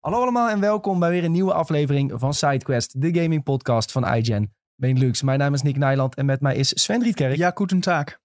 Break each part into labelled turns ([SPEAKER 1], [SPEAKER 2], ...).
[SPEAKER 1] Hallo allemaal en welkom bij weer een nieuwe aflevering van SideQuest, de gaming podcast van iGen Benelux. Mijn naam is Nick Nijland en met mij is Sven Rietkerk,
[SPEAKER 2] Ja, goed een taak.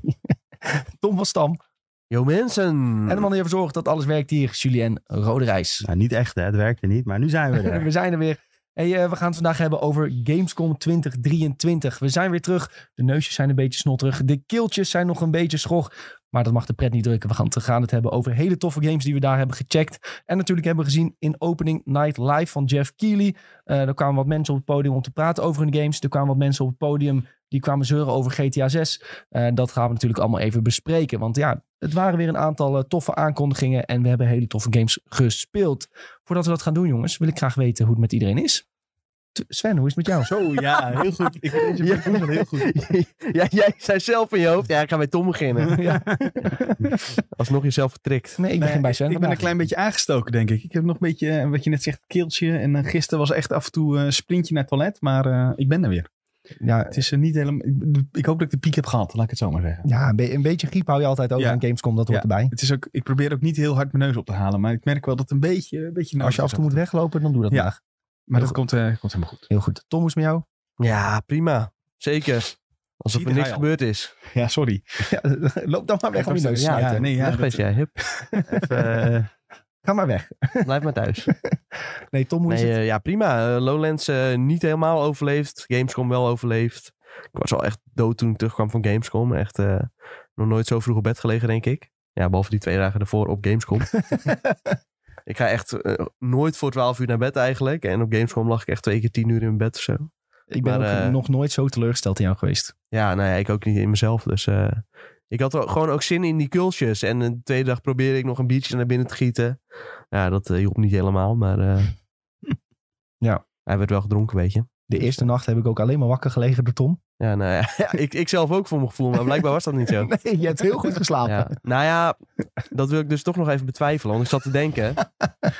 [SPEAKER 1] Tom van Stam
[SPEAKER 3] Yo mensen!
[SPEAKER 1] en de man die ervoor zorgt dat alles werkt hier, Julien Roderijs.
[SPEAKER 3] Nou, niet echt hè, het werkte niet, maar nu zijn we er.
[SPEAKER 1] We zijn er weer. Hey, eh, we gaan het vandaag hebben over Gamescom 2023. We zijn weer terug. De neusjes zijn een beetje snotterig. De keeltjes zijn nog een beetje schog. Maar dat mag de pret niet drukken. We gaan, te gaan het hebben over hele toffe games die we daar hebben gecheckt. En natuurlijk hebben we gezien in Opening Night Live van Jeff Keighley. Eh er kwamen wat mensen op het podium om te praten over hun games. Er kwamen wat mensen op het podium die kwamen zeuren over GTA 6. Eh, dat gaan we natuurlijk allemaal even bespreken. Want ja, het waren weer een aantal eh, toffe aankondigingen. En we hebben hele toffe games gespeeld. Voordat we dat gaan doen, jongens, wil ik graag weten hoe het met iedereen is. T- Sven, hoe is het met jou?
[SPEAKER 2] Zo, ja, heel goed. Ik vind
[SPEAKER 3] Ja.
[SPEAKER 2] je heel goed.
[SPEAKER 3] ja, jij zei zelf in je hoofd, ja, ik ga bij Tom beginnen.
[SPEAKER 1] Ja.
[SPEAKER 3] Alsnog jezelf vertrikt.
[SPEAKER 1] Nee, ik begin bij Sven.
[SPEAKER 2] Ik ben een
[SPEAKER 1] vandaag.
[SPEAKER 2] klein beetje aangestoken, denk ik. Ik heb nog een beetje, eh, wat je net zegt, keeltje. En eh, gisteren was echt af en toe eh, een sprintje naar het toilet. Maar eh, ik ben er weer.
[SPEAKER 1] Ja,
[SPEAKER 2] Het is eh, niet helemaal... Ik, ik hoop dat ik de piek heb gehad, laat ik het zo maar zeggen.
[SPEAKER 1] ja, een, be- een beetje griep hou je altijd over
[SPEAKER 2] Ja.
[SPEAKER 1] aan Gamescom, dat hoort erbij.
[SPEAKER 2] Het is ook, ik probeer ook niet heel hard mijn neus op te halen. Maar ik merk wel dat het een beetje... Een beetje
[SPEAKER 1] Als je af en toe moet weglopen, dan doe dat
[SPEAKER 2] Ja.
[SPEAKER 1] vandaag.
[SPEAKER 2] Maar dat komt, eh, komt helemaal goed.
[SPEAKER 1] Heel goed. Tom, hoe is het met jou?
[SPEAKER 3] Ja, prima. Zeker. Alsof
[SPEAKER 2] Zie,
[SPEAKER 3] er
[SPEAKER 2] daar
[SPEAKER 3] niks
[SPEAKER 2] ga je al.
[SPEAKER 3] gebeurd is.
[SPEAKER 2] Ja, sorry.
[SPEAKER 1] Ja, loop dan maar weg om je neus te
[SPEAKER 3] Ja,
[SPEAKER 1] snuiten.
[SPEAKER 2] nee, ja,
[SPEAKER 3] Weg
[SPEAKER 2] dat-
[SPEAKER 3] was jij, hup. Even, eh,
[SPEAKER 1] Ga maar weg.
[SPEAKER 3] blijf maar thuis.
[SPEAKER 1] Nee, Tom, hoe is
[SPEAKER 3] Nee,
[SPEAKER 1] het?
[SPEAKER 3] eh, ja, prima. Eh, Lowlands eh, niet helemaal overleefd. Gamescom wel overleefd. Ik was wel echt dood toen ik terugkwam van Gamescom. Echt eh, nog nooit zo vroeg op bed gelegen, denk ik. Ja, behalve die twee dagen ervoor op Gamescom. ik ga echt eh, nooit voor 12 uur naar bed eigenlijk. En op Gamescom lag ik echt twee keer 10 uur in mijn bed of zo.
[SPEAKER 1] ik ben
[SPEAKER 3] maar,
[SPEAKER 1] ook
[SPEAKER 3] eh,
[SPEAKER 1] nog nooit zo teleurgesteld in jou geweest.
[SPEAKER 3] Ja, nou ja, ik ook niet in mezelf. Dus eh, ik had wel gewoon ook zin in die kultjes. En de tweede dag probeerde ik nog een biertje naar binnen te gieten. Ja, dat eh, hielp niet helemaal, maar... eh,
[SPEAKER 1] Ja.
[SPEAKER 3] Hij werd wel gedronken, weet je.
[SPEAKER 1] De eerste nacht heb ik ook alleen maar wakker gelegen door Tom.
[SPEAKER 3] Ja, nou ja, ja, ik, ik zelf ook voor mijn gevoel, maar blijkbaar was dat niet zo.
[SPEAKER 1] Nee, je hebt heel goed geslapen.
[SPEAKER 3] Ja. Nou ja, dat wil ik dus toch nog even betwijfelen, want ik zat te denken.
[SPEAKER 1] Oké.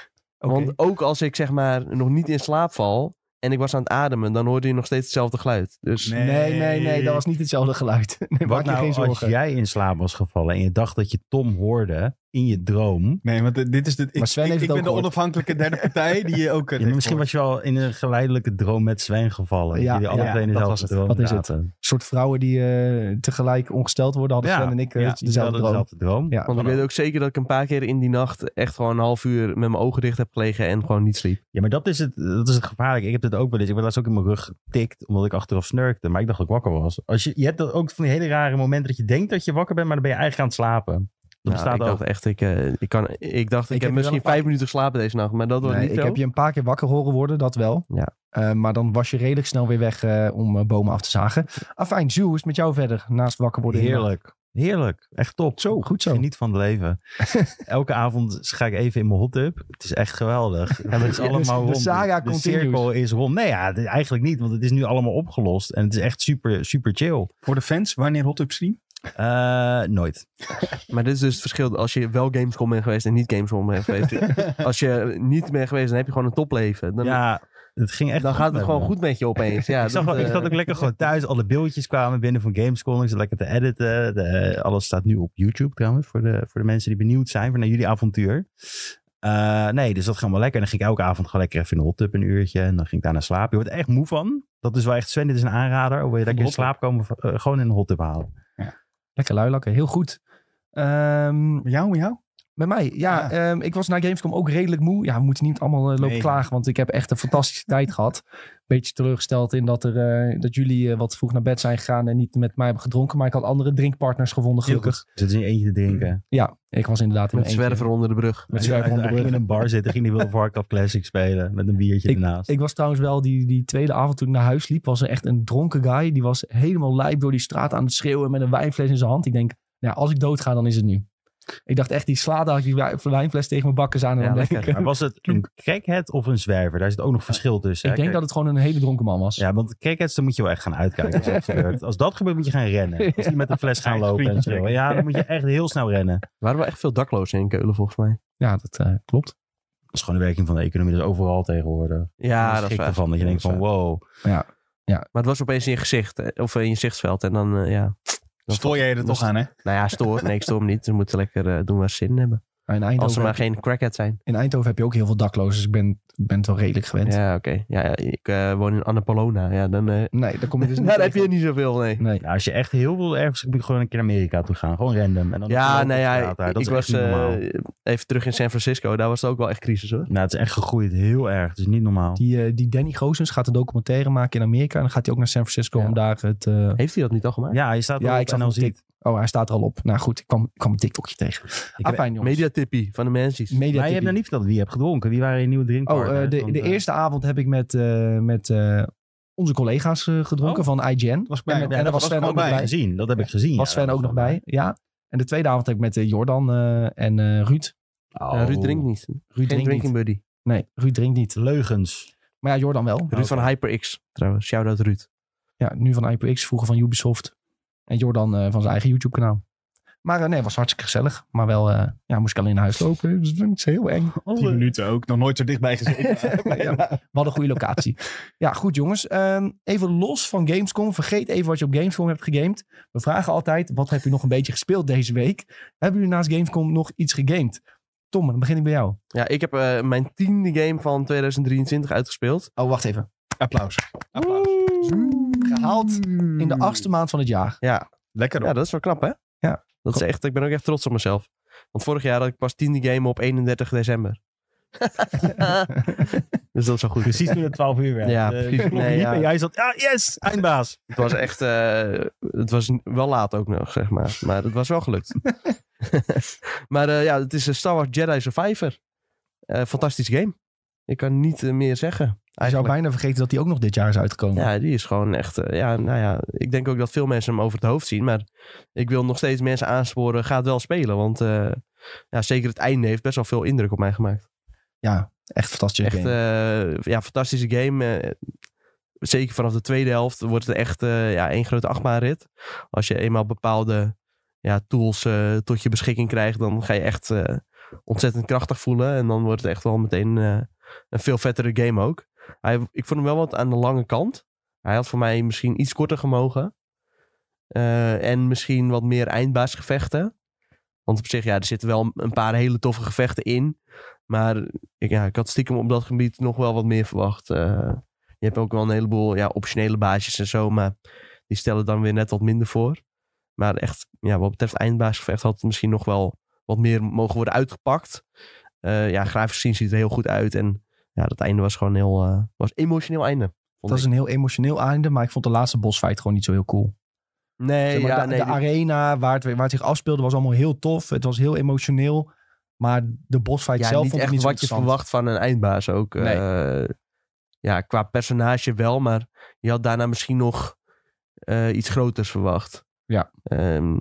[SPEAKER 3] Want ook als ik zeg maar nog niet in slaap val en ik was aan het ademen, dan hoorde je nog steeds hetzelfde geluid. Dus
[SPEAKER 2] Nee.
[SPEAKER 1] Nee, nee, nee, dat was niet hetzelfde geluid. Nee, maak
[SPEAKER 4] Wat
[SPEAKER 1] je
[SPEAKER 4] nou
[SPEAKER 1] geen
[SPEAKER 4] als
[SPEAKER 1] zorgen.
[SPEAKER 4] jij in slaap was gevallen en je dacht dat je Tom hoorde in je droom?
[SPEAKER 2] Nee, want eh, dit is... De, ik
[SPEAKER 1] Maar Sven
[SPEAKER 2] ik,
[SPEAKER 1] heeft het
[SPEAKER 2] ik ben
[SPEAKER 1] ook
[SPEAKER 2] de
[SPEAKER 1] gehoord.
[SPEAKER 2] onafhankelijke derde partij die je ook... eh,
[SPEAKER 4] Ja, maar misschien was je al in een geleidelijke droom met Sven gevallen.
[SPEAKER 1] Ja,
[SPEAKER 4] Ja, jullie alle
[SPEAKER 1] ja,
[SPEAKER 4] twee in
[SPEAKER 2] dat
[SPEAKER 4] dezelfde
[SPEAKER 2] was het.
[SPEAKER 4] droom
[SPEAKER 1] Dat is het.
[SPEAKER 4] zaten.
[SPEAKER 1] soort vrouwen die eh, tegelijk ongesteld worden, hadden
[SPEAKER 4] Ja,
[SPEAKER 1] Sven en ik eh,
[SPEAKER 4] Ja, jullie
[SPEAKER 1] dezelfde
[SPEAKER 4] hadden
[SPEAKER 1] droom.
[SPEAKER 4] dezelfde droom.
[SPEAKER 1] Ja,
[SPEAKER 3] Want ik weet ook zeker dat ik een paar keer in die nacht echt gewoon een half uur met mijn ogen dicht heb gelegen en gewoon niet sliep.
[SPEAKER 4] Ja, maar dat is, het, dat is het gevaarlijke. Ik heb dit ook wel eens. Ik werd laatst ook in mijn rug getikt omdat ik achteraf snurkte. Maar ik dacht dat ik wakker was. Als je, je hebt dat ook van die hele rare momenten dat je denkt dat je wakker bent, maar dan ben je eigenlijk aan het slapen. Dat
[SPEAKER 3] Nou,
[SPEAKER 4] bestaat
[SPEAKER 3] ik
[SPEAKER 4] ook.
[SPEAKER 3] dacht echt, ik, eh, ik, kan, ik
[SPEAKER 1] heb je
[SPEAKER 3] dacht, ik,
[SPEAKER 1] wel
[SPEAKER 3] heb
[SPEAKER 1] een
[SPEAKER 3] misschien
[SPEAKER 1] paar
[SPEAKER 3] vijf minuten geslapen deze nacht, maar dat was
[SPEAKER 1] Nee,
[SPEAKER 3] niet
[SPEAKER 1] ik
[SPEAKER 3] zo.
[SPEAKER 1] heb je een paar keer wakker horen worden, dat wel.
[SPEAKER 3] Ja.
[SPEAKER 1] Eh, maar dan was je redelijk snel weer weg eh, om eh, bomen af te zagen. Afijn, Jules, is het met jou verder naast wakker worden? in de nacht?
[SPEAKER 4] Heerlijk. Heerlijk. Echt top.
[SPEAKER 1] Zo, goed zo.
[SPEAKER 4] Geniet van het leven. Elke avond ga ik even in mijn hot tub. Het is echt geweldig. En het is
[SPEAKER 1] Ja, dus
[SPEAKER 4] allemaal
[SPEAKER 1] de
[SPEAKER 4] rond.
[SPEAKER 1] saga
[SPEAKER 4] de
[SPEAKER 1] continues.
[SPEAKER 4] cirkel is rond. Nee, ja, d- eigenlijk niet, want het is nu allemaal opgelost. En het is echt super, super chill.
[SPEAKER 2] Voor de fans, wanneer Hot Up Stream?
[SPEAKER 4] Eh, nooit.
[SPEAKER 3] Maar dit is dus het verschil. Als je wel Gamescom bent geweest en niet Gamescom bent geweest. als je niet bent geweest, dan heb je gewoon een topleven. Dan,
[SPEAKER 4] ja, het ging echt
[SPEAKER 3] dan gaat het
[SPEAKER 4] met
[SPEAKER 3] gewoon
[SPEAKER 4] me.
[SPEAKER 3] goed met je opeens. Ja,
[SPEAKER 4] ik, zag,
[SPEAKER 3] dat,
[SPEAKER 4] wel- ik
[SPEAKER 3] eh,
[SPEAKER 4] zat ook lekker gewoon thuis. Alle beeldjes kwamen binnen van Gamescom. Ik zat lekker te editen. De- eh, alles staat nu op YouTube trouwens. Voor de, voor de mensen die benieuwd zijn voor naar jullie avontuur. Eh, nee, dus dat ging wel lekker. En dan ging ik elke avond gewoon lekker even in de hot tub een uurtje. En dan ging ik daarna slapen. Je wordt er echt moe van. Dat is wel echt, Sven, dit is een aanrader. Of wil je lekker in
[SPEAKER 2] hot tub.
[SPEAKER 4] slaap komen, eh, gewoon in de hot tub halen.
[SPEAKER 1] Lekker luilakken, heel goed. Ehm,
[SPEAKER 2] Met jou, met jou?
[SPEAKER 1] bij mij, ja,
[SPEAKER 2] Ah.
[SPEAKER 1] ehm, ik was na Gamescom ook redelijk moe. Ja, we moeten niet allemaal eh, lopen
[SPEAKER 2] Nee.
[SPEAKER 1] klagen, want ik heb echt een fantastische tijd gehad. Beetje teleurgesteld in dat, er, eh, dat jullie eh, wat vroeg naar bed zijn gegaan en niet met mij hebben gedronken. Maar ik had andere drinkpartners gevonden, gelukkig.
[SPEAKER 4] Zit in je eentje te drinken.
[SPEAKER 1] Ja, ik was inderdaad in
[SPEAKER 3] met
[SPEAKER 1] mijn eentje.
[SPEAKER 3] zwerver onder de brug.
[SPEAKER 1] Met zwerven
[SPEAKER 4] Hij-
[SPEAKER 1] onder
[SPEAKER 4] hij
[SPEAKER 1] de
[SPEAKER 4] ging
[SPEAKER 1] brug.
[SPEAKER 4] in een bar zitten. Ging die World of Warcraft Classic spelen. Met een biertje ernaast.
[SPEAKER 1] Ik was trouwens wel, die, die tweede avond toen ik naar huis liep, was er echt een dronken guy. Die was helemaal lijp door die straat aan het schreeuwen met een wijnfles in zijn hand. Ik denk, nou, als ik doodga, dan is het nu. Ik dacht echt, die slaat daar die wij- wijnfles tegen mijn bakkers aan. En
[SPEAKER 3] Ja,
[SPEAKER 1] dan denk
[SPEAKER 3] lekker.
[SPEAKER 1] ik,
[SPEAKER 4] Maar was het een crackhead of een zwerver? Daar zit ook nog verschil tussen.
[SPEAKER 1] ik
[SPEAKER 4] hè?
[SPEAKER 1] denk dat het gewoon een hele dronken man was.
[SPEAKER 4] Ja, want crackheads, dan moet je wel echt gaan uitkijken als dat gebeurt. Als dat gebeurt, moet je gaan rennen. Als die met een fles gaan lopen en zo. Ja, dan moet je echt heel snel rennen.
[SPEAKER 3] Er waren wel echt veel daklozen in Keulen volgens mij.
[SPEAKER 1] Ja, dat eh, klopt.
[SPEAKER 4] Dat is gewoon de werking van de economie. Dat is overal tegenwoordig.
[SPEAKER 3] Ja,
[SPEAKER 4] Daar
[SPEAKER 3] dat is
[SPEAKER 4] schrik
[SPEAKER 3] waar.
[SPEAKER 4] ervan. Dat je denkt van,
[SPEAKER 3] waar.
[SPEAKER 4] wow.
[SPEAKER 3] Maar het was opeens in je gezicht. eh, Of in je zichtsveld. En dan, eh, ja. Dan
[SPEAKER 2] Stoor jij er
[SPEAKER 3] dan-
[SPEAKER 2] toch aan, hè?
[SPEAKER 3] Nou ja, stoor. Nee, ik stoor hem niet. Ze moeten lekker eh, doen waar ze zin in hebben.
[SPEAKER 1] Nou, in,
[SPEAKER 3] Als ze
[SPEAKER 1] Eindhoven,
[SPEAKER 3] maar geen crackhead zijn.
[SPEAKER 1] in Eindhoven heb je ook heel veel daklozen, dus ik ben, ben het wel redelijk gewend.
[SPEAKER 3] Ja, oké. Ja, ja, ik eh, woon in Annapolona. Ja, dan, eh
[SPEAKER 1] Nee, daar kom je dus niet
[SPEAKER 3] daar heb je
[SPEAKER 1] tegen.
[SPEAKER 3] niet zoveel, nee.
[SPEAKER 1] Nee.
[SPEAKER 4] Ja, als je echt heel wil ergens, moet je gewoon een keer naar Amerika toe gaan. Gewoon random. En dan
[SPEAKER 3] Ja,
[SPEAKER 4] lopen
[SPEAKER 3] nou
[SPEAKER 4] op
[SPEAKER 3] ja,
[SPEAKER 4] straat daar.
[SPEAKER 3] ik
[SPEAKER 4] Dat is echt
[SPEAKER 3] was
[SPEAKER 4] niet
[SPEAKER 3] eh,
[SPEAKER 4] normaal.
[SPEAKER 3] even terug in San Francisco. Daar was het ook wel echt crisis, hoor.
[SPEAKER 4] Nou, het is echt gegroeid heel erg. Het is niet normaal.
[SPEAKER 1] Die, eh, die Danny Gozens gaat een documentaire maken in Amerika. En dan gaat hij ook naar San Francisco
[SPEAKER 3] Ja.
[SPEAKER 1] om daar het... eh,
[SPEAKER 3] Heeft hij dat niet al gemaakt?
[SPEAKER 4] Ja, je staat
[SPEAKER 1] Ja,
[SPEAKER 4] erop
[SPEAKER 1] ik zag
[SPEAKER 4] en dan
[SPEAKER 1] hem
[SPEAKER 4] zie ik.
[SPEAKER 1] oh, hij staat er al op. Nou goed, ik kwam, ik kwam een TikTokje tegen.
[SPEAKER 4] ik heb-
[SPEAKER 1] Afijn, jongens.
[SPEAKER 3] Mediatippie van de Mensies.
[SPEAKER 1] Media
[SPEAKER 4] Maar je hebt nou niet verteld wie je hebt gedronken. Wie waren je nieuwe
[SPEAKER 1] Oh,
[SPEAKER 4] drinkpartners?
[SPEAKER 1] eh, de,
[SPEAKER 4] Want,
[SPEAKER 1] de
[SPEAKER 4] eh,
[SPEAKER 1] eerste avond heb ik met, eh, met eh, onze collega's eh, gedronken
[SPEAKER 2] Oh.
[SPEAKER 1] van IGN.
[SPEAKER 2] Was ik
[SPEAKER 1] En,
[SPEAKER 2] bij.
[SPEAKER 1] en
[SPEAKER 2] Ja,
[SPEAKER 1] daar was
[SPEAKER 2] dat was
[SPEAKER 1] Sven
[SPEAKER 2] ik
[SPEAKER 1] ook
[SPEAKER 2] ook
[SPEAKER 1] nog
[SPEAKER 2] bij.
[SPEAKER 1] bij.
[SPEAKER 4] gezien. Dat heb ik gezien.
[SPEAKER 1] was
[SPEAKER 4] ja.
[SPEAKER 1] Sven ook nog bij, ja. En de tweede avond heb ik met eh, Jordan eh, en eh, Ruud.
[SPEAKER 4] Oh.
[SPEAKER 3] Eh, Ruud drinkt niet.
[SPEAKER 1] Ruud
[SPEAKER 3] Geen
[SPEAKER 1] drinkt
[SPEAKER 3] drinking
[SPEAKER 1] niet.
[SPEAKER 3] buddy.
[SPEAKER 1] Nee, Ruud drinkt niet.
[SPEAKER 4] Leugens.
[SPEAKER 1] Maar ja, Jordan wel. Nou,
[SPEAKER 3] Ruud van HyperX, trouwens. Shout-out Ruud.
[SPEAKER 1] Ja, nu van IPX, vroeger van Ubisoft. En Jordan eh, van zijn eigen YouTube-kanaal. Maar eh, nee, was hartstikke gezellig. Maar wel, eh, ja, moest ik alleen naar huis lopen. Dus vind ik het heel eng.
[SPEAKER 2] Tien minuten ook. Nog nooit zo dichtbij gezeten.
[SPEAKER 1] Ja. We hadden een goede locatie. ja, goed jongens. Ehm, even los van Gamescom. Vergeet even wat je op Gamescom hebt gegamed. We vragen altijd, wat heb je nog een beetje gespeeld deze week? Hebben jullie naast Gamescom nog iets gegamed? Tom, dan begin ik bij jou.
[SPEAKER 3] Ja, ik heb eh, mijn tiende game van 2023 uitgespeeld.
[SPEAKER 1] Oh, wacht even.
[SPEAKER 2] Applaus. Applaus.
[SPEAKER 1] Gehaald in de achtste maand van het jaar.
[SPEAKER 3] Ja,
[SPEAKER 2] Lekker
[SPEAKER 3] ja,
[SPEAKER 2] hoor.
[SPEAKER 3] dat is wel knap, hè?
[SPEAKER 1] Ja.
[SPEAKER 3] Dat is echt, ik ben ook echt trots op mezelf. Want vorig jaar had ik pas tiende game op 31 december. dus dat is wel goed.
[SPEAKER 4] Precies toen het 12 uur werd.
[SPEAKER 3] Ja,
[SPEAKER 4] Eh,
[SPEAKER 3] precies.
[SPEAKER 4] klok
[SPEAKER 3] Nee,
[SPEAKER 4] liep
[SPEAKER 3] ja.
[SPEAKER 4] En jij zat, ah yes, eindbaas.
[SPEAKER 3] Het was echt, eh, het was wel laat ook nog, zeg maar. Maar het was wel gelukt. maar eh, ja, het is een Star Wars Jedi Survivor. Eh fantastisch game. Ik kan niet eh, meer zeggen.
[SPEAKER 1] Je zou
[SPEAKER 3] eigenlijk.
[SPEAKER 1] bijna vergeten dat die ook nog dit jaar is uitgekomen.
[SPEAKER 3] Ja, die is gewoon echt. eh, ja, nou ja, ik denk ook dat veel mensen hem over het hoofd zien. Maar ik wil nog steeds mensen aansporen. Ga het wel spelen. Want eh, ja, zeker het einde heeft best wel veel indruk op mij gemaakt.
[SPEAKER 1] Ja, echt fantastisch.
[SPEAKER 3] Echt eh, ja, fantastische game. eh, zeker vanaf de tweede helft wordt het echt eh, ja, één grote achtbaanrit. Als je eenmaal bepaalde ja, tools eh, tot je beschikking krijgt, dan ga je echt eh, ontzettend krachtig voelen. En dan wordt het echt wel meteen eh, een veel vettere game ook. Hij, ik vond hem wel wat aan de lange kant. Hij had voor mij misschien iets korter gemogen. Eh, en misschien wat meer eindbaasgevechten. Want op zich, ja, er zitten wel een paar hele toffe gevechten in. Maar ik, ja, ik had stiekem op dat gebied nog wel wat meer verwacht. Eh, je hebt ook wel een heleboel ja, optionele baasjes en zo. Maar die stellen dan weer net wat minder voor. Maar echt, ja, wat betreft eindbaasgevecht had het misschien nog wel wat meer mogen worden uitgepakt. Eh, ja, grafisch gezien ziet het er heel goed uit. En ja, dat einde was gewoon heel... eh was een emotioneel einde.
[SPEAKER 1] Het
[SPEAKER 3] vond
[SPEAKER 1] was
[SPEAKER 3] ik.
[SPEAKER 1] een heel emotioneel einde, maar ik vond de laatste bossfight gewoon niet zo heel cool.
[SPEAKER 3] Nee,
[SPEAKER 1] Zeg maar,
[SPEAKER 3] ja,
[SPEAKER 1] de,
[SPEAKER 3] nee,
[SPEAKER 1] de
[SPEAKER 3] die-
[SPEAKER 1] arena waar het, waar het zich afspeelde was allemaal heel tof. Het was heel emotioneel. Maar de bossfight
[SPEAKER 3] ja,
[SPEAKER 1] zelf
[SPEAKER 3] niet
[SPEAKER 1] vond ik
[SPEAKER 3] echt
[SPEAKER 1] niet zo
[SPEAKER 3] wat je
[SPEAKER 1] interessant.
[SPEAKER 3] verwacht van een eindbaas ook.
[SPEAKER 1] Nee.
[SPEAKER 3] Eh, ja, qua personage wel, maar je had daarna misschien nog eh, iets groters verwacht.
[SPEAKER 1] Ja.
[SPEAKER 3] Ehm,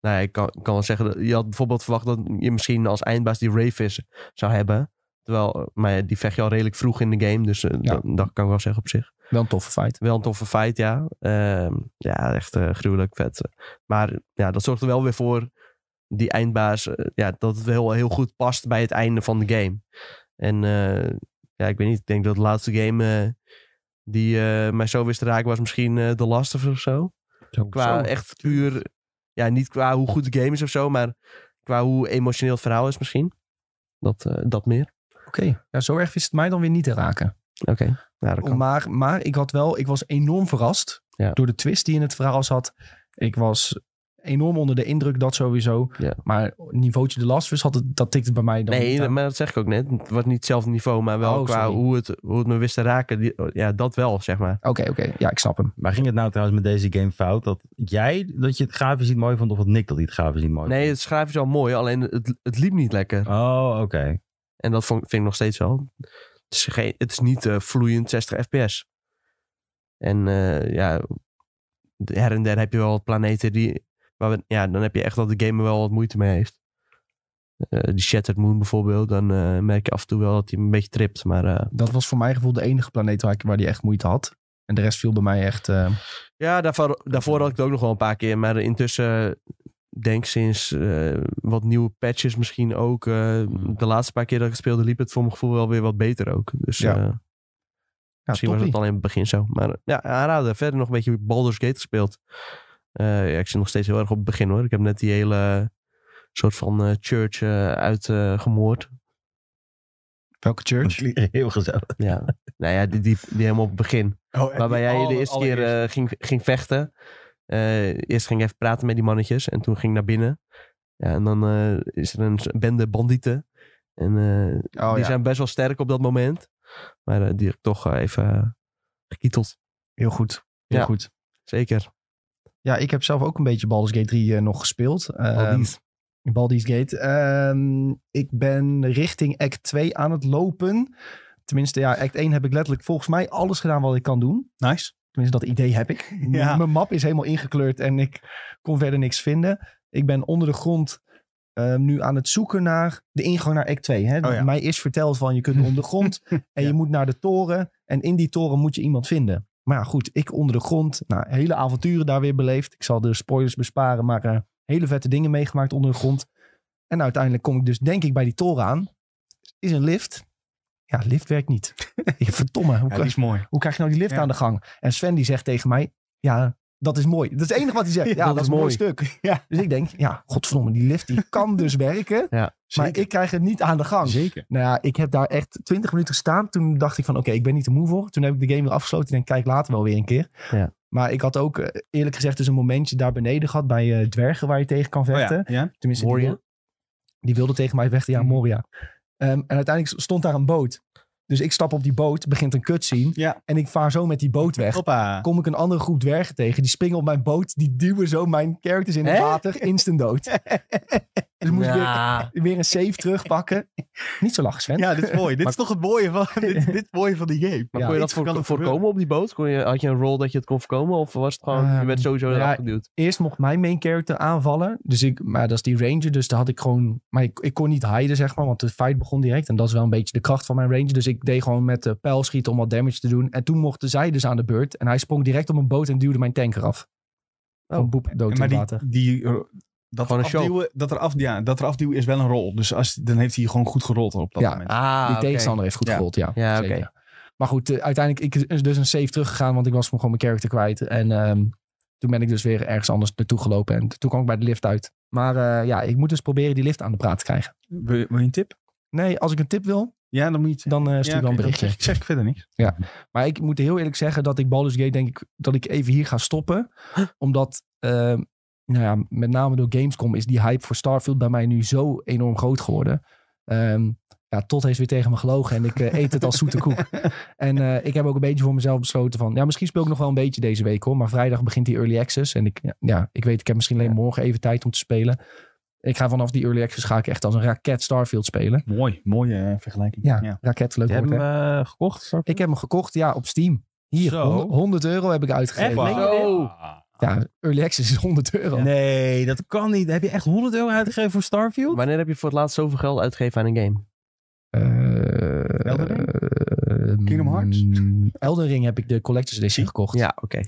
[SPEAKER 3] nou ja, ik kan, ik kan wel zeggen, dat- je had bijvoorbeeld verwacht dat je misschien als eindbaas die Rayfish zou hebben. Terwijl, maar ja, die vecht je al redelijk vroeg in de game, dus eh,
[SPEAKER 1] Ja.
[SPEAKER 3] dat, dat kan ik wel zeggen op zich.
[SPEAKER 1] Wel een toffe fight.
[SPEAKER 3] Wel een toffe fight, ja. Ehm, ja, echt eh, gruwelijk vet. Maar ja, dat zorgt er wel weer voor die eindbaas. eh, ja, dat het wel heel goed past bij het einde van de game. En eh, ja, ik weet niet. Ik denk dat de laatste game eh, die eh, mij zo wist te raken was misschien eh The Last of Us of zo. Qua echt puur... Ja, niet qua hoe goed de game is of zo, maar qua hoe emotioneel het verhaal is misschien. Dat, eh, dat meer.
[SPEAKER 1] Oké, ja, zo erg wist het mij dan weer niet te raken.
[SPEAKER 3] Oké. Ja, dat kan.
[SPEAKER 1] Maar, maar ik, had wel, ik was enorm verrast
[SPEAKER 3] Ja.
[SPEAKER 1] door de twist die in het verhaal zat. Ik was enorm onder de indruk, dat sowieso.
[SPEAKER 3] Ja.
[SPEAKER 1] Maar niveautje de last was, had het, dat tikte bij mij dan niet
[SPEAKER 3] Nee,
[SPEAKER 1] aan.
[SPEAKER 3] maar dat zeg ik ook net. Het was niet hetzelfde niveau, maar wel
[SPEAKER 1] Oh,
[SPEAKER 3] qua
[SPEAKER 1] sorry.
[SPEAKER 3] hoe het, hoe het me wist te raken. Die, ja, dat wel, zeg maar.
[SPEAKER 1] Oké, oké. Ja, ik snap hem.
[SPEAKER 4] Maar ging het nou trouwens met deze game fout? Dat jij dat je het grafisch niet mooi vond of dat Nick dat hij het grafisch niet
[SPEAKER 1] Oh,
[SPEAKER 4] mooi
[SPEAKER 3] Nee,
[SPEAKER 4] vond?
[SPEAKER 3] het schrijven is wel mooi, alleen het, het liep niet lekker.
[SPEAKER 4] Oh, oké.
[SPEAKER 3] En dat vond, vind ik nog steeds wel. Het is, geen, het is niet eh, vloeiend 60 fps. En eh, ja, her en der heb je wel wat planeten die... Waar we, ja, dan heb je echt dat de game er wel wat moeite mee heeft. Eh, die Shattered Moon bijvoorbeeld, dan eh, merk je af en toe wel dat hij een beetje tript. Maar eh,
[SPEAKER 1] Dat was voor mijn gevoel de enige planeet waar, ik, waar die echt moeite had. En de rest viel bij mij echt... eh,
[SPEAKER 3] Ja, daarvoor, daarvoor had ik het ook nog wel een paar keer. Maar intussen, denk sinds eh, wat nieuwe patches misschien ook. eh,
[SPEAKER 4] Mm.
[SPEAKER 3] De laatste paar keer dat ik het speelde, liep het voor mijn gevoel wel weer wat beter ook. Dus
[SPEAKER 1] Ja.
[SPEAKER 3] eh,
[SPEAKER 1] ja,
[SPEAKER 3] misschien was
[SPEAKER 1] toppie.
[SPEAKER 3] het al in het begin zo. Maar eh, ja, aanraden. Verder nog een beetje Baldur's Gate gespeeld. Eh, ja, ik zit nog steeds heel erg op het begin hoor. Ik heb net die hele soort van eh, church uitgemoord.
[SPEAKER 2] Welke church?
[SPEAKER 4] Heel gezellig.
[SPEAKER 3] ja. nou ja, die, die, die helemaal op het begin.
[SPEAKER 2] Oh,
[SPEAKER 3] Waarbij jij de eerste keer eh, ging, ging vechten. Eh, eerst ging ik even praten met die mannetjes. En toen ging ik naar binnen. Ja, en dan eh, is er een s- bende bandieten. En eh,
[SPEAKER 2] oh,
[SPEAKER 3] die
[SPEAKER 2] ja.
[SPEAKER 3] zijn best wel sterk op dat moment. Maar eh, die heb ik toch eh, even eh, gekieteld.
[SPEAKER 1] Heel goed. Heel
[SPEAKER 3] Ja.
[SPEAKER 1] goed.
[SPEAKER 3] Zeker.
[SPEAKER 1] Ja, ik heb zelf ook een beetje Baldur's Gate 3 eh, nog gespeeld.
[SPEAKER 3] Al
[SPEAKER 1] Ehm,
[SPEAKER 3] Oh, die.
[SPEAKER 1] Baldi's Gate. Ehm, ik ben richting Act 2 aan het lopen. Tenminste, ja, Act 1 heb ik letterlijk volgens mij alles gedaan wat ik kan doen.
[SPEAKER 3] eh,
[SPEAKER 2] Nice.
[SPEAKER 1] Tenminste, dat idee heb ik. M-
[SPEAKER 2] Ja.
[SPEAKER 1] Mijn map is helemaal ingekleurd en ik kon verder niks vinden. Ik ben onder de grond ehm, nu aan het zoeken naar de ingang naar Act 2. Hè?
[SPEAKER 2] Oh ja.
[SPEAKER 1] Mij is verteld van je kunt onder de grond en je moet naar de toren. En in die toren moet je iemand vinden. Maar ja, goed, ik onder de grond. Nou, hele avonturen daar weer beleefd. Ik zal de spoilers besparen, maar eh, hele vette dingen meegemaakt onder de grond. En nou, uiteindelijk kom ik dus denk ik bij die toren aan. Is een lift. Ja, lift werkt niet. Verdomme, hoe,
[SPEAKER 2] Ja,
[SPEAKER 1] kan-
[SPEAKER 2] die is mooi.
[SPEAKER 1] hoe krijg je nou die lift
[SPEAKER 2] Ja.
[SPEAKER 1] aan de gang? En Sven die zegt tegen mij, ja, dat is mooi. Dat is het enige wat hij zegt. Ja, dat, is een mooi stuk.
[SPEAKER 2] Ja.
[SPEAKER 1] Dus ik denk, ja, godverdomme, die lift die kan dus werken. Maar ik krijg het niet aan de gang.
[SPEAKER 2] Zeker. Oh
[SPEAKER 1] Nou ja, ik heb daar echt 20 minuten gestaan. Toen dacht ik van, oké, ik ben niet te moe voor. Toen heb ik de game weer afgesloten en denk, kijk later wel weer een keer.
[SPEAKER 3] Ja.
[SPEAKER 1] Maar ik had ook eh, eerlijk gezegd dus een momentje daar beneden gehad bij eh, dwergen waar je tegen kan
[SPEAKER 2] Oh,
[SPEAKER 1] vechten.
[SPEAKER 2] ja. Ja.
[SPEAKER 1] Tenminste,
[SPEAKER 3] Moria?
[SPEAKER 1] Die, wil- die wilde tegen mij vechten. Ja,
[SPEAKER 2] Mhm.
[SPEAKER 1] Moria. Ehm, en uiteindelijk stond daar een boot. Dus ik stap op die boot, begint een cutscene.
[SPEAKER 2] Ja.
[SPEAKER 1] En ik vaar zo met die boot weg.
[SPEAKER 2] Hoppa.
[SPEAKER 1] Kom ik een andere groep dwergen tegen. Die springen op mijn boot. Die duwen zo mijn characters in het
[SPEAKER 2] Hè?
[SPEAKER 1] water. Instant dood. dus moest ik weer,
[SPEAKER 3] Ja.
[SPEAKER 1] weer een save terugpakken. Niet zo lachen, Sven.
[SPEAKER 2] Ja, dit is mooi. dit is toch het mooie van, dit, dit is het mooie van die game.
[SPEAKER 3] Maar
[SPEAKER 1] Ja.
[SPEAKER 3] kon je dat
[SPEAKER 2] Dit
[SPEAKER 3] voor,
[SPEAKER 2] kan er
[SPEAKER 3] voorkomen op die boot? Kon je, had je een rol dat je het kon voorkomen? Of was het gewoon, je werd
[SPEAKER 1] Ehm,
[SPEAKER 3] sowieso
[SPEAKER 1] ja,
[SPEAKER 3] eraf geduwd?
[SPEAKER 1] Eerst mocht mijn main character aanvallen. Dus ik, maar dat is die ranger. Dus daar had ik gewoon. Maar ik, ik kon niet hiden, zeg maar. Want de fight begon direct. En dat is wel een beetje de kracht van mijn ranger. Dus ik deed gewoon met de pijl schieten om wat damage te doen. En toen mochten zij dus aan de beurt. En hij sprong direct op een boot en duwde mijn tanker af. Oh, boep, dood in het
[SPEAKER 2] maar die,
[SPEAKER 1] water.
[SPEAKER 2] die, eh, dat,
[SPEAKER 3] Gewoon
[SPEAKER 2] er
[SPEAKER 3] een show.
[SPEAKER 2] afduwen, dat, er af, ja, dat er afduwen is wel een rol. Dus als, dan heeft hij gewoon goed gerold op dat
[SPEAKER 1] Ja.
[SPEAKER 2] moment.
[SPEAKER 3] Ah,
[SPEAKER 1] Die
[SPEAKER 3] oké.
[SPEAKER 1] tegenstander heeft goed
[SPEAKER 2] Ja.
[SPEAKER 1] gerold, ja.
[SPEAKER 3] Ja,
[SPEAKER 1] Zeker.
[SPEAKER 3] oké.
[SPEAKER 1] Maar goed, eh, uiteindelijk ik is dus een save teruggegaan, want ik was gewoon mijn character kwijt. En ehm, toen ben ik dus weer ergens anders naartoe gelopen. En toen kwam ik bij de lift uit. Maar eh, ja, ik moet dus proberen die lift aan de praat te krijgen.
[SPEAKER 2] Wil, wil je een tip?
[SPEAKER 1] Nee, als ik een tip wil,
[SPEAKER 2] Ja, dan moet je het
[SPEAKER 1] dan eh, stuur
[SPEAKER 2] ja,
[SPEAKER 1] dan een
[SPEAKER 2] oké,
[SPEAKER 1] berichtje.
[SPEAKER 2] zeg ik, zeg ik verder niks.
[SPEAKER 1] Maar ik moet heel eerlijk zeggen dat ik Baldur's Gate denk ik dat ik even hier ga stoppen. Omdat, ehm, nou ja, met name door Gamescom is die hype voor Starfield bij mij nu zo enorm groot geworden. Ehm, ja, tot heeft weer tegen me gelogen en ik eh, eet het als zoete koek. En eh, ik heb ook een beetje voor mezelf besloten van, ja, misschien speel ik nog wel een beetje deze week hoor. Maar vrijdag begint die Early Access en ik, ja, ik weet, ik heb misschien alleen morgen even tijd om te spelen. Ik ga vanaf die Early Access ga ik echt als een raket Starfield spelen.
[SPEAKER 2] Mooi, mooie eh, vergelijking.
[SPEAKER 1] Ja, raket, leuk
[SPEAKER 4] Je hebt
[SPEAKER 1] woord,
[SPEAKER 4] hem
[SPEAKER 1] hè?
[SPEAKER 4] eh, gekocht?
[SPEAKER 1] Ik heb hem gekocht, ja, op Steam. Hier,
[SPEAKER 4] Zo.
[SPEAKER 1] 100, 100 euro heb ik uitgegeven.
[SPEAKER 4] Echt?
[SPEAKER 1] Ja, Early Access is 100 euro.
[SPEAKER 4] Nee, dat kan niet. Heb je echt 100 euro uitgegeven voor Starfield?
[SPEAKER 3] Wanneer heb je voor het laatst zoveel geld uitgegeven aan een game?
[SPEAKER 1] Eh,
[SPEAKER 2] Elden Ring?
[SPEAKER 1] eh,
[SPEAKER 2] Kingdom Hearts?
[SPEAKER 1] mm, Elden Ring heb ik de Collector's Edition gekocht.
[SPEAKER 3] Ja, oké.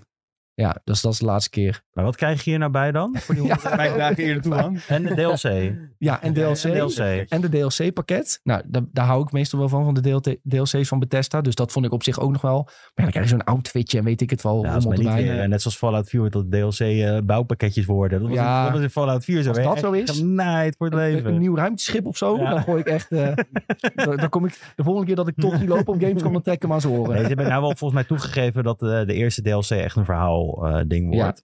[SPEAKER 1] ja dus dat is de laatste keer.
[SPEAKER 4] Maar wat krijg je hier nou bij dan? Voor die
[SPEAKER 1] Ja.
[SPEAKER 4] 100 euro?
[SPEAKER 2] Vijf dagen eerder toe aan.
[SPEAKER 4] En de DLC.
[SPEAKER 1] Ja, en DLC.
[SPEAKER 4] En DLC.
[SPEAKER 1] En de DLC-pakket. Nou, daar, daar hou ik meestal wel van, van de DLT DLC's van Bethesda. Dus dat vond ik op zich ook nog wel. Maar ja, dan krijg je zo'n outfitje en weet ik het wel.
[SPEAKER 4] Ja,
[SPEAKER 1] Ja,
[SPEAKER 4] als mij
[SPEAKER 1] rommel
[SPEAKER 4] niet
[SPEAKER 1] erbij.
[SPEAKER 4] weer, eh, net zoals Fallout 4 dat DLC eh, bouwpakketjes worden. Dat was,
[SPEAKER 1] Ja.
[SPEAKER 4] in, dat was in Fallout 4 zo.
[SPEAKER 1] Als
[SPEAKER 4] hè.
[SPEAKER 1] dat zo
[SPEAKER 4] Echt
[SPEAKER 1] is,
[SPEAKER 4] genaaid voor het
[SPEAKER 1] Een,
[SPEAKER 4] leven.
[SPEAKER 1] een nieuw ruimteschip of zo.
[SPEAKER 4] Ja.
[SPEAKER 1] Dan gooi ik echt... eh, dan, dan kom ik de volgende keer dat ik toch niet loop op Gamescom, dan trek ik hem aan zijn oren.
[SPEAKER 4] Nee, ze hebben nou wel volgens mij toegegeven dat eh, de eerste DLC echt een verhaal eh, ding
[SPEAKER 1] Ja.
[SPEAKER 4] wordt.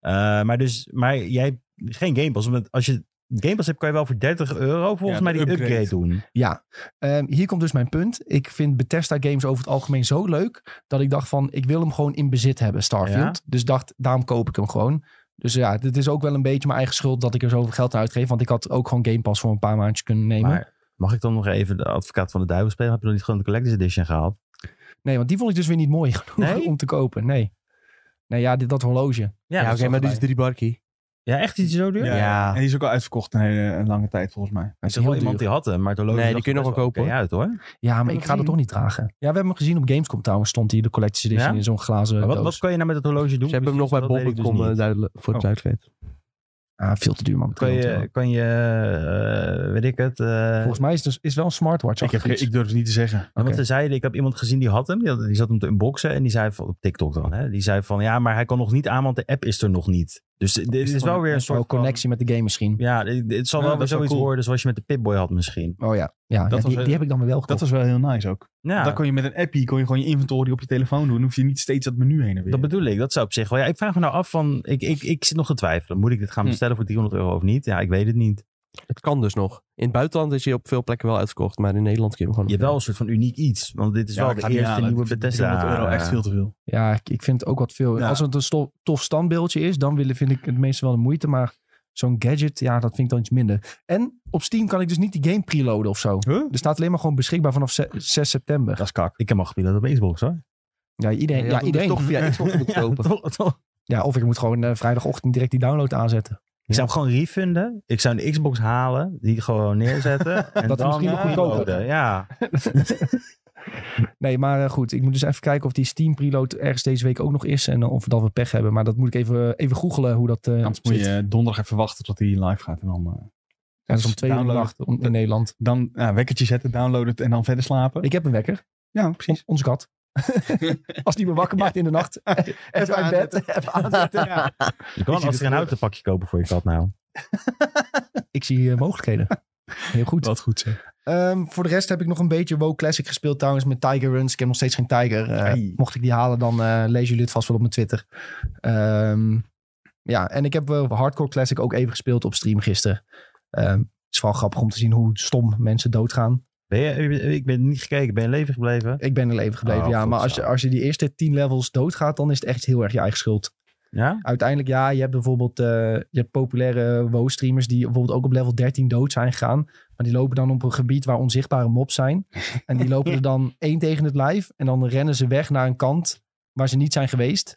[SPEAKER 4] Eh, maar, dus, maar jij hebt geen Game Pass. Want als je Game Pass hebt, kan je wel voor 30 euro volgens
[SPEAKER 2] Ja,
[SPEAKER 4] mij die
[SPEAKER 2] de
[SPEAKER 4] upgrade,
[SPEAKER 2] upgrade.
[SPEAKER 4] doen.
[SPEAKER 1] Ja, ehm, hier komt dus mijn punt. Ik vind Bethesda games over het algemeen zo leuk dat ik dacht van ik wil hem gewoon in bezit hebben, Starfield. Dus dacht, daarom koop ik hem gewoon. Dus ja, dit is ook wel een beetje mijn eigen schuld dat ik er zoveel geld aan uitgeef. Want ik had ook gewoon Game Pass voor een paar maandjes kunnen nemen.
[SPEAKER 4] Maar mag ik dan nog even de advocaat van de duivel spelen? Heb je dan niet gewoon de Collector's Edition gehaald?
[SPEAKER 1] Nee, want die vond ik dus weer niet mooi genoeg
[SPEAKER 4] Nee?
[SPEAKER 1] om te kopen. Nee. Nee, ja, dit, dat horloge.
[SPEAKER 3] Ja, oké, maar die is drie barkie.
[SPEAKER 4] Ja, echt iets zo duur?
[SPEAKER 2] Ja.
[SPEAKER 3] Ja.
[SPEAKER 2] En die is ook al uitverkocht een hele een lange tijd volgens mij.
[SPEAKER 4] Er
[SPEAKER 1] Dat
[SPEAKER 4] is
[SPEAKER 1] is
[SPEAKER 4] toch wel
[SPEAKER 1] heel
[SPEAKER 4] iemand
[SPEAKER 1] duur.
[SPEAKER 4] die had hem, maar het horloge
[SPEAKER 3] Nee, die
[SPEAKER 4] zag
[SPEAKER 3] kun je
[SPEAKER 4] er
[SPEAKER 3] nog
[SPEAKER 4] best
[SPEAKER 3] wel
[SPEAKER 4] wel oké uit hoor.
[SPEAKER 1] Ja, maar
[SPEAKER 3] dat
[SPEAKER 1] ik ga dat
[SPEAKER 3] zien.
[SPEAKER 1] toch niet dragen. Ja, we hebben hem gezien op Gamescom trouwens. Stond hier de Collector's Edition
[SPEAKER 4] Ja?
[SPEAKER 1] in zo'n glazen
[SPEAKER 4] Maar wat,
[SPEAKER 1] doos.
[SPEAKER 4] wat kan je nou met het horloge doen?
[SPEAKER 3] Ze hebben hem nog
[SPEAKER 4] Precies,
[SPEAKER 3] bij eh,
[SPEAKER 4] dat weet ik
[SPEAKER 3] bol.com
[SPEAKER 4] dus niet.
[SPEAKER 3] duidelijk voor het
[SPEAKER 2] Oh.
[SPEAKER 3] uitgeven.
[SPEAKER 1] Ah, veel te duur man.
[SPEAKER 4] Kan
[SPEAKER 1] 300 euro.
[SPEAKER 4] je, kan je eh, weet ik het... eh,
[SPEAKER 1] Volgens mij is het dus, is wel een smartwatch.
[SPEAKER 2] Ik, heb,
[SPEAKER 1] achter
[SPEAKER 2] geen-
[SPEAKER 1] iets.
[SPEAKER 2] ik durf het niet te zeggen.
[SPEAKER 4] En
[SPEAKER 1] Oké.
[SPEAKER 4] Wat ze zeiden, ik heb iemand gezien die had hem. Die, had- die zat hem te unboxen en die zei van, op TikTok dan. Hè, die zei van, ja, maar hij kan nog niet aan, want de app is er nog niet. Dus dit is, wel weer een soort van-
[SPEAKER 1] connectie met de game misschien.
[SPEAKER 4] Ja, dit- het zal
[SPEAKER 2] Ja,
[SPEAKER 4] wel
[SPEAKER 2] dat
[SPEAKER 4] weer
[SPEAKER 2] is wel
[SPEAKER 4] zoiets
[SPEAKER 2] cool.
[SPEAKER 4] worden zoals je met de Pip-Boy had misschien.
[SPEAKER 1] Oh ja, ja, ja
[SPEAKER 2] was
[SPEAKER 1] die,
[SPEAKER 2] wel-
[SPEAKER 1] die heb ik dan weer wel
[SPEAKER 2] Dat
[SPEAKER 1] gekocht.
[SPEAKER 2] was wel heel nice ook.
[SPEAKER 4] Ja,
[SPEAKER 2] Dan
[SPEAKER 4] dat,
[SPEAKER 2] kon je met een appie kon je gewoon je inventory op je telefoon doen. Dan hoef je niet steeds dat menu heen en weer.
[SPEAKER 4] bedoel ik. Dat zou op zich wel... Ja, ik vraag me nou af van... Ik, ik, ik zit nog te twijfelen. Moet ik dit gaan
[SPEAKER 2] Hm.
[SPEAKER 4] bestellen voor 300 euro of niet? Ja, ik weet het niet.
[SPEAKER 3] Het kan dus nog. In het buitenland is je op veel plekken wel uitverkocht, maar in Nederland kun je hem
[SPEAKER 4] Je
[SPEAKER 3] gewoon...
[SPEAKER 4] hebt wel een soort van uniek iets. Want dit is
[SPEAKER 2] Ja,
[SPEAKER 4] wel
[SPEAKER 2] ik
[SPEAKER 4] de
[SPEAKER 2] ga het niet
[SPEAKER 4] eerste
[SPEAKER 2] halen.
[SPEAKER 4] nieuwe
[SPEAKER 2] Ik vind
[SPEAKER 4] Bethesda. eh,
[SPEAKER 2] 300 euro echt veel te veel.
[SPEAKER 1] Ja, ik, ik vind het ook wat veel.
[SPEAKER 2] Ja.
[SPEAKER 1] Als het een sto- tof standbeeldje is, dan willen- vind ik het meestal wel de moeite. Maar zo'n gadget, ja, dat vind ik dan iets minder. En op Steam kan ik dus niet die game preloaden of zo.
[SPEAKER 2] Huh?
[SPEAKER 1] Er staat alleen maar gewoon beschikbaar vanaf ze- 6 september.
[SPEAKER 4] Dat is kak. Ik heb hem al gespeeld op Xbox hoor.
[SPEAKER 1] Ja,
[SPEAKER 3] Ja,
[SPEAKER 1] iedereen.
[SPEAKER 3] je
[SPEAKER 1] Ja,
[SPEAKER 3] had hem dus
[SPEAKER 1] iedereen.
[SPEAKER 3] toch via Xbox moeten kopen.
[SPEAKER 4] toch, toch.
[SPEAKER 1] ja, of ik moet gewoon eh, vrijdagochtend direct die download aanzetten.
[SPEAKER 4] Ik zou hem gewoon refunden. Ik zou een Xbox halen. Die gewoon neerzetten. en
[SPEAKER 1] Dat is
[SPEAKER 4] dan
[SPEAKER 1] misschien nog
[SPEAKER 4] downloaden.
[SPEAKER 1] goedkoper.
[SPEAKER 4] Ja.
[SPEAKER 1] Nee, maar eh, goed. Ik moet dus even kijken of die Steam preload ergens deze week ook nog is. En eh, of we dan we pech hebben. Maar dat moet ik even, even googelen hoe dat eh
[SPEAKER 2] Anders moet
[SPEAKER 1] zit.
[SPEAKER 2] je donderdag even wachten tot hij live gaat. En dan, eh,
[SPEAKER 1] Ja, dat is om twee uur in de
[SPEAKER 2] downloaden.
[SPEAKER 1] nacht om- in Nederland.
[SPEAKER 2] dan ja, wekkertje zetten, downloaden het en dan verder slapen.
[SPEAKER 1] Ik heb een wekker.
[SPEAKER 2] ja,
[SPEAKER 1] On-
[SPEAKER 2] precies.
[SPEAKER 1] onze kat. Als die me wakker maakt in de nacht. Even uit bed. Even aanzetten.
[SPEAKER 2] Ja.
[SPEAKER 4] Je kan als er een autopakje kopen voor je kat nou.
[SPEAKER 1] Ik zie eh, mogelijkheden. Heel goed.
[SPEAKER 2] Wat goed zeg.
[SPEAKER 1] Ehm, voor de rest heb ik nog een beetje WoW Classic gespeeld trouwens met Tiger Runs. Ik heb nog steeds geen Tiger. Eh,
[SPEAKER 2] Ai.
[SPEAKER 1] mocht ik die halen, dan eh lezen jullie het vast wel op mijn Twitter. Ehm, ja, en ik heb wel Hardcore Classic ook even gespeeld op stream gisteren. Ehm, het is vooral grappig om te zien hoe stom mensen doodgaan.
[SPEAKER 4] Ben je, ik ben niet gekeken. Ben je in leven gebleven?
[SPEAKER 1] Ik ben er leven gebleven,
[SPEAKER 4] Oh,
[SPEAKER 1] ja.
[SPEAKER 4] goed
[SPEAKER 1] Maar als
[SPEAKER 4] zo.
[SPEAKER 1] je, als je die eerste tien levels doodgaat, dan is het echt heel erg je eigen schuld.
[SPEAKER 4] Ja?
[SPEAKER 1] uiteindelijk, ja, je hebt bijvoorbeeld eh, je hebt populaire WoW-streamers die bijvoorbeeld ook op level 13 dood zijn gegaan. Maar die lopen dan op een gebied waar onzichtbare mobs zijn. En die lopen er dan één tegen het lijf. En dan rennen ze weg naar een kant waar ze niet zijn geweest.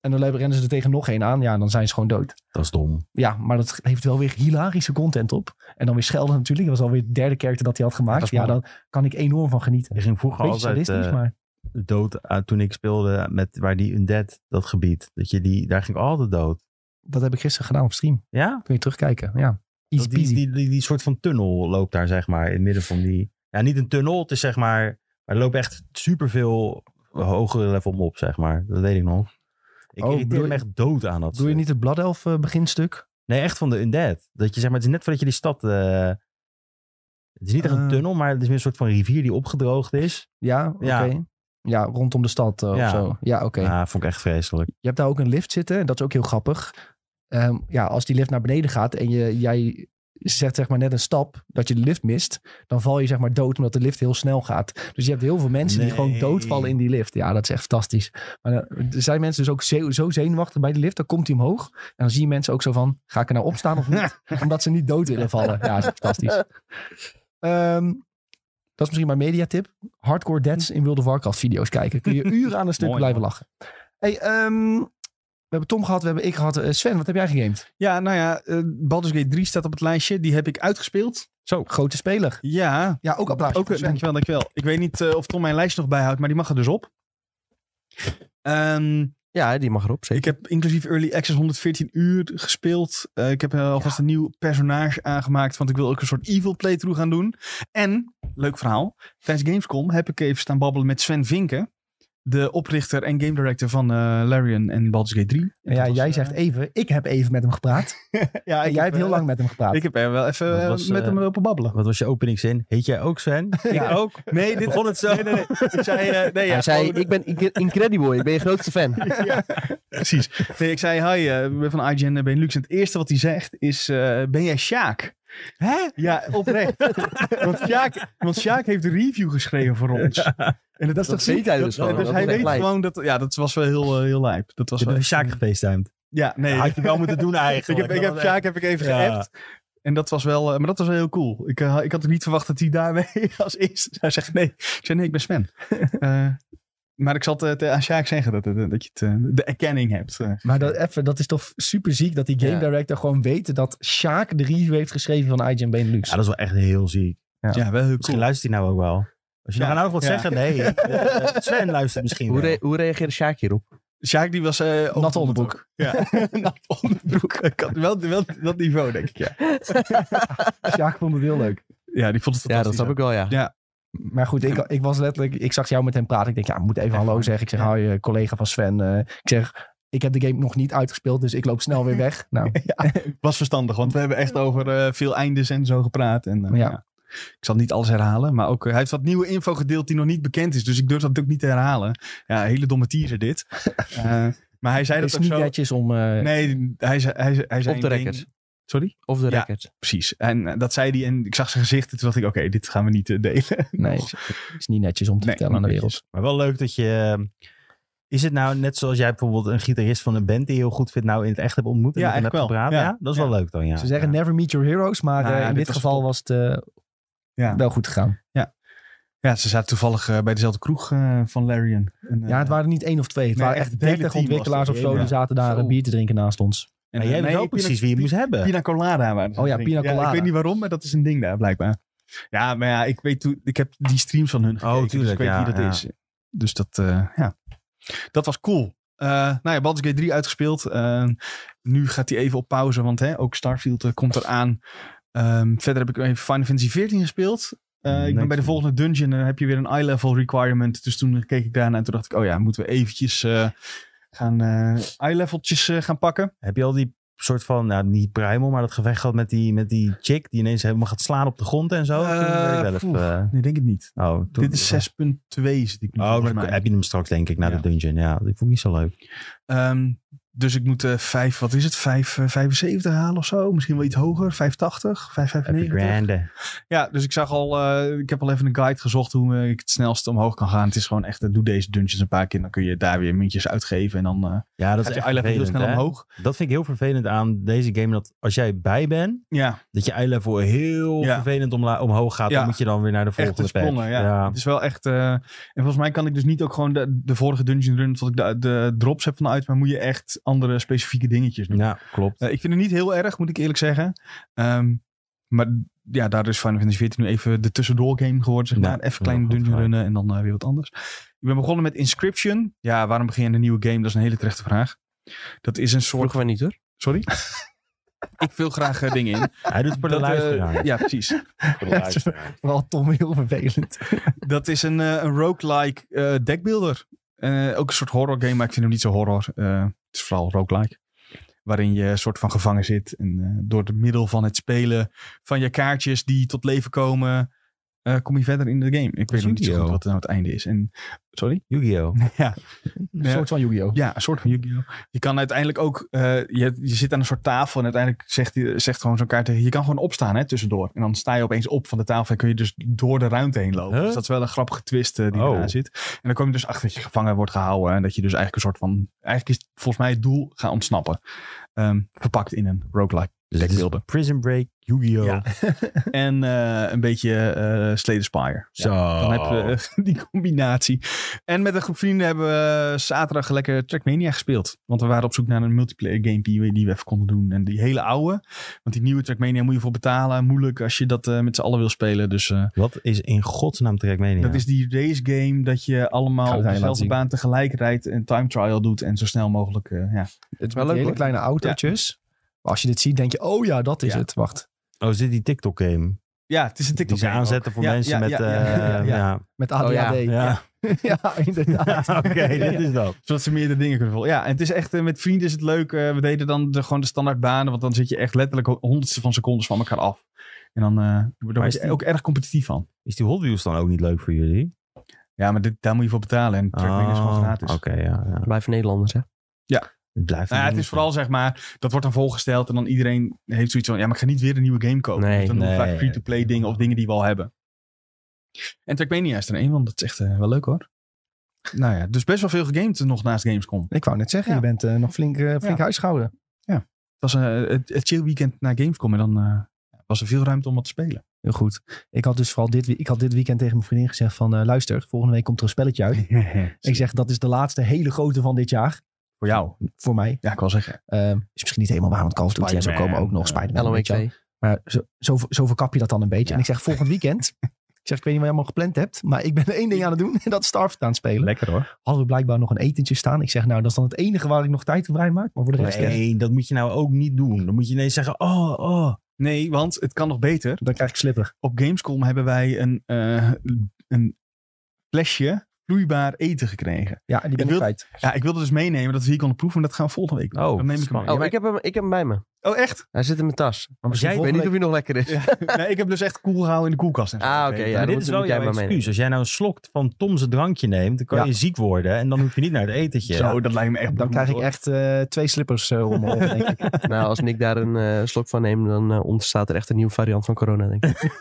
[SPEAKER 1] En dan lopen- rennen ze er tegen nog één aan. Ja, en dan zijn ze gewoon dood.
[SPEAKER 4] Dat is dom.
[SPEAKER 1] Ja, maar dat heeft wel weer hilarische content op. En dan weer schelden natuurlijk. Dat was alweer de derde character dat hij had gemaakt.
[SPEAKER 4] Ja,
[SPEAKER 1] Ja,
[SPEAKER 4] dat is
[SPEAKER 1] dan kan ik enorm van genieten.
[SPEAKER 4] Ik ging vroeger
[SPEAKER 1] Beetje
[SPEAKER 4] altijd
[SPEAKER 1] sadistisch,
[SPEAKER 4] eh,
[SPEAKER 1] maar...
[SPEAKER 4] dood aan- toen ik speelde met waar die Undead, dat gebied. Dat je die, daar ging ik altijd dood.
[SPEAKER 1] Dat heb ik gisteren gedaan op stream.
[SPEAKER 4] Ja?
[SPEAKER 1] Kun je terugkijken, ja. Easy
[SPEAKER 4] Dat die,
[SPEAKER 1] peasy.
[SPEAKER 4] die, die, die soort van tunnel loopt daar, zeg maar, in het midden van die... Ja, niet een tunnel, het is zeg maar... Maar er lopen echt superveel hogere level mobs, zeg maar. Dat weet ik nog. Ik
[SPEAKER 1] Oh,
[SPEAKER 4] irriteer
[SPEAKER 1] bedoel
[SPEAKER 4] me
[SPEAKER 1] je-
[SPEAKER 4] echt dood aan dat
[SPEAKER 1] Doe je
[SPEAKER 4] stuk.
[SPEAKER 1] niet het Blood Elf eh, beginstuk?
[SPEAKER 4] Nee, echt van de Undead. Dat je zeg maar, het is net voordat je die stad... eh, het is niet echt een
[SPEAKER 1] Eh.
[SPEAKER 4] tunnel, maar het is meer een soort van rivier die opgedroogd is.
[SPEAKER 1] Ja, oké.
[SPEAKER 4] Ja.
[SPEAKER 1] Ja, rondom de stad eh,
[SPEAKER 4] Ja.
[SPEAKER 1] of zo. Ja, oké.
[SPEAKER 4] Ah, vond ik echt vreselijk.
[SPEAKER 1] Je hebt daar ook een lift zitten. En dat is ook heel grappig. Ehm, ja, als die lift naar beneden gaat en je, jij zet zeg maar net een stap dat je de lift mist, dan val je zeg maar dood omdat de lift heel snel gaat. Dus je hebt heel veel mensen die
[SPEAKER 4] Nee.
[SPEAKER 1] gewoon doodvallen in die lift. Ja, dat is echt fantastisch. Maar eh, er zijn mensen dus ook zo, zo zenuwachtig bij de lift, dan komt hij omhoog en dan zie je mensen ook zo van, ga ik er nou opstaan of niet? omdat ze niet dood willen vallen. Ja, dat is fantastisch. Ehm, dat is misschien mijn mediatip. Hardcore deads in World of Warcraft video's kijken. Kun je uren aan een stuk
[SPEAKER 2] Mooi,
[SPEAKER 1] blijven
[SPEAKER 2] man.
[SPEAKER 1] lachen. Hey, ehm, we hebben Tom gehad, we hebben ik gehad. Eh, Sven, wat heb jij gegamed?
[SPEAKER 2] Ja, nou ja, eh, Baldur's Gate 3 staat op het lijstje. Die heb ik uitgespeeld.
[SPEAKER 1] Zo. Grote speler.
[SPEAKER 2] Ja,
[SPEAKER 1] Ja, ook applaus.
[SPEAKER 2] ook, eh, dankjewel, dankjewel. Ik weet niet eh, of Tom mijn lijstje nog bijhoudt, maar die mag er dus op. Ehm,
[SPEAKER 3] Ja, die mag erop,
[SPEAKER 2] ik
[SPEAKER 3] zeker.
[SPEAKER 2] heb inclusief Early Access 114 uur gespeeld. Eh, ik heb eh, alvast een nieuw personage aangemaakt, want ik wil ook een soort evil playthrough gaan doen. En, leuk verhaal, tijdens Gamescom heb ik even staan babbelen met Sven Vinken. De oprichter en game director van eh Larian en Baldur's Gate 3.
[SPEAKER 1] Ja,
[SPEAKER 2] En dat was,
[SPEAKER 1] jij
[SPEAKER 2] eh,
[SPEAKER 1] zegt even, ik heb even met hem gepraat.
[SPEAKER 2] ja,
[SPEAKER 1] En
[SPEAKER 2] ik
[SPEAKER 1] jij
[SPEAKER 2] heb,
[SPEAKER 1] hebt heel
[SPEAKER 2] eh,
[SPEAKER 1] lang met hem gepraat.
[SPEAKER 2] Ik heb er wel even
[SPEAKER 4] Dat
[SPEAKER 2] eh,
[SPEAKER 4] was,
[SPEAKER 2] met
[SPEAKER 4] eh,
[SPEAKER 2] hem lopen babbelen.
[SPEAKER 4] Wat was je openingszin? Heet jij ook Sven?
[SPEAKER 2] Ja.
[SPEAKER 4] Ik ook.
[SPEAKER 2] Nee, dit
[SPEAKER 4] Begon het zo?
[SPEAKER 2] Nee, nee, nee. Ik zei, eh, nee, ja,
[SPEAKER 3] Hij zei,
[SPEAKER 2] gewoon-
[SPEAKER 3] ik ben Inc- Incredible, ik ben je grootste fan.
[SPEAKER 2] Precies. Nee, ik zei, hi, eh, ik ben van IGN eh, Benelux. En het eerste wat hij zegt is, eh, ben jij Sjaak?
[SPEAKER 4] Hè?
[SPEAKER 2] Ja, oprecht. want, Sjaak, want Sjaak heeft een review geschreven voor ons. En dat, is
[SPEAKER 3] Dat weet hij dus gewoon.
[SPEAKER 2] Dus
[SPEAKER 3] Dat
[SPEAKER 2] hij
[SPEAKER 3] is echt
[SPEAKER 2] weet
[SPEAKER 3] lijp.
[SPEAKER 2] gewoon dat... Ja, dat was wel heel, eh, heel lijp. Dat was
[SPEAKER 4] Je
[SPEAKER 2] wel...
[SPEAKER 4] bent Sjaak gefacetimed.
[SPEAKER 2] Ja, nee.
[SPEAKER 4] Had je wel moeten doen
[SPEAKER 2] ik
[SPEAKER 4] eigenlijk.
[SPEAKER 2] heb, ik heb Sjaak heb ik even
[SPEAKER 4] Ja.
[SPEAKER 2] geappt. En dat was wel... eh, maar dat was wel heel cool. Ik, eh, ik had ook niet verwacht dat hij daarmee als eerste zou zeggen nee. Ik zei, nee, ik ben Sven. Eh, maar ik zal het eh, te- aan Sjaak zeggen dat, dat, dat je het, eh, de erkenning hebt. eh.
[SPEAKER 1] Maar dat, even, dat is toch super ziek dat die game
[SPEAKER 3] Ja.
[SPEAKER 1] director gewoon weet dat Sjaak de review heeft geschreven van IGN Benelux.
[SPEAKER 4] Ja, dat is wel echt heel ziek.
[SPEAKER 2] Ja, wel heel
[SPEAKER 4] Misschien
[SPEAKER 2] cool.
[SPEAKER 4] luistert hij nou ook wel. Als je
[SPEAKER 2] Ja.
[SPEAKER 4] nou nou nog wat
[SPEAKER 2] Ja.
[SPEAKER 4] zeggen, nee. Eh, eh, Sven luistert misschien
[SPEAKER 3] Hoe,
[SPEAKER 4] wel.
[SPEAKER 3] re- hoe reageerde Sjaak hierop?
[SPEAKER 2] Sjaak die was... eh ook-
[SPEAKER 1] Natte onderbroek.
[SPEAKER 2] Ja, nat onderbroek. Ik had wel, wel dat niveau, denk ik, ja.
[SPEAKER 1] Sjaak vond het heel leuk.
[SPEAKER 2] Ja, die vond het
[SPEAKER 3] Ja, dat snap ik wel, ja.
[SPEAKER 1] Maar goed, ik, ik was letterlijk, ik zag jou met hem praten. Ik denk, ja, ik moet even hallo zeggen. Ik zeg, hoi, eh, collega van Sven. Eh, ik zeg, Ik heb de game nog niet uitgespeeld, dus ik loop snel weer weg. Nou,
[SPEAKER 2] Was verstandig, want we hebben echt over eh, veel eindes en zo gepraat. En, eh,
[SPEAKER 1] Ja.
[SPEAKER 2] ja. Ik zal niet alles herhalen, maar ook, eh, hij heeft wat nieuwe info gedeeld die nog niet bekend is. Dus ik durf dat ook niet te herhalen. Ja, hele domme teaser dit. Eh, maar hij zei
[SPEAKER 1] het
[SPEAKER 2] dat
[SPEAKER 1] is
[SPEAKER 2] ook
[SPEAKER 1] niet
[SPEAKER 2] zo.
[SPEAKER 1] netjes om... eh,
[SPEAKER 2] Nee, hij zei... Hij, zei- hij zei
[SPEAKER 3] Op de
[SPEAKER 2] een ding-
[SPEAKER 3] record.
[SPEAKER 2] Sorry?
[SPEAKER 3] Of de
[SPEAKER 2] Ja.
[SPEAKER 3] record.
[SPEAKER 2] Precies. En eh, dat zei hij en ik zag zijn gezicht en toen dacht ik, oké, dit gaan we niet eh, delen.
[SPEAKER 1] Nee, is, is niet netjes om te
[SPEAKER 2] Nee,
[SPEAKER 1] vertellen aan de
[SPEAKER 2] niet
[SPEAKER 1] wereld.
[SPEAKER 4] Maar wel leuk dat je... eh, Is het nou net zoals jij bijvoorbeeld een gitarist van een band die je heel goed vindt, nou in het echt hebt ontmoet en
[SPEAKER 2] Ja,
[SPEAKER 4] met hem hebt
[SPEAKER 2] eigenlijk wel.
[SPEAKER 4] gepraat?
[SPEAKER 2] Ja.
[SPEAKER 4] Ja, dat is wel leuk dan, ja.
[SPEAKER 1] Ze zeggen never meet your heroes, maar
[SPEAKER 2] Nou
[SPEAKER 1] eh,
[SPEAKER 2] ja,
[SPEAKER 1] in
[SPEAKER 2] dit
[SPEAKER 1] dit
[SPEAKER 2] was
[SPEAKER 1] geval
[SPEAKER 2] top.
[SPEAKER 1] was het eh,
[SPEAKER 2] Ja.
[SPEAKER 1] wel goed gegaan.
[SPEAKER 2] Ja, ze zaten toevallig eh, bij dezelfde kroeg eh, van Larian. En, eh,
[SPEAKER 1] Ja, het waren niet één of twee. Het
[SPEAKER 2] nee,
[SPEAKER 1] waren
[SPEAKER 2] echt
[SPEAKER 1] echt
[SPEAKER 2] het hele
[SPEAKER 1] 30
[SPEAKER 2] team was
[SPEAKER 1] ontwikkelaars
[SPEAKER 2] het.
[SPEAKER 1] of zo.
[SPEAKER 2] Ja.
[SPEAKER 1] Die zaten daar
[SPEAKER 3] Zo.
[SPEAKER 1] een bier te drinken naast ons.
[SPEAKER 2] en,
[SPEAKER 4] Maar
[SPEAKER 2] eh,
[SPEAKER 4] jij weet
[SPEAKER 2] nee,
[SPEAKER 4] wel
[SPEAKER 2] Pina-
[SPEAKER 4] precies wie je moest hebben.
[SPEAKER 2] Pina Colada waren ze
[SPEAKER 1] Eh. Oh ja,
[SPEAKER 2] drinken.
[SPEAKER 1] Pina Colada.
[SPEAKER 2] ik weet niet waarom, maar dat is een ding daar blijkbaar. Ja, maar ja, ik weet toen, ik heb die streams van
[SPEAKER 1] Oh,
[SPEAKER 2] hun gekeken, dus ik
[SPEAKER 4] tuurlijk,
[SPEAKER 2] weet
[SPEAKER 4] ja,
[SPEAKER 2] wie dat
[SPEAKER 4] ja.
[SPEAKER 2] is. Dus dat, eh, ja. Dat was cool. Eh, nou ja, Baldur's Gate 3 uitgespeeld. Eh, nu gaat hij even op pauze, want hè, ook Starfield eh, komt eraan. Ehm, verder heb ik even Final Fantasy 14 gespeeld. Eh, ik ben
[SPEAKER 4] Nice.
[SPEAKER 2] bij de volgende dungeon en dan heb je weer een eye-level requirement. Dus toen keek ik daarna en toen dacht ik, oh ja, moeten we eventjes eh, gaan eh eye-leveltjes eh, gaan pakken.
[SPEAKER 4] Heb je al die soort van, nou niet primal, maar dat gevecht gehad met die, met die chick die ineens helemaal gaat slaan op de grond en zo?
[SPEAKER 2] Eh,
[SPEAKER 4] Toen werd ik wel even,
[SPEAKER 2] poeh.
[SPEAKER 4] eh,
[SPEAKER 2] Nee, denk het niet.
[SPEAKER 4] oh, toen-
[SPEAKER 2] Dit is 6.2 zit ik nu
[SPEAKER 4] Oh,
[SPEAKER 2] volgens
[SPEAKER 4] maar dan
[SPEAKER 2] mij.
[SPEAKER 4] heb je hem straks denk ik naar
[SPEAKER 2] Ja.
[SPEAKER 4] de dungeon. Ja, dat vond ik niet zo leuk.
[SPEAKER 2] Ehm, dus ik moet eh 5, wat is het, 5,75 halen of zo. Misschien wel iets hoger, 5,80,
[SPEAKER 4] Even
[SPEAKER 2] 5,95.
[SPEAKER 4] grande.
[SPEAKER 2] Ja, dus ik zag al, eh, ik heb al even een guide gezocht hoe eh, ik het snelst omhoog kan gaan. Het is gewoon echt, eh, doe deze dungeons een paar keer. Dan kun je daar weer muntjes uitgeven en dan eh
[SPEAKER 4] Ja, dat
[SPEAKER 2] gaat
[SPEAKER 4] is
[SPEAKER 2] je
[SPEAKER 4] echt
[SPEAKER 2] eye level heel
[SPEAKER 4] vervelend,
[SPEAKER 2] snel
[SPEAKER 4] hè?
[SPEAKER 2] omhoog.
[SPEAKER 4] Dat vind ik heel vervelend aan deze game. Dat als jij bij bent,
[SPEAKER 2] Ja,
[SPEAKER 4] dat je eye level heel
[SPEAKER 2] Ja.
[SPEAKER 4] vervelend omla- omhoog gaat.
[SPEAKER 2] Ja.
[SPEAKER 4] Dan moet je dan weer naar de
[SPEAKER 2] echt
[SPEAKER 4] volgende
[SPEAKER 2] een sprongen.
[SPEAKER 4] patch.
[SPEAKER 2] Ja. Het is wel echt, eh, en volgens mij kan ik dus niet ook gewoon de, de vorige dungeon run tot ik de, de drops heb vanuit. Maar moet je echt andere specifieke dingetjes doen.
[SPEAKER 4] Ja, klopt.
[SPEAKER 2] Eh, ik vind het niet heel erg, moet ik eerlijk zeggen. Ehm, maar ja, daar is Final Fantasy XIV nu even de tussendoor game geworden, zeg
[SPEAKER 4] Ja,
[SPEAKER 2] maar.
[SPEAKER 4] dat is
[SPEAKER 2] even kleine
[SPEAKER 4] wel goed
[SPEAKER 2] dungeon
[SPEAKER 4] gelijk.
[SPEAKER 2] runnen en dan eh, weer wat anders. Ik ben begonnen met Inscription. Ja, waarom begin je aan een nieuwe game? Dat is een hele terechte vraag. Dat is een soort...
[SPEAKER 3] Vroegen wij niet hoor.
[SPEAKER 2] Sorry? ik vul graag eh, dingen in.
[SPEAKER 4] Hij doet het voor de
[SPEAKER 2] Dat, eh,
[SPEAKER 4] luisteraar.
[SPEAKER 2] ja, precies.
[SPEAKER 4] Voor de luisteraar.
[SPEAKER 1] Vooral Tom heel vervelend.
[SPEAKER 2] Dat is een, eh, een roguelike eh, deckbuilder. Eh, ook een soort horror game, maar ik vind hem niet zo horror. Eh, het is vooral roguelike. Waarin je een soort van gevangen zit. En eh, door het middel van het spelen van je kaartjes die tot leven komen, eh, kom je verder in de game. Ik weet nog niet zo
[SPEAKER 4] Yu-Gi-Oh.
[SPEAKER 2] goed wat nou het einde is. En, sorry?
[SPEAKER 4] Yu-Gi-Oh!
[SPEAKER 1] Een
[SPEAKER 2] Ja.
[SPEAKER 1] soort van Yu-Gi-Oh!
[SPEAKER 2] Ja, een soort van Yu-Gi-Oh! Je kan uiteindelijk ook, eh, je, je zit aan een soort tafel en uiteindelijk zegt, die- zegt gewoon zo'n kaart tegen je, je kan gewoon opstaan hè, tussendoor. En dan sta je opeens op van de tafel en kun je dus door de ruimte heen lopen.
[SPEAKER 4] Huh?
[SPEAKER 2] Dus dat is wel een grappige twist eh, die
[SPEAKER 4] Oh.
[SPEAKER 2] eraan zit. En dan kom je dus achter dat je gevangen wordt gehouden en dat je dus eigenlijk een soort van, eigenlijk is volgens mij het doel gaan ontsnappen. Ehm, verpakt in een roguelike.
[SPEAKER 4] Dus het is
[SPEAKER 2] Deckbeelden.
[SPEAKER 4] Prison Break, Yu-Gi-Oh!
[SPEAKER 2] Ja. En eh, een beetje eh Slay the Spire.
[SPEAKER 4] Zo.
[SPEAKER 2] Dan heb je
[SPEAKER 4] Oh.
[SPEAKER 2] eh, die combinatie. En met een groep vrienden hebben we zaterdag lekker Trackmania gespeeld. Want we waren op zoek naar een multiplayer game die we, die we even konden doen. En die hele oude. Want die nieuwe Trackmania moet je voor betalen. Moeilijk als je dat eh, met z'n allen wil spelen. Dus eh,
[SPEAKER 4] Wat is in godsnaam Trackmania?
[SPEAKER 2] dat is die race game dat je
[SPEAKER 1] Gaan
[SPEAKER 2] allemaal
[SPEAKER 1] we
[SPEAKER 2] op
[SPEAKER 1] het aan je
[SPEAKER 2] dezelfde
[SPEAKER 1] laten
[SPEAKER 2] baan tegelijk rijdt. En time trial doet. En zo snel mogelijk. eh, ja.
[SPEAKER 1] Het is wel
[SPEAKER 3] wel leuk,
[SPEAKER 1] leuk. Hele
[SPEAKER 3] hoor.
[SPEAKER 1] kleine autootjes. Als je dit ziet, denk je, oh ja, dat is
[SPEAKER 2] Ja.
[SPEAKER 1] het. Wacht.
[SPEAKER 4] Oh, is dit die TikTok-game?
[SPEAKER 2] ja, het is een TikTok
[SPEAKER 4] Die ze
[SPEAKER 2] game ook.
[SPEAKER 4] aanzetten voor
[SPEAKER 2] Ja,
[SPEAKER 4] mensen
[SPEAKER 2] ja,
[SPEAKER 4] met...
[SPEAKER 2] ja,
[SPEAKER 4] eh,
[SPEAKER 2] ja, ja, ja.
[SPEAKER 4] ja.
[SPEAKER 1] Met ADHD. ja.
[SPEAKER 3] ja.
[SPEAKER 4] Ja,
[SPEAKER 1] Ja, inderdaad.
[SPEAKER 4] oké, dit is dat.
[SPEAKER 2] Zodat ze meerdere dingen kunnen volgen. Ja, en het is echt, eh, met vrienden is het leuk. Eh, we deden dan de, gewoon de standaard banen, want dan zit je echt letterlijk ho- honderdsten van secondes van elkaar af. En dan, eh daar word
[SPEAKER 4] is
[SPEAKER 2] je
[SPEAKER 4] die-
[SPEAKER 2] ook erg competitief van.
[SPEAKER 4] Is die Hot Wheels dan ook niet leuk voor jullie?
[SPEAKER 2] Ja, maar dit, daar moet je voor betalen. En Trackmania is gewoon
[SPEAKER 4] Oh,
[SPEAKER 2] gratis.
[SPEAKER 4] Oké, ja, ja.
[SPEAKER 3] Blijven Nederlanders hè.
[SPEAKER 4] Het blijft
[SPEAKER 2] Nou ja,
[SPEAKER 4] een
[SPEAKER 2] het is
[SPEAKER 4] dingetje.
[SPEAKER 2] vooral zeg maar, dat wordt dan volgesteld en dan iedereen heeft zoiets van, ja, maar ik ga niet weer een nieuwe game kopen.
[SPEAKER 3] Nee,
[SPEAKER 2] Dus dan doen we
[SPEAKER 4] nee.
[SPEAKER 2] vaak free-to-play dingen of dingen die we al hebben. En Trackmania is er een, want dat is echt eh, wel leuk hoor. Nou ja, dus best wel veel gegamed nog naast Gamescom.
[SPEAKER 1] Ik wou net zeggen,
[SPEAKER 2] Ja.
[SPEAKER 1] je bent eh, nog flink, eh, flink
[SPEAKER 2] Ja.
[SPEAKER 1] huisgehouden.
[SPEAKER 2] Het was eh, een, een chill weekend naar Gamescom en dan eh, was er veel ruimte om wat te spelen.
[SPEAKER 1] Heel goed. Ik had dus vooral dit, wie- ik had dit weekend tegen mijn vriendin gezegd van... eh, luister, volgende week komt er een spelletje
[SPEAKER 2] Dus,
[SPEAKER 1] uit. Ik zeg, dat is de laatste hele grote van dit jaar.
[SPEAKER 2] eh, voor jou.
[SPEAKER 1] Voor mij.
[SPEAKER 2] Ja, ik wil zeggen.
[SPEAKER 1] Ehm, is misschien niet helemaal waar, want Call of Duty en zo
[SPEAKER 2] Spider-Man,
[SPEAKER 1] komen ook nog
[SPEAKER 2] eh,
[SPEAKER 1] Spider-Man.
[SPEAKER 3] LOE
[SPEAKER 1] weet je wel.
[SPEAKER 3] 2.
[SPEAKER 1] Maar zo, zo, zo verkap je dat dan een beetje.
[SPEAKER 2] Ja.
[SPEAKER 1] En ik zeg volgend weekend. ik zeg, ik weet niet wat je allemaal gepland hebt. Maar ik ben er één ding aan het doen. En dat is Starfield aan het spelen.
[SPEAKER 2] Lekker hoor.
[SPEAKER 1] Hadden we blijkbaar nog een etentje staan. Ik zeg, nou, dat is dan het enige waar ik nog tijd voor vrij maak. Maar voor de rest, eh,
[SPEAKER 4] Nee, dat moet je nou ook niet doen. Dan moet je ineens zeggen, oh, oh.
[SPEAKER 2] Nee, want het kan nog beter.
[SPEAKER 1] dan krijg ik slipper.
[SPEAKER 2] Op Gamescom hebben wij een, eh, een flesje vloeibaar eten gekregen.
[SPEAKER 1] Ja, die ben ik
[SPEAKER 2] wil-
[SPEAKER 1] kwijt.
[SPEAKER 2] Ja, ik wilde dus meenemen dat we hier konden proeven, maar dat gaan we volgende week doen.
[SPEAKER 4] Oh,
[SPEAKER 2] dan neem ik hem mee.
[SPEAKER 3] Oh, ik heb, hem, ik heb hem bij me.
[SPEAKER 2] Oh, echt?
[SPEAKER 3] Hij zit in mijn tas.
[SPEAKER 4] Maar jij,
[SPEAKER 3] Ik weet niet of hij nog lekker is.
[SPEAKER 2] nee, ik heb dus echt koel gehouden in de koelkast. En zo.
[SPEAKER 3] Ah, oké. ja,
[SPEAKER 4] maar
[SPEAKER 3] dan
[SPEAKER 4] dit
[SPEAKER 3] moet-
[SPEAKER 4] is wel
[SPEAKER 3] moet jij
[SPEAKER 4] jouw
[SPEAKER 3] maar mee.
[SPEAKER 4] excuus. Als jij nou een slok van Tom's drankje neemt, dan kan
[SPEAKER 1] Ja.
[SPEAKER 4] je ziek worden en dan hoef je niet naar het etentje.
[SPEAKER 2] Zo, dat lijkt me echt
[SPEAKER 1] Dan krijg ik echt eh, twee slippers eh, om me heen, denk ik.
[SPEAKER 3] Nou, als Nick daar een eh, slok van neemt, dan eh, ontstaat er echt een nieuwe variant van corona, denk ik.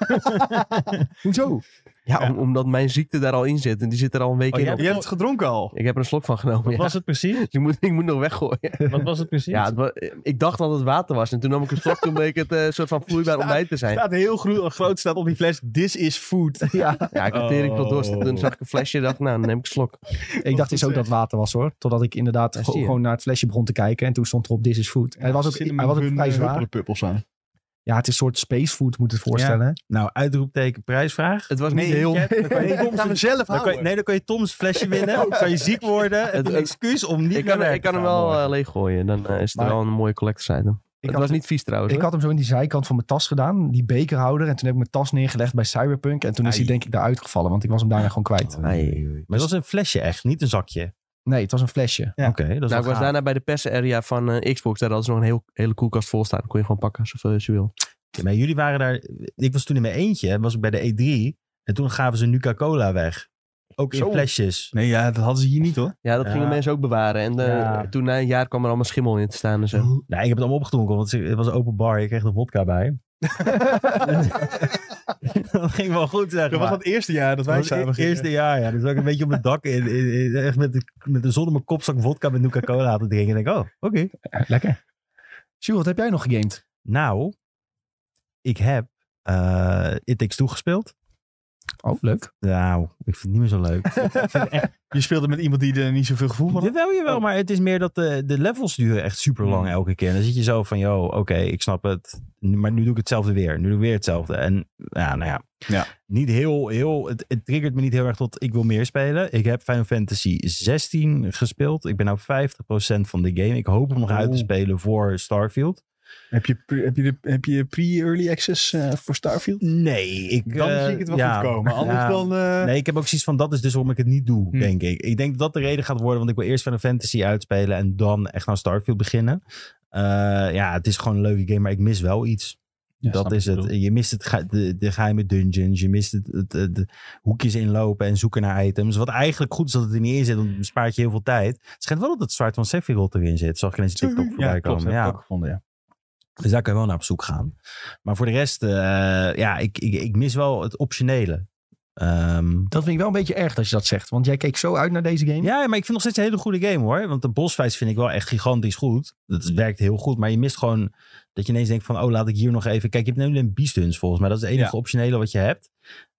[SPEAKER 1] Hoezo?
[SPEAKER 3] Ja,
[SPEAKER 2] Ja.
[SPEAKER 3] om- omdat mijn ziekte daar al in zit. En die zit er al een week
[SPEAKER 4] Oh,
[SPEAKER 3] in.
[SPEAKER 4] jij
[SPEAKER 3] op.
[SPEAKER 2] Je hebt het gedronken al.
[SPEAKER 3] Ik heb er een slok van genomen,
[SPEAKER 5] Wat
[SPEAKER 3] ja.
[SPEAKER 5] was het precies?
[SPEAKER 3] Dus ik, moet, ik moet nog weggooien.
[SPEAKER 5] Wat was het precies?
[SPEAKER 3] Ja, het wa- ik dacht dat het water was. En toen nam ik een slok, toen bleek het eh, een soort van vloeibaar ontbijt te zijn.
[SPEAKER 2] staat heel gro- groot staat op die fles, this is food.
[SPEAKER 1] Ja,
[SPEAKER 3] Ja, ik had tering veel dorst. En Toen
[SPEAKER 4] Oh.
[SPEAKER 3] zag ik een flesje en dacht, nou, dan neem ik een slok.
[SPEAKER 1] ik dacht eens ook dat het water was hoor. Totdat ik inderdaad
[SPEAKER 3] Ja,
[SPEAKER 1] ge-
[SPEAKER 3] zie je.
[SPEAKER 1] gewoon naar het flesje begon te kijken. En toen stond erop This is Food. hij was ook, hij was ook vrij zwaar.
[SPEAKER 2] Puppels eh, aan.
[SPEAKER 1] Ja, het is een soort space food moet het voorstellen. hè?
[SPEAKER 4] Nou, uitroepteken, prijsvraag.
[SPEAKER 3] Het was
[SPEAKER 2] Nee,
[SPEAKER 3] niet heel...
[SPEAKER 4] je hebt- dan kan je-
[SPEAKER 2] Ik ga mezelf
[SPEAKER 4] dan kan je-
[SPEAKER 2] houden.
[SPEAKER 4] nee, dan kan je Tom's flesje winnen. Dan kan je ziek worden. Het,
[SPEAKER 3] Het-
[SPEAKER 4] is een
[SPEAKER 3] het-
[SPEAKER 4] excuus om niet
[SPEAKER 3] Ik
[SPEAKER 4] naar
[SPEAKER 3] kan,
[SPEAKER 4] werk
[SPEAKER 3] ik
[SPEAKER 4] te
[SPEAKER 3] kan hem
[SPEAKER 4] gaan
[SPEAKER 3] wel
[SPEAKER 4] morgen.
[SPEAKER 3] eh, leeggooien. Dan eh, is het
[SPEAKER 1] Maar-
[SPEAKER 3] wel een mooie collectors item. Het
[SPEAKER 1] had
[SPEAKER 3] was
[SPEAKER 1] hem-
[SPEAKER 3] niet vies trouwens.
[SPEAKER 1] Ik
[SPEAKER 3] hoor.
[SPEAKER 1] had hem zo in die zijkant van mijn tas gedaan. Die bekerhouder. En toen heb ik mijn tas neergelegd bij Cyberpunk. En toen is
[SPEAKER 4] Ai.
[SPEAKER 1] hij denk ik daaruit gevallen. Want ik was hem daarna gewoon kwijt.
[SPEAKER 3] eh,
[SPEAKER 4] Maar het was een flesje echt, niet een zakje.
[SPEAKER 1] Nee, het was een flesje.
[SPEAKER 2] Ja.
[SPEAKER 4] Oké, dat is
[SPEAKER 3] Nou, ik
[SPEAKER 4] wel
[SPEAKER 3] was
[SPEAKER 4] gaaf.
[SPEAKER 3] daarna bij de persarea van eh, Xbox. Daar hadden ze nog een heel, hele koelkast vol staan. Kon je gewoon pakken zoveel als je wil.
[SPEAKER 4] Maar jullie waren daar... Ik was toen in mijn eentje, was ik bij de E3. En toen gaven ze Nuka-Cola weg. Ook in
[SPEAKER 2] Zo.
[SPEAKER 4] flesjes.
[SPEAKER 2] Nee, ja, dat hadden ze hier niet hoor.
[SPEAKER 3] Ja, dat
[SPEAKER 4] Ja.
[SPEAKER 3] gingen mensen ook bewaren. En eh,
[SPEAKER 4] Ja.
[SPEAKER 3] toen na een jaar kwam er allemaal schimmel in te staan en zo.
[SPEAKER 4] Nou, ik heb het allemaal opgedronken, want het was een open bar. Ik kreeg er vodka bij. dat ging wel goed, zeg
[SPEAKER 2] Dat was
[SPEAKER 4] maar.
[SPEAKER 2] het eerste jaar dat
[SPEAKER 4] Dat
[SPEAKER 2] wij
[SPEAKER 4] was
[SPEAKER 2] samen
[SPEAKER 4] het
[SPEAKER 2] gingen.
[SPEAKER 4] eerste jaar, ja. Dus ook een beetje op mijn dak. In, in- in- echt met de, met de zon op mijn kopzak vodka met Nuka-Cola te drinken. En ik denk, oh, oké.
[SPEAKER 1] Lekker. Sjoerd, wat heb jij nog gegamed?
[SPEAKER 4] Nou, ik heb eh It Takes Two gespeeld.
[SPEAKER 1] Oh, leuk.
[SPEAKER 4] Nou, ik vind het niet meer zo leuk.
[SPEAKER 2] Je speelde met iemand die er niet zoveel gevoel van Oh. Hmm. had.
[SPEAKER 4] Dit wel, jawel, maar het is meer dat de, de levels duren echt super lang elke keer. En dan zit je zo van, yo, oké, ik snap het. Nu- Maar nu doe ik hetzelfde weer. Nu doe ik weer hetzelfde. En ja, nou ja.
[SPEAKER 2] Ja.
[SPEAKER 4] Niet heel, heel, het, het triggert me niet heel erg tot ik wil meer spelen. Ik heb Final Fantasy 16 gespeeld. Ik ben nou 50% van de game. Ik hoop hem nog uit te
[SPEAKER 2] Oeh.
[SPEAKER 4] spelen voor Starfield.
[SPEAKER 2] Heb je, pre- heb je, de- heb je pre-early access eh, voor Starfield?
[SPEAKER 4] Nee, ik...
[SPEAKER 2] Dan
[SPEAKER 4] eh,
[SPEAKER 2] zie ik het wel
[SPEAKER 4] ja,
[SPEAKER 2] goed komen. Anders
[SPEAKER 4] ja.
[SPEAKER 2] dan... eh,
[SPEAKER 4] Nee, ik heb ook zoiets van dat is dus waarom ik het niet doe,
[SPEAKER 2] Hmm.
[SPEAKER 4] denk ik. Ik denk dat dat de reden gaat worden, want ik wil eerst Final Fantasy uitspelen en dan echt aan Starfield beginnen. Eh, ja, het is gewoon een leuke game, maar ik mis wel iets.
[SPEAKER 2] Ja, snap
[SPEAKER 4] dat is
[SPEAKER 2] ik
[SPEAKER 4] het.
[SPEAKER 2] bedoel.
[SPEAKER 4] Je mist het ge- de, de geheime dungeons, je mist het, het, het- de hoekjes inlopen en zoeken naar items. Wat eigenlijk goed is dat het er niet in zit, want dan spaart je heel veel tijd. Het schijnt wel dat het zwaard van Sephiroth erin zit, zag ik ineens een TikTok voorbij
[SPEAKER 2] Ja,
[SPEAKER 4] komen.
[SPEAKER 2] klopt. Heb ik ook gevonden, ja.
[SPEAKER 4] Dus daar kan je wel naar op zoek gaan. Maar voor de rest, eh, ja, ik, ik, ik mis wel het optionele. Ehm
[SPEAKER 1] Dat vind ik wel een beetje erg dat je dat zegt. Want jij keek zo uit naar deze game.
[SPEAKER 4] Ja, maar ik vind nog steeds een hele goede game hoor. Want de bosfights vind ik wel echt gigantisch goed. Dat werkt heel goed. Maar je mist gewoon dat je ineens denkt van... Oh, laat ik hier nog even... Kijk, je hebt nu een beast Hunt volgens mij. Dat is het enige
[SPEAKER 2] Ja.
[SPEAKER 4] optionele wat je hebt.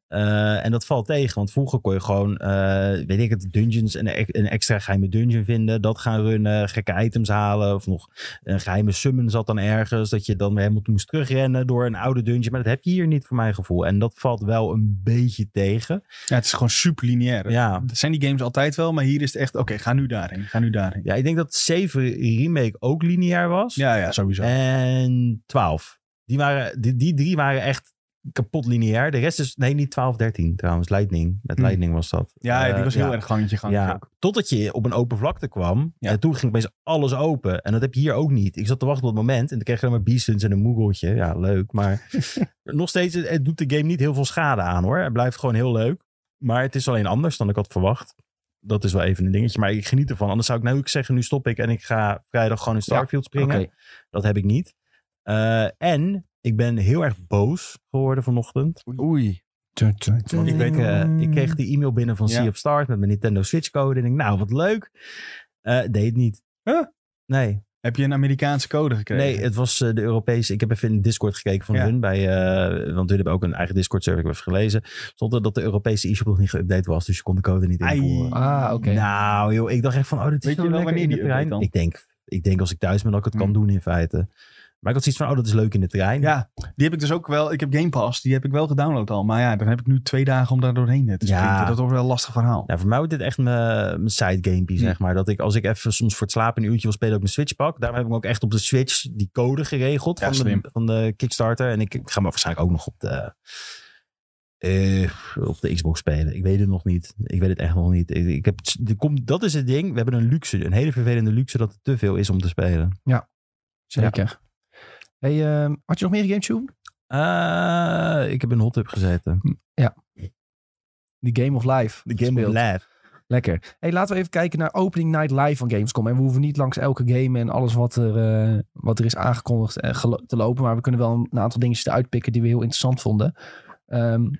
[SPEAKER 4] Eh, en dat valt tegen. Want vroeger kon je gewoon, eh, weet ik het, dungeons... Een, e- een extra geheime dungeon vinden. Dat gaan runnen. Gekke items halen. Of nog een geheime summon zat dan ergens. Dat je dan weer helemaal moest terugrennen door een oude dungeon. Maar dat heb je hier niet voor mijn gevoel. En dat valt wel een beetje tegen.
[SPEAKER 2] Ja, het is gewoon super lineair.
[SPEAKER 4] Ja.
[SPEAKER 2] Dat zijn die games altijd wel, maar hier is het echt... Oké, ga nu daarheen. Ga nu daarheen.
[SPEAKER 4] Ja, ik denk dat 7 Remake ook lineair was.
[SPEAKER 2] Ja, ja, sowieso.
[SPEAKER 4] En 12. Die, waren, die, die drie waren echt kapot lineair. De rest is, nee, niet 12, 13 trouwens. Lightning. Met
[SPEAKER 2] Hmm.
[SPEAKER 4] Lightning was dat.
[SPEAKER 2] Ja,
[SPEAKER 4] Eh,
[SPEAKER 2] die was heel erg gangetje gang.
[SPEAKER 4] Ja, totdat je op een open vlakte kwam.
[SPEAKER 2] Ja.
[SPEAKER 4] En toen ging opeens alles open. En dat heb je hier ook niet. Ik zat te wachten op het moment. En toen kreeg je alleen maar Beastuns en een Moogletje. Ja, leuk. Maar nog steeds, het, het doet de game niet heel veel schade aan hoor. Het blijft gewoon heel leuk. Maar het is alleen anders dan ik had verwacht. Dat is wel even een dingetje. Maar ik geniet ervan. Anders zou ik nou ook zeggen, nu stop ik. En ik ga vrijdag gewoon in Starfield springen.
[SPEAKER 1] Oké.
[SPEAKER 4] Dat heb ik niet. Eh, en ik ben heel erg boos geworden vanochtend.
[SPEAKER 3] Oei.
[SPEAKER 4] Ik,
[SPEAKER 2] weet
[SPEAKER 4] eh, ik kreeg
[SPEAKER 1] die.
[SPEAKER 4] die e-mail binnen van
[SPEAKER 2] Ja.
[SPEAKER 4] Sea of Stars met mijn Nintendo Switch code. En ik denk, nou, wat leuk. Eh, deed niet.
[SPEAKER 2] Huh?
[SPEAKER 4] Nee,
[SPEAKER 2] Heb je een Amerikaanse code gekregen?
[SPEAKER 4] nee, het was eh, de Europese. Ik heb even in de Discord gekeken van
[SPEAKER 2] Ja.
[SPEAKER 4] hun. Bij, eh, want hun hebben ook een eigen Discord-server. Ik heb even gelezen. Stond er dat de Europese e-shop nog niet geüpdate was. Dus je kon de code niet
[SPEAKER 2] Ai.
[SPEAKER 4] invoeren.
[SPEAKER 1] Ah, oké.
[SPEAKER 4] Nou, joh, ik dacht echt van, oh, dit
[SPEAKER 2] Weet
[SPEAKER 4] is
[SPEAKER 2] je
[SPEAKER 4] zo
[SPEAKER 2] wel
[SPEAKER 4] lekker
[SPEAKER 2] wanneer
[SPEAKER 4] in de
[SPEAKER 2] die update
[SPEAKER 4] trein.
[SPEAKER 2] dan?
[SPEAKER 4] Ik denk, ik denk als ik thuis ben dat ik het kan
[SPEAKER 2] Hmm.
[SPEAKER 4] doen in feite. Maar ik had zoiets van, oh, dat is leuk in de trein.
[SPEAKER 2] Ja, die heb ik dus ook wel. Ik heb Game Pass, die heb ik wel gedownload al. Maar ja, dan heb ik nu twee dagen om daar doorheen te
[SPEAKER 4] Ja.
[SPEAKER 2] sprinten. Dat wordt wel een lastig verhaal.
[SPEAKER 4] Nou, voor mij wordt dit echt mijn, mijn sidegamepie, zeg maar. Dat ik, als ik even soms voor het slapen een uurtje wil spelen, ook mijn Switch pak. Daarom heb ik ook echt op de Switch die code geregeld
[SPEAKER 2] Ja,
[SPEAKER 4] van,
[SPEAKER 2] slim.
[SPEAKER 4] de, van de Kickstarter. En ik, ik ga me waarschijnlijk ook nog op de eh, op de Xbox spelen. Ik weet het nog niet. Ik weet het echt nog niet. Ik, ik heb, er komt, dat is het ding. We hebben een luxe, een hele vervelende luxe dat er te veel is om te spelen.
[SPEAKER 1] Zeker. Hey, ehm, had je nog meer GameTube?
[SPEAKER 4] Eh, ik heb in een hot tub gezeten.
[SPEAKER 1] Die Game of Life.
[SPEAKER 4] De Game
[SPEAKER 1] gespeeld.
[SPEAKER 4] of Life.
[SPEAKER 1] Lekker. Hey, laten we even kijken naar Opening Night Live van Gamescom. En we hoeven niet langs elke game en alles wat er, eh, wat er is aangekondigd eh, gelo- te lopen. Maar we kunnen wel een aantal dingetjes eruit pikken die we heel interessant vonden. Ehm,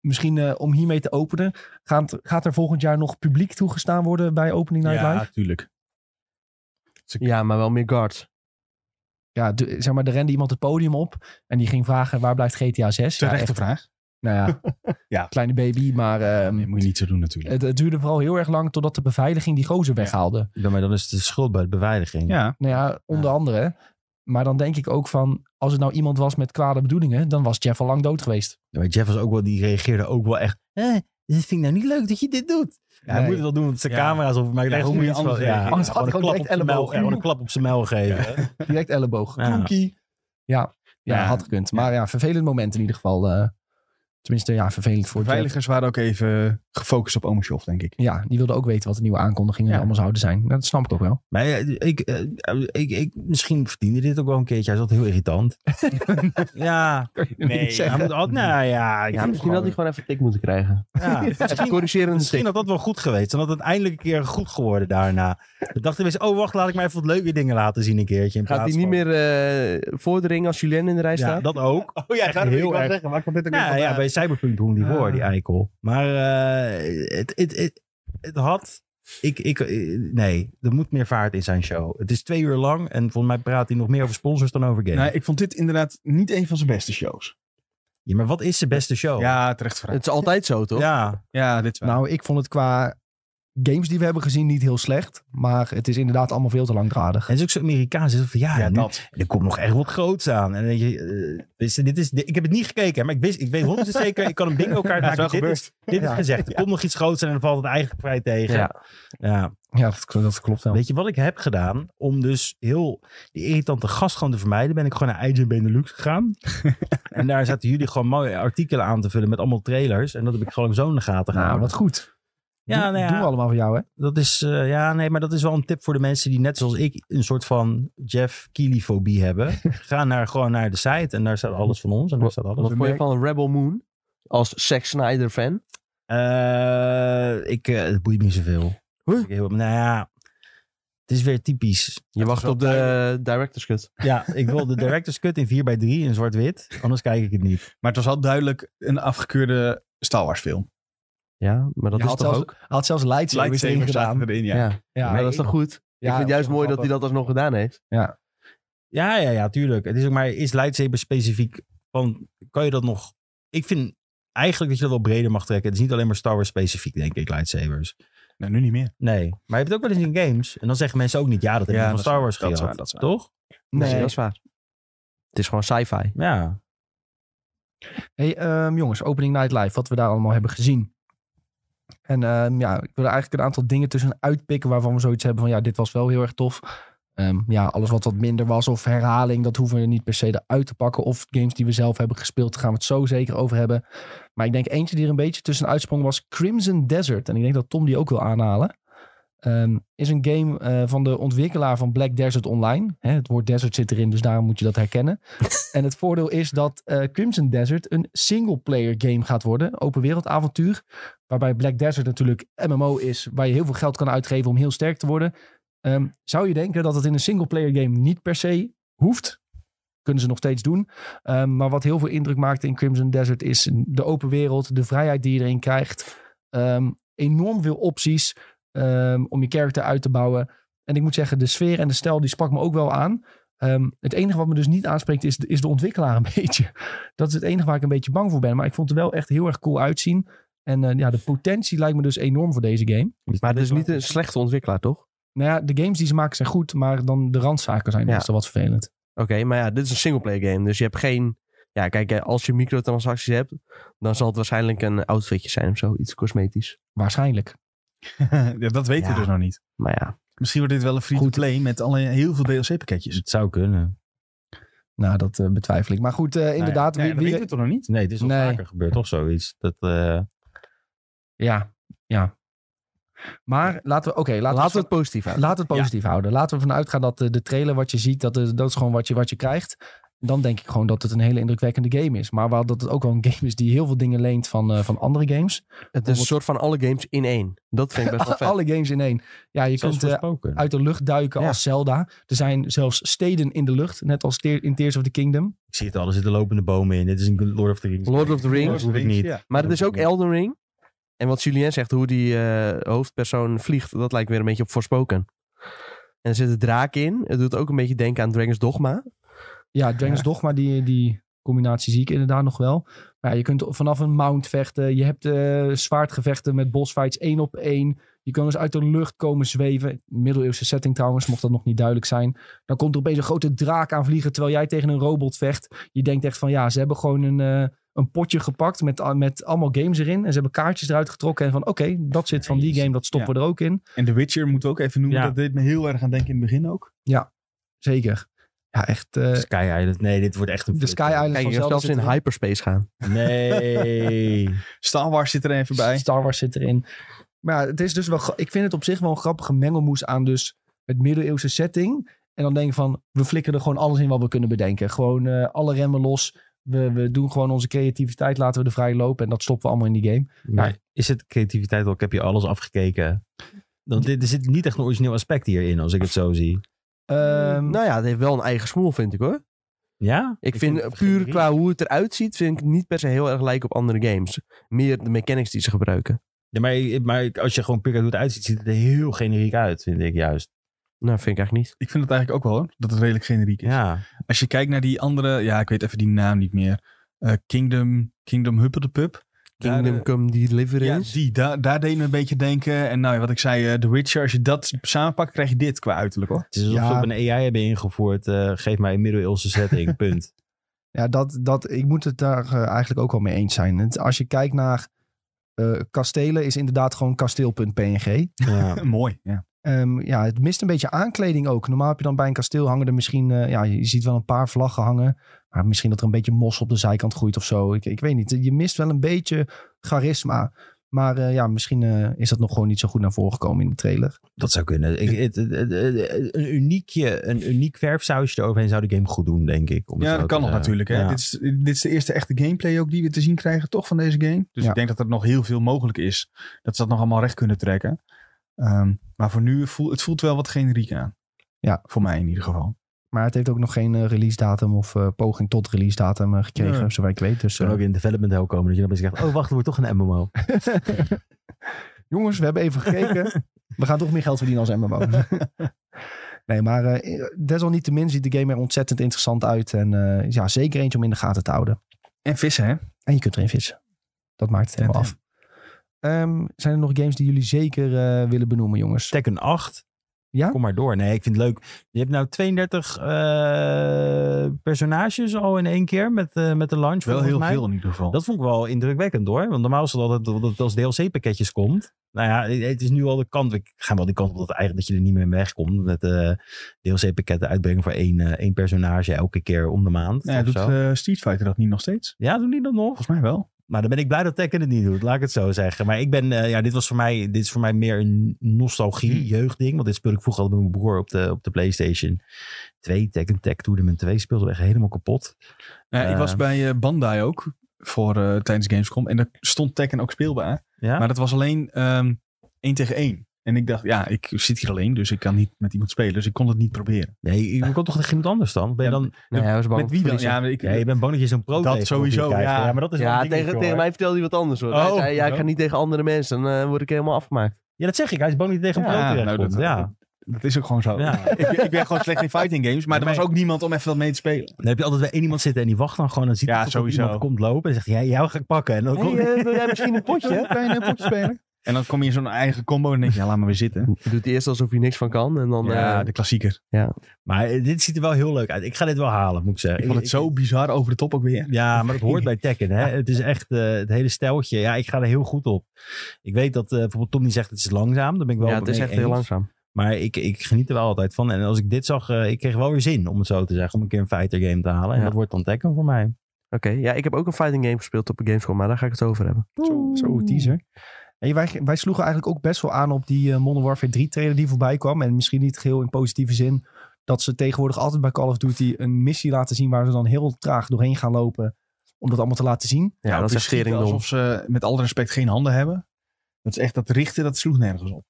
[SPEAKER 1] misschien eh, om hiermee te openen. Gaat, gaat er volgend jaar nog publiek toegestaan worden bij Opening Night
[SPEAKER 2] ja,
[SPEAKER 1] Live?
[SPEAKER 2] tuurlijk.
[SPEAKER 3] Ja, maar wel meer guards.
[SPEAKER 1] Ja, de- zeg maar, er rende iemand het podium op. En die ging vragen, waar blijft GTA 6? Ja,
[SPEAKER 2] Terechte
[SPEAKER 1] echt,
[SPEAKER 2] vraag.
[SPEAKER 1] nou ja,
[SPEAKER 2] Ja.
[SPEAKER 1] kleine baby. Maar ehm,
[SPEAKER 2] Nee, moet je niet zo doen natuurlijk.
[SPEAKER 1] het, het duurde vooral heel erg lang totdat de beveiliging die gozer
[SPEAKER 2] Ja.
[SPEAKER 1] weghaalde.
[SPEAKER 4] Ja, maar dan is het de schuld bij de beveiliging.
[SPEAKER 2] ja,
[SPEAKER 1] Nou ja, onder andere. Maar dan denk ik ook van, als het nou iemand was met kwade bedoelingen, dan was Jeff al lang dood geweest.
[SPEAKER 4] Ja, Maar Jeff was ook wel, die reageerde ook wel echt. Eh, dit vind ik nou niet leuk dat je dit doet. Ja, Hij
[SPEAKER 1] Nee.
[SPEAKER 4] moet het wel doen, want zijn
[SPEAKER 2] Ja.
[SPEAKER 4] camera's op. Maar ik
[SPEAKER 2] Ja, hoe
[SPEAKER 4] dacht, hoe moet
[SPEAKER 2] moet
[SPEAKER 4] je
[SPEAKER 2] je
[SPEAKER 4] iets
[SPEAKER 2] anders
[SPEAKER 4] van- ja,
[SPEAKER 2] reageren?
[SPEAKER 1] Anders had
[SPEAKER 4] gewoon
[SPEAKER 1] ik
[SPEAKER 4] een
[SPEAKER 1] ook
[SPEAKER 4] klap
[SPEAKER 1] direct
[SPEAKER 4] op zijn mel-
[SPEAKER 1] elleboog.
[SPEAKER 4] ja, gewoon een klap op zijn mel geven.
[SPEAKER 1] Direct elleboog.
[SPEAKER 4] Ja.
[SPEAKER 1] Klonkie. Ja, ja,
[SPEAKER 2] Ja.
[SPEAKER 1] had gekund. Maar ja, vervelend moment in ieder geval. eh. tenminste, ja, vervelend voor Jeff.
[SPEAKER 2] beveiligers waren ook even gefocust op Omershoff, denk ik.
[SPEAKER 1] Ja, die wilde ook weten wat de nieuwe aankondigingen
[SPEAKER 2] Ja.
[SPEAKER 1] allemaal zouden zijn. Nou, dat snap ik ook wel.
[SPEAKER 4] Maar ja, ik, eh, ik, ik, misschien verdiende dit ook wel een keertje. Hij is altijd heel irritant. ja,
[SPEAKER 1] Niet
[SPEAKER 4] hij
[SPEAKER 1] zeggen.
[SPEAKER 4] moet altijd, nou ja, ik
[SPEAKER 3] Ja,
[SPEAKER 4] vind
[SPEAKER 3] misschien
[SPEAKER 4] het
[SPEAKER 3] had hij
[SPEAKER 4] gewoon-
[SPEAKER 3] gewoon even een tik moeten krijgen.
[SPEAKER 4] ja.
[SPEAKER 3] Even corrigerende
[SPEAKER 4] Misschien
[SPEAKER 3] tik.
[SPEAKER 4] had dat wel goed geweest. Dan had het eindelijk een keer goed geworden daarna. Ik dacht eens, oh wacht, laat ik mij even wat leuke dingen laten zien een keertje. In
[SPEAKER 3] Gaat hij
[SPEAKER 4] plaats
[SPEAKER 3] niet
[SPEAKER 4] van-
[SPEAKER 3] meer eh, voordringen als Julien in de rij
[SPEAKER 4] Ja,
[SPEAKER 3] staat?
[SPEAKER 4] dat ook.
[SPEAKER 2] Oh ja,
[SPEAKER 4] ik wou- ik wou
[SPEAKER 2] zeggen, maar ik dit
[SPEAKER 4] Nou ja, bij Cyberpunk doen die voor, die eikel. Maar eh, het, het, het, het had... Ik, ik, eh, nee, er moet meer vaart in zijn show. Het is twee uur lang en volgens mij praat hij nog meer over sponsors dan over games.
[SPEAKER 2] Nee, Nou, ik vond dit inderdaad niet een van zijn beste shows.
[SPEAKER 4] Ja, maar wat is zijn beste show?
[SPEAKER 2] Ja, terecht vraag.
[SPEAKER 3] Het is altijd zo, toch?
[SPEAKER 4] Ja.
[SPEAKER 2] Ja, dit is waar.
[SPEAKER 1] Nou, ik vond het qua games die we hebben gezien niet heel slecht. Maar het is inderdaad allemaal veel te langdradig.
[SPEAKER 4] En het is ook zo Amerikaans. Het is van, ja,
[SPEAKER 2] ja,
[SPEAKER 4] nu-
[SPEAKER 2] dat.
[SPEAKER 4] er komt nog echt wat groots aan. En dan denk je, eh, wist je, dit is, dit- ik heb het niet gekeken, maar ik, wist, ik weet 100 zeker, ik kan een bingo kaart maken. dit is, dit is gezegd, er komt nog iets groots aan en dan valt het eigenlijk vrij tegen.
[SPEAKER 3] Ja.
[SPEAKER 4] ja.
[SPEAKER 1] Ja, dat, dat klopt wel.
[SPEAKER 4] Weet je wat ik heb gedaan? Om dus heel die irritante gast gewoon te vermijden, ben ik gewoon naar IGN Benelux gegaan. en daar zaten jullie gewoon mooie artikelen aan te vullen met allemaal trailers. En dat heb ik gewoon zo in de gaten gehouden.
[SPEAKER 1] Nou, wat goed.
[SPEAKER 4] ja,
[SPEAKER 1] Doe-
[SPEAKER 4] nou ja,
[SPEAKER 1] Doen we allemaal voor jou, hè?
[SPEAKER 4] dat is, eh, ja, nee, maar dat is wel een tip voor de mensen die net zoals ik een soort van Jeff Keely-fobie hebben. Ga naar, gewoon naar de site en daar staat alles van ons en daar staat alles.
[SPEAKER 3] Wat vond je van Rebel Moon? Als Zack Snyder fan?
[SPEAKER 4] Eh, ik, eh, het boeit me niet zoveel.
[SPEAKER 3] Huh?
[SPEAKER 4] Ik heel- Nou ja, het is weer typisch.
[SPEAKER 3] Je wacht op de eh, director's cut.
[SPEAKER 4] Ja, ik wil de director's cut in 4x3 in zwart-wit. Anders kijk ik het niet.
[SPEAKER 2] Maar het was al duidelijk een afgekeurde Star Wars film.
[SPEAKER 3] Ja, maar dat
[SPEAKER 1] Ja,
[SPEAKER 3] is
[SPEAKER 1] had
[SPEAKER 3] toch
[SPEAKER 1] zelfs,
[SPEAKER 3] ook?
[SPEAKER 1] Had zelfs lightsabers erin
[SPEAKER 2] Lightsabers
[SPEAKER 1] gedaan.
[SPEAKER 2] zaten erin, ja.
[SPEAKER 3] Ja. maar dat is toch goed? ik vind het juist mooi dat hij dat alsnog gedaan heeft.
[SPEAKER 4] Ja, ja, ja, tuurlijk. Het is ook maar, is lightsaber specifiek? Van, kan je dat nog... Ik vind eigenlijk dat je dat wel breder mag trekken. Het is niet alleen maar Star Wars specifiek, denk ik, lightsabers.
[SPEAKER 2] Nou, nu niet meer.
[SPEAKER 4] Nee. Maar je hebt het ook wel eens in games. En dan zeggen mensen ook niet, ja, dat heb je
[SPEAKER 2] Ja,
[SPEAKER 4] van
[SPEAKER 2] dat is
[SPEAKER 4] Star
[SPEAKER 2] waar,
[SPEAKER 4] Wars
[SPEAKER 2] dat is
[SPEAKER 4] gehad.
[SPEAKER 2] waar, dat is waar.
[SPEAKER 4] Toch?
[SPEAKER 3] Nee,
[SPEAKER 1] Nee.
[SPEAKER 3] dat is waar. Het is gewoon sci-fi.
[SPEAKER 4] Ja.
[SPEAKER 1] Hey, ehm, jongens, opening night live, wat we daar allemaal hebben gezien. En ehm, ja, ik wil er eigenlijk een aantal dingen tussen uitpikken waarvan we zoiets hebben van ja, dit was wel heel erg tof. Ehm, ja, alles wat wat minder was of herhaling, dat hoeven we niet per se eruit te pakken. Of games die we zelf hebben gespeeld, daar gaan we het zo zeker over hebben. Maar ik denk eentje die er een beetje tussen uitsprong was Crimson Desert. En ik denk dat Tom die ook wil aanhalen. Ehm, is een game eh, van de ontwikkelaar van Black Desert Online. Hè, het woord desert zit erin, dus daarom moet je dat herkennen. En het voordeel is dat eh, Crimson Desert een single-player game gaat worden. Open wereld avontuur. Waarbij Black Desert natuurlijk MMO is. Waar je heel veel geld kan uitgeven om heel sterk te worden. Ehm, zou je denken dat het in een single-player game niet per se hoeft? Kunnen ze nog steeds doen. Ehm, maar wat heel veel indruk maakte in Crimson Desert is de open wereld. De vrijheid die je erin krijgt. Ehm, enorm veel opties ehm, om je character uit te bouwen. En ik moet zeggen, de sfeer en de stijl die sprak me ook wel aan. Ehm, het enige wat me dus niet aanspreekt is de, is de ontwikkelaar een beetje. Dat is het enige waar ik een beetje bang voor ben. Maar ik vond het wel echt heel erg cool uitzien. En eh, ja, de potentie lijkt me dus enorm voor deze game.
[SPEAKER 3] Maar het is niet een slechte ontwikkelaar, toch?
[SPEAKER 1] Nou ja, de games die ze maken zijn goed, maar dan de randzaken zijn
[SPEAKER 3] Ja.
[SPEAKER 1] meestal wat vervelend.
[SPEAKER 3] Oké, maar ja, dit is een singleplayer game. Dus je hebt geen... Ja, kijk, eh, als je microtransacties hebt... dan zal het waarschijnlijk een outfitje zijn of zo. Iets cosmetisch.
[SPEAKER 1] Waarschijnlijk.
[SPEAKER 2] ja, dat weten
[SPEAKER 3] Ja.
[SPEAKER 2] we dus nog niet.
[SPEAKER 3] Maar ja,
[SPEAKER 2] Misschien wordt dit wel een free-to-play met alle, heel veel DLC-pakketjes.
[SPEAKER 4] Het zou kunnen.
[SPEAKER 1] Nou, dat eh, betwijfel ik. Maar goed, eh, inderdaad.
[SPEAKER 2] Nee,
[SPEAKER 1] wie-
[SPEAKER 2] dat
[SPEAKER 1] wie-
[SPEAKER 2] weten we toch nog niet?
[SPEAKER 4] Nee, het is al
[SPEAKER 1] Nee.
[SPEAKER 4] vaker gebeurd, toch zoiets? Dat, eh,
[SPEAKER 1] ja, ja. Maar laten we, oké, laten,
[SPEAKER 3] Laten we
[SPEAKER 1] we
[SPEAKER 3] het positief houden.
[SPEAKER 1] Laten we het positief houden. Laten we ervan uitgaan dat eh, de trailer wat je ziet, dat, eh, dat is gewoon wat je, wat je krijgt. Dan denk ik gewoon dat het een hele indrukwekkende game is. Maar wel dat het ook wel een game is die heel veel dingen leent van, eh, van andere games.
[SPEAKER 3] Het is een soort van alle games in één. Dat vind ik best wel vet.
[SPEAKER 1] Alle games in één. Ja, je
[SPEAKER 4] zelfs
[SPEAKER 1] kunt eh,
[SPEAKER 4] voorspoken.
[SPEAKER 1] uit de lucht duiken
[SPEAKER 3] Ja.
[SPEAKER 1] als Zelda. Er zijn zelfs steden in de lucht, net als Tear- in Tears of the Kingdom.
[SPEAKER 4] Ik zie het al, er zitten lopende bomen in. Dit is een Lord of the Rings.
[SPEAKER 3] Lord of the Rings.
[SPEAKER 4] Dat hoef ik niet.
[SPEAKER 2] Ja.
[SPEAKER 3] Maar het is ook Elden Ring. En wat Julien zegt, hoe die eh, hoofdpersoon vliegt, dat lijkt weer een beetje op Forspoken. En er zit een draak in. Het doet ook een beetje denken aan Dragon's Dogma.
[SPEAKER 1] Ja, Dragon's Dogma, die, die combinatie zie ik inderdaad nog wel. Maar ja, je kunt vanaf een mount vechten. Je hebt eh, zwaardgevechten met bossfights één op één. Je kan dus uit de lucht komen zweven. Middeleeuwse setting trouwens, mocht dat nog niet duidelijk zijn. Dan komt er opeens een grote draak aan vliegen terwijl jij tegen een robot vecht. Je denkt echt van ja, ze hebben gewoon een, eh, een potje gepakt met, a- met allemaal games erin. En ze hebben kaartjes eruit getrokken en van oké, dat zit van die game, dat stoppen we er ook in.
[SPEAKER 2] En The Witcher moeten we ook even noemen.
[SPEAKER 4] Ja.
[SPEAKER 2] Dat deed me heel erg aan denken in het begin ook.
[SPEAKER 1] Zeker. Ja, echt. eh,
[SPEAKER 4] Sky Island. Nee, dit wordt echt een...
[SPEAKER 1] de Sky Island
[SPEAKER 3] Kijk,
[SPEAKER 1] van
[SPEAKER 3] je kan
[SPEAKER 1] Zelda
[SPEAKER 3] zelfs
[SPEAKER 1] zit
[SPEAKER 3] in
[SPEAKER 1] erin.
[SPEAKER 3] hyperspace gaan.
[SPEAKER 4] Nee.
[SPEAKER 2] Star Wars zit er even bij.
[SPEAKER 1] Star Wars zit erin. Maar ja, het is dus wel. gra- Ik vind het op zich wel een grappige mengelmoes aan dus het middeleeuwse setting. En dan denk ik van, we flikken er gewoon alles in wat we kunnen bedenken. Gewoon eh, alle remmen los. We, we doen gewoon onze creativiteit, laten we er vrij lopen. En dat stoppen we allemaal in die game.
[SPEAKER 4] Maar is het creativiteit al? Ik heb je alles afgekeken. Dan, dit, er zit niet echt een origineel aspect hierin, als ik het zo zie.
[SPEAKER 1] Ehm,
[SPEAKER 3] Nou ja, het heeft wel een eigen smoel, vind ik hoor.
[SPEAKER 4] Ja?
[SPEAKER 3] Ik, vind,
[SPEAKER 4] het
[SPEAKER 3] puur
[SPEAKER 4] geen
[SPEAKER 3] qua hoe het eruit ziet, vind ik het niet per se heel erg lijken op andere games. Meer de mechanics die ze gebruiken.
[SPEAKER 4] Ja, maar, maar als je gewoon pik hoe het uitziet, ziet het er heel generiek uit, vind ik juist.
[SPEAKER 3] Nou, vind ik eigenlijk niet.
[SPEAKER 2] Ik vind het eigenlijk ook wel hoor, dat het redelijk generiek is.
[SPEAKER 4] Ja.
[SPEAKER 2] Als je kijkt naar die andere, ja, ik weet even die naam niet meer. Eh, Kingdom, Kingdom Huppe de Pup.
[SPEAKER 3] Kingdom
[SPEAKER 2] Daar,
[SPEAKER 3] Come
[SPEAKER 2] eh,
[SPEAKER 3] Deliverance.
[SPEAKER 2] ja, die, daar, daar deed me een beetje denken. En nou, ja, wat ik zei, eh, The Witcher, als je dat samenpakt, krijg je dit qua uiterlijk hoor.
[SPEAKER 4] Het is alsof
[SPEAKER 1] Ja.
[SPEAKER 4] ze op een AI hebben ingevoerd. eh, geef mij een middeleeuwse setting, punt.
[SPEAKER 1] Ja, dat, dat, ik moet het daar eh, eigenlijk ook wel mee eens zijn. Het- als je kijkt naar eh, kastelen, is inderdaad gewoon kasteel.png.
[SPEAKER 4] Ja.
[SPEAKER 2] Mooi, ja.
[SPEAKER 1] Ehm, ja, het mist een beetje aankleding ook. Normaal heb je dan bij een kasteel hangen er misschien... eh, ja, je ziet wel een paar vlaggen hangen. Maar misschien dat er een beetje mos op de zijkant groeit of zo. Ik, ik weet niet. Je mist wel een beetje charisma. Maar eh, ja, misschien eh, is dat nog gewoon niet zo goed naar voren gekomen in de trailer.
[SPEAKER 4] Dat zou kunnen. Ik, het, het- het- het- een, uniekje, een uniek verfsausje eroverheen zou de game goed doen, denk ik. om het
[SPEAKER 2] Ja,
[SPEAKER 4] zo
[SPEAKER 2] dat
[SPEAKER 4] te
[SPEAKER 2] kan nog
[SPEAKER 4] zeggen.
[SPEAKER 2] natuurlijk. Hè?
[SPEAKER 4] Ja.
[SPEAKER 2] Dit, is, dit is de eerste echte gameplay ook die we te zien krijgen, toch, van deze game. Dus
[SPEAKER 1] Ja.
[SPEAKER 2] ik denk dat er nog heel veel mogelijk is. Dat ze dat nog allemaal recht kunnen trekken. Ehm, maar voor nu, voelt, het voelt wel wat generiek aan.
[SPEAKER 1] Ja.
[SPEAKER 2] Voor mij in ieder geval.
[SPEAKER 1] Maar het heeft ook nog geen eh, release datum of eh, poging tot release datum eh, gekregen,
[SPEAKER 2] Nee.
[SPEAKER 1] zover ik weet. Dus
[SPEAKER 4] Het kan
[SPEAKER 1] eh,
[SPEAKER 4] ook in development hell komen. Dat je dan opeens zegt, oh wacht, er wordt toch een MMO.
[SPEAKER 1] jongens, we hebben even gekeken. we gaan toch meer geld verdienen als MMO. nee, maar eh, desalniettemin ziet de game er ontzettend interessant uit. En eh, ja, zeker eentje om in de gaten te houden.
[SPEAKER 2] En vissen, hè?
[SPEAKER 1] En je kunt erin vissen. Dat maakt het helemaal af. Ehm, zijn er nog games die jullie zeker eh, willen benoemen, jongens?
[SPEAKER 4] Tekken 8.
[SPEAKER 1] Ja?
[SPEAKER 4] Kom maar door. Nee, ik vind het leuk. Je hebt nou 32 eh, personages al in één keer met, eh, met de launch.
[SPEAKER 2] Wel
[SPEAKER 4] volgens
[SPEAKER 2] heel
[SPEAKER 4] mij.
[SPEAKER 2] veel in ieder geval.
[SPEAKER 4] Dat vond ik wel indrukwekkend hoor. Want normaal is het altijd dat het als DLC-pakketjes komt. Nou ja, het is nu al de kant. Ik ga wel die kant op dat, eigenlijk, dat je er niet meer mee wegkomt. Met eh DLC-pakketten uitbrengen voor één, eh, één personage elke keer om de maand.
[SPEAKER 2] ja,
[SPEAKER 4] of
[SPEAKER 2] doet
[SPEAKER 4] zo.
[SPEAKER 2] eh, Street Fighter dat niet nog steeds?
[SPEAKER 4] ja, doen die dat nog?
[SPEAKER 2] Volgens mij wel.
[SPEAKER 4] Maar dan ben ik blij dat Tekken het niet doet, laat ik het zo zeggen. Maar ik ben, eh, ja, dit was voor mij, dit is voor mij meer een nostalgie, jeugdding. Want dit speelde ik vroeger altijd met mijn broer op de, op de PlayStation 2. Tekken Tech Tournament 2 speelde we echt helemaal kapot.
[SPEAKER 2] Nou, ik
[SPEAKER 4] Eh.
[SPEAKER 2] was bij eh, Bandai ook voor, eh, tijdens Gamescom. En daar stond Tekken ook speelbaar.
[SPEAKER 4] Ja,
[SPEAKER 2] Maar dat was alleen ehm één tegen één. En ik dacht, ja, ik zit hier alleen, dus ik kan niet met iemand spelen. Dus ik kon het niet proberen.
[SPEAKER 4] nee, je komt toch tegen iemand anders dan? Ben je
[SPEAKER 2] Ja,
[SPEAKER 4] dan?
[SPEAKER 3] Nou ja, hij was bang om
[SPEAKER 2] met wie
[SPEAKER 3] te
[SPEAKER 2] dan?
[SPEAKER 3] verliezen.
[SPEAKER 2] Ja, ik,
[SPEAKER 4] Ja, je bent bang dat je zo'n
[SPEAKER 2] Dat
[SPEAKER 4] pro tegenkomt die je
[SPEAKER 2] sowieso,
[SPEAKER 4] krijgt.
[SPEAKER 2] ja.
[SPEAKER 4] maar dat is wel
[SPEAKER 3] Ja,
[SPEAKER 4] een dingetje,
[SPEAKER 3] tegen,
[SPEAKER 4] hoor.
[SPEAKER 3] tegen mij vertelde hij wat anders hoor.
[SPEAKER 2] Oh.
[SPEAKER 3] hij zei, ja, ik
[SPEAKER 2] Ja.
[SPEAKER 3] ga niet tegen andere mensen, dan eh, word ik helemaal afgemaakt.
[SPEAKER 4] Ja, dat zeg ik. Hij is bang dat hij tegen een
[SPEAKER 2] Ja,
[SPEAKER 4] pro
[SPEAKER 2] nou,
[SPEAKER 4] terechtkomt.
[SPEAKER 2] dat-
[SPEAKER 4] ja.
[SPEAKER 2] dat is ook gewoon zo.
[SPEAKER 4] ja.
[SPEAKER 2] ik, ik ben gewoon slecht in fighting games, maar er was ook niemand om even dat mee te spelen.
[SPEAKER 4] Dan heb je altijd weer één iemand zitten en die wacht dan gewoon. Dan ziet
[SPEAKER 2] Ja,
[SPEAKER 4] hij dat er
[SPEAKER 2] sowieso.
[SPEAKER 4] iemand komt lopen en zegt, ja, jou ga ik pakken. En dan
[SPEAKER 3] Hey,
[SPEAKER 4] komt
[SPEAKER 3] eh, wil jij misschien een potje?
[SPEAKER 2] Kan je een potje spelen? En dan kom je in zo'n eigen combo en denk je, ja, laat maar weer zitten.
[SPEAKER 3] Doet hij eerst alsof hij niks van kan en dan...
[SPEAKER 2] Ja,
[SPEAKER 3] eh,
[SPEAKER 2] de klassieker.
[SPEAKER 4] Maar eh, dit ziet er wel heel leuk uit. Ik ga dit wel halen, moet ik zeggen.
[SPEAKER 2] Ik vond het
[SPEAKER 4] Ik-
[SPEAKER 2] zo bizar over de top ook weer.
[SPEAKER 4] Ja, maar dat hoort bij Tekken. Hè? Het is echt eh, het hele steltje. Ja, ik ga er heel goed op. Ik weet dat eh, bijvoorbeeld Tom die zegt het is langzaam. Dan ben ik wel
[SPEAKER 3] ja, het
[SPEAKER 4] mee
[SPEAKER 3] is echt
[SPEAKER 4] eens.
[SPEAKER 3] heel langzaam.
[SPEAKER 4] Maar ik, ik geniet er wel altijd van. En als ik dit zag, eh, ik kreeg wel weer zin, om het zo te zeggen, om een keer een fighter game te halen. En
[SPEAKER 3] Ja.
[SPEAKER 4] dat wordt dan Tekken voor mij.
[SPEAKER 3] Oké, ja, ik heb ook een fighting game gespeeld op een Gamescom, maar daar ga ik het over hebben.
[SPEAKER 1] Zo, zo teaser. En wij, wij sloegen eigenlijk ook best wel aan op die eh, Modern Warfare 3 trailer die voorbij kwam. En misschien niet geheel in positieve zin. Dat ze tegenwoordig altijd bij Call of Duty een missie laten zien waar ze dan heel traag doorheen gaan lopen. Om dat allemaal te laten zien.
[SPEAKER 3] Ja,
[SPEAKER 4] Nou,
[SPEAKER 3] dat is echt
[SPEAKER 2] schieten
[SPEAKER 3] teringdom.
[SPEAKER 2] Nou, Alsof ze met alle respect geen handen hebben. Dat is echt dat richten, dat sloeg nergens op.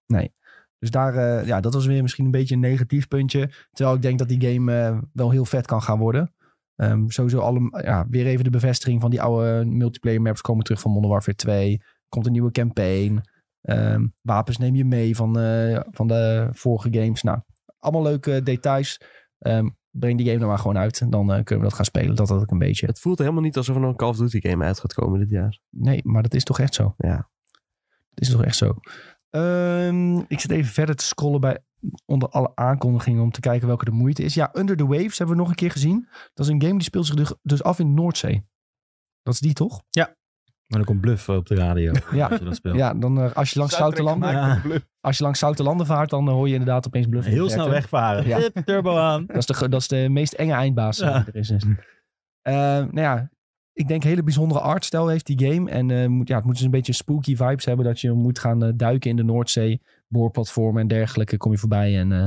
[SPEAKER 1] Dus daar, eh, ja, dat was weer misschien een beetje een negatief puntje. Terwijl ik denk dat die game eh, wel heel vet kan gaan worden. Ehm, sowieso alle, ja, weer even de bevestiging van die oude multiplayer maps komen terug van Modern Warfare 2. Komt een nieuwe campaign. Ehm, wapens neem je mee van, eh, van de vorige games. Nou, allemaal leuke details. Ehm, breng die game dan maar gewoon uit. En dan eh, kunnen we dat gaan spelen. Dat had ik een beetje.
[SPEAKER 3] Het voelt helemaal niet alsof er nog een Call of Duty game uit gaat komen dit jaar.
[SPEAKER 1] Nee, maar dat is toch echt zo?
[SPEAKER 3] Ja.
[SPEAKER 1] Dat is toch echt zo? Ehm, ik zit even verder te scrollen bij onder alle aankondigingen om te kijken welke de moeite is. Ja, Under the Waves hebben we nog een keer gezien. Dat is een game die speelt zich dus- dus af in de Noordzee. Dat is die toch?
[SPEAKER 4] Maar dan komt bluff eh, op de radio.
[SPEAKER 1] Ja.
[SPEAKER 4] Als je dat speelt.
[SPEAKER 1] Ja, dan, eh, als, je langs zoute landen,
[SPEAKER 4] gemaakt.
[SPEAKER 1] als je langs zoute landen vaart, dan eh, hoor je inderdaad opeens bluffen.
[SPEAKER 4] Heel snel wegvaren.
[SPEAKER 1] Ja.
[SPEAKER 4] Hup, turbo aan.
[SPEAKER 1] Dat is de, ge- dat is de meest enge eindbaas eh,
[SPEAKER 4] Ja.
[SPEAKER 1] die er is. Eh, nou ja, ik denk hele bijzondere artstijl heeft die game. En eh, moet, ja, het moet dus een beetje spooky vibes hebben. Dat je moet gaan eh, duiken in de Noordzee. Boorplatformen en dergelijke kom je voorbij. En eh,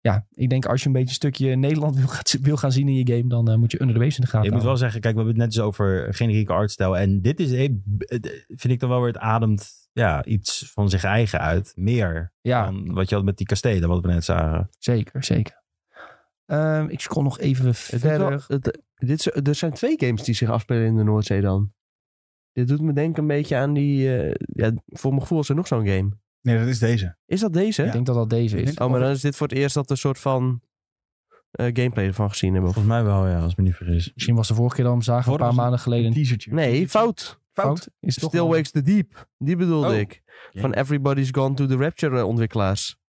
[SPEAKER 1] ja, ik denk als je een beetje een stukje Nederland wil, gaan- wil gaan zien in je game... dan eh, moet je Under the Waves in de gaten
[SPEAKER 4] Ik moet
[SPEAKER 1] houden.
[SPEAKER 4] wel zeggen, kijk, we hebben het net eens over generieke artstijl. En dit is, eh, b- eh, vind ik dan wel weer, het ademt ja, iets van zich eigen uit. Meer
[SPEAKER 1] Ja,
[SPEAKER 4] dan wat je had met die kastelen, wat we net zagen.
[SPEAKER 1] zeker, zeker. Ehm, ik scroll nog even
[SPEAKER 3] Het is wel-
[SPEAKER 1] verder.
[SPEAKER 3] het- dit, is- er zijn twee games die zich afspelen in de Noordzee dan. Dit doet me denken een beetje aan die... eh, ja, voor mijn gevoel is er nog zo'n game.
[SPEAKER 2] Nee, dat is deze.
[SPEAKER 3] Is dat deze?
[SPEAKER 1] Ik denk dat dat deze is.
[SPEAKER 3] Oh, maar dan is dit voor het eerst dat we een soort van eh, gameplay ervan gezien hebben.
[SPEAKER 4] Volgens mij wel, ja, als ik me niet vergis.
[SPEAKER 1] Misschien was de vorige keer dat we hem zagen, een
[SPEAKER 2] Vorige
[SPEAKER 1] paar
[SPEAKER 2] was het-
[SPEAKER 1] maanden geleden.
[SPEAKER 2] teasertje.
[SPEAKER 3] Nee, fout.
[SPEAKER 1] Fout? Is het toch
[SPEAKER 3] Still
[SPEAKER 1] wel-
[SPEAKER 3] Wakes the Deep. Die bedoelde
[SPEAKER 2] Oh.
[SPEAKER 3] ik. Van Everybody's Gone to the Rapture eh, ontwikkelaars.
[SPEAKER 1] Oh.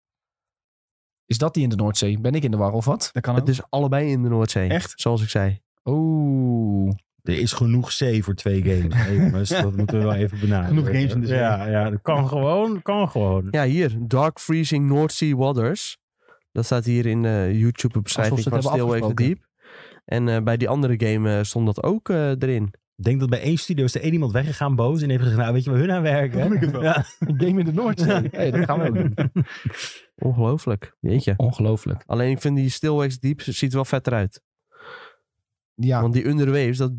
[SPEAKER 1] Is dat die in de Noordzee? Ben ik in de war of wat?
[SPEAKER 2] Dat kan
[SPEAKER 3] Het
[SPEAKER 2] ook.
[SPEAKER 3] is allebei in de Noordzee.
[SPEAKER 2] Echt?
[SPEAKER 3] Zoals ik zei.
[SPEAKER 1] Oeh.
[SPEAKER 4] Er is genoeg C voor twee games. Hey, jongens, dat moeten we wel even benaderen.
[SPEAKER 2] Genoeg games in de zee.
[SPEAKER 4] Ja, ja, dat kan gewoon. Kan gewoon.
[SPEAKER 3] Ja, hier. Dark Freezing North Sea Waters. Dat staat hier in de YouTube-beschrijving
[SPEAKER 1] Alsof ze
[SPEAKER 3] van
[SPEAKER 1] het
[SPEAKER 3] Still
[SPEAKER 1] hebben
[SPEAKER 3] Wakes the Deep. En eh, bij die andere game eh, stond dat ook eh, erin.
[SPEAKER 4] Ik denk dat bij één studio is er één iemand weggegaan boos. En heeft gezegd, nou weet je waar hun aan werken?
[SPEAKER 2] Vond ik het wel.
[SPEAKER 4] Ja.
[SPEAKER 1] Een game in de Noordzee. hey, dat gaan we ook doen.
[SPEAKER 3] Ongelooflijk. Jeetje.
[SPEAKER 1] Ongelooflijk.
[SPEAKER 3] Alleen ik vind die Still Wakes the Deep ziet er wel vetter uit.
[SPEAKER 1] Ja,
[SPEAKER 3] Want die Underwaves, dat,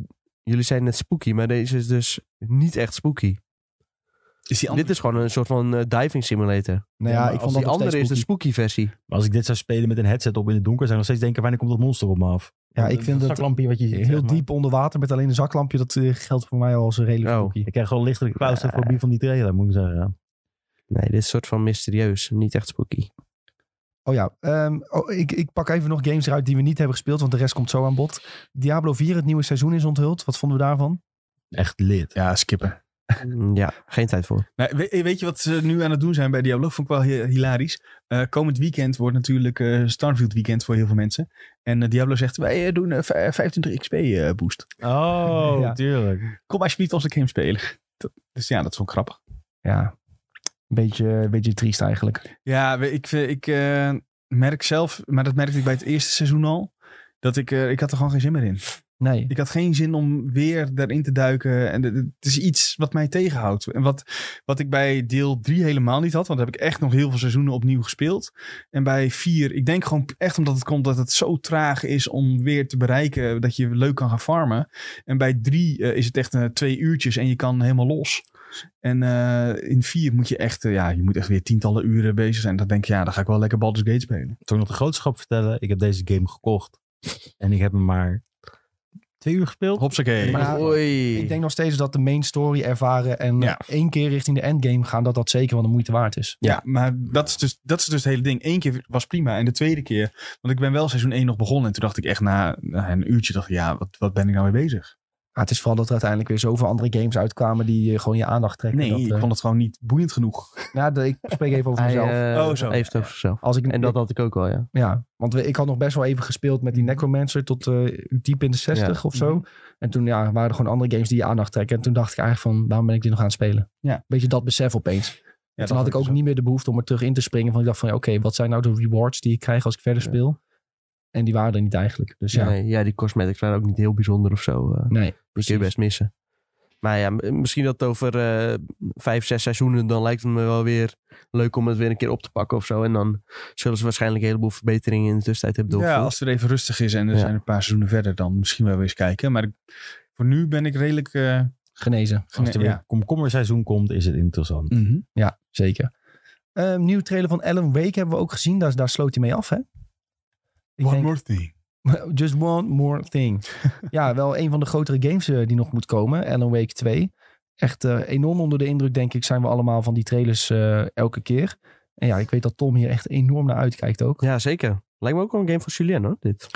[SPEAKER 3] jullie zijn net spooky, maar deze is dus niet echt spooky.
[SPEAKER 2] Is die
[SPEAKER 3] Dit is gewoon een soort van eh, diving simulator.
[SPEAKER 1] nou ja,
[SPEAKER 4] maar
[SPEAKER 1] ik vond
[SPEAKER 4] als
[SPEAKER 1] dat
[SPEAKER 3] die
[SPEAKER 1] nog
[SPEAKER 3] andere is
[SPEAKER 1] steeds
[SPEAKER 3] de
[SPEAKER 1] spooky.
[SPEAKER 3] spooky versie.
[SPEAKER 4] Maar als ik dit zou spelen met een headset op in het donker, zou ik nog steeds denken, wanneer komt dat monster op me af?
[SPEAKER 1] Ja, ik vind dat
[SPEAKER 4] zaklampje wat je ziet, zeg
[SPEAKER 1] heel
[SPEAKER 4] maar.
[SPEAKER 1] diep onder water met alleen een zaklampje. Dat eh, geldt voor mij al als een redelijk
[SPEAKER 3] Oh.
[SPEAKER 1] spooky.
[SPEAKER 4] Ik krijg gewoon lichtelijk claustrofobie van die trailer, moet ik zeggen.
[SPEAKER 3] Nee, dit is een soort van mysterieus, niet echt spooky.
[SPEAKER 1] Oh ja, ehm, oh, ik, ik pak even nog games eruit die we niet hebben gespeeld. Want de rest komt zo aan bod. Diablo 4, het nieuwe seizoen is onthuld. Wat vonden we daarvan?
[SPEAKER 4] Echt lid.
[SPEAKER 2] Ja, skippen.
[SPEAKER 3] Mm, ja, geen tijd voor.
[SPEAKER 2] Nou, we- weet je wat ze nu aan het doen zijn bij Diablo? Vond ik wel hi- hilarisch. Eh, komend weekend wordt natuurlijk eh, Starfield weekend voor heel veel mensen. En eh, Diablo zegt, wij eh, doen eh, v- 25 XP eh, boost.
[SPEAKER 4] Oh,
[SPEAKER 1] Ja.
[SPEAKER 4] tuurlijk.
[SPEAKER 2] Kom alsjeblieft onze game spelen. Dat, dus ja, dat vond ik grappig.
[SPEAKER 1] Ja, een beetje, een beetje triest eigenlijk.
[SPEAKER 2] Ja, we- ik, eh, ik eh, merk zelf, maar dat merkte ik bij het eerste seizoen al, dat ik, eh, ik had er gewoon geen zin meer in.
[SPEAKER 1] Nee,
[SPEAKER 2] Ik had geen zin om weer daarin te duiken. En de- de- het is iets wat mij tegenhoudt. En wat, wat ik bij deel 3 helemaal niet had. Want daar heb ik echt nog heel veel seizoenen opnieuw gespeeld. En bij 4, ik denk gewoon echt omdat het komt dat het zo traag is om weer te bereiken. Dat je leuk kan gaan farmen. En bij 3 is het echt eh, twee uurtjes en je kan helemaal los. En eh, in 4 moet je echt, eh, ja, je moet echt weer tientallen uren bezig zijn. Dan denk je, ja, dan ga ik wel lekker Baldur's Gate spelen.
[SPEAKER 4] Toen nog de grootschap vertellen, ik heb deze game gekocht. En ik heb hem maar twee uur gespeeld.
[SPEAKER 2] Hopsakee.
[SPEAKER 1] Maar-
[SPEAKER 3] Oei.
[SPEAKER 1] ik denk nog steeds dat de main story ervaren en
[SPEAKER 2] Ja.
[SPEAKER 1] één keer richting de endgame gaan, dat dat zeker wel de moeite waard is.
[SPEAKER 2] Ja, maar dat is, dus, dat is dus het hele ding. Eén keer was prima en de tweede keer... Want ik ben wel seizoen 1 nog begonnen. En toen dacht ik echt na, na een uurtje, dacht ik, ja, wat, wat ben ik nou mee bezig?
[SPEAKER 1] Maar Ah, het is vooral dat er uiteindelijk weer zoveel andere games uitkwamen die eh, gewoon je aandacht trekken.
[SPEAKER 2] Nee,
[SPEAKER 1] dat,
[SPEAKER 2] ik
[SPEAKER 1] eh,
[SPEAKER 2] vond het gewoon niet boeiend genoeg.
[SPEAKER 1] Ja, de- ik spreek even over
[SPEAKER 3] Hij,
[SPEAKER 1] mezelf.
[SPEAKER 3] eh,
[SPEAKER 2] Oh, zo.
[SPEAKER 3] Heeft het over zichzelf.
[SPEAKER 1] Als ik,
[SPEAKER 3] En dat Mhm. had ik ook al, ja.
[SPEAKER 1] Ja, want we- ik had nog best wel even gespeeld met die Necromancer tot eh, diep in de 60 of zo.
[SPEAKER 3] Mhm.
[SPEAKER 1] En toen ja, waren er gewoon andere games die je aandacht trekken. En toen dacht ik eigenlijk van, waarom ben ik dit nog aan het spelen?
[SPEAKER 2] Ja.
[SPEAKER 1] Beetje dat besef opeens. En toen had ik ook niet meer de behoefte om er terug in te springen. Van ik dacht van, ja, oké, wat zijn nou de rewards die ik krijg als ik verder
[SPEAKER 3] Ja.
[SPEAKER 1] speel? En die waren er niet eigenlijk. Dus ja, nee.
[SPEAKER 3] Nee, ja, die cosmetics waren ook niet heel bijzonder of zo. eh die kun je best missen. Maar ja, m- misschien dat over eh, vijf, zes seizoenen, dan lijkt het me wel weer leuk om het weer een keer op te pakken of zo. En dan zullen ze waarschijnlijk een heleboel verbeteringen in de tussentijd hebben
[SPEAKER 2] Ja,
[SPEAKER 3] doorgevoerd.
[SPEAKER 2] als het weer even rustig is en er
[SPEAKER 3] Ja.
[SPEAKER 2] zijn een paar seizoenen verder, dan misschien wel weer eens kijken. Maar ik- voor nu ben ik redelijk... eh,
[SPEAKER 1] genezen.
[SPEAKER 4] Als er
[SPEAKER 2] gene-
[SPEAKER 4] weer
[SPEAKER 2] ja.
[SPEAKER 4] komkommerseizoen komt, is het interessant.
[SPEAKER 1] Ja, zeker. Ehm, nieuwe trailer van Alan Wake hebben we ook gezien. Daar, daar sloot hij mee af, hè? Ik denk-
[SPEAKER 2] more thing.
[SPEAKER 1] Just one more thing. ja, wel een van de grotere games eh, die nog moet komen. Alan Wake 2. Echt eh, enorm onder de indruk, denk ik, zijn we allemaal van die trailers eh, elke keer. En ja, ik weet dat Tom hier echt enorm naar uitkijkt ook.
[SPEAKER 3] Ja, zeker. Lijkt me ook wel een game van Julien hoor, dit.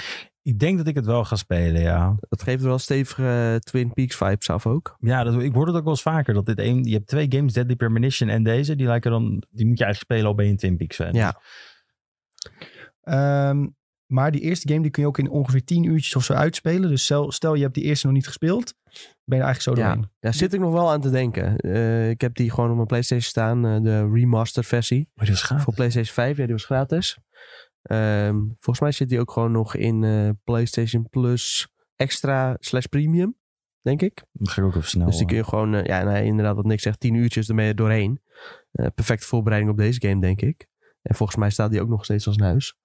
[SPEAKER 4] Ik denk dat ik het wel ga spelen, ja.
[SPEAKER 3] Dat geeft wel stevige eh, Twin Peaks vibes af ook.
[SPEAKER 4] Ja, dat, ik hoor het ook wel eens vaker. Dat dit een, je hebt twee games, Deadly Premonition en deze. Die, lijken dan, die moet je eigenlijk spelen al ben je een Twin Peaks fan.
[SPEAKER 3] Ja.
[SPEAKER 1] Ehm, maar die eerste game die kun je ook in ongeveer 10 uurtjes of zo uitspelen. Dus stel, stel je hebt die eerste nog niet gespeeld, ben je er eigenlijk zo
[SPEAKER 3] Ja.
[SPEAKER 1] doorheen.
[SPEAKER 3] Daar zit ik nog wel aan te denken. Eh, ik heb die gewoon op mijn PlayStation staan, eh, de remaster versie.
[SPEAKER 4] Maar dat is gaaf.
[SPEAKER 3] Voor PlayStation 5, ja, die was gratis. Ehm, volgens mij zit die ook gewoon nog in eh, PlayStation Plus Extra slash Premium, denk ik.
[SPEAKER 4] Dat ga ik ook even snel.
[SPEAKER 3] Dus die kun je gewoon, eh, ja, nou, inderdaad, wat Nick zegt, tien uurtjes ermee doorheen. Eh, perfecte voorbereiding op deze game, denk ik. En volgens mij staat die ook nog steeds als een huis.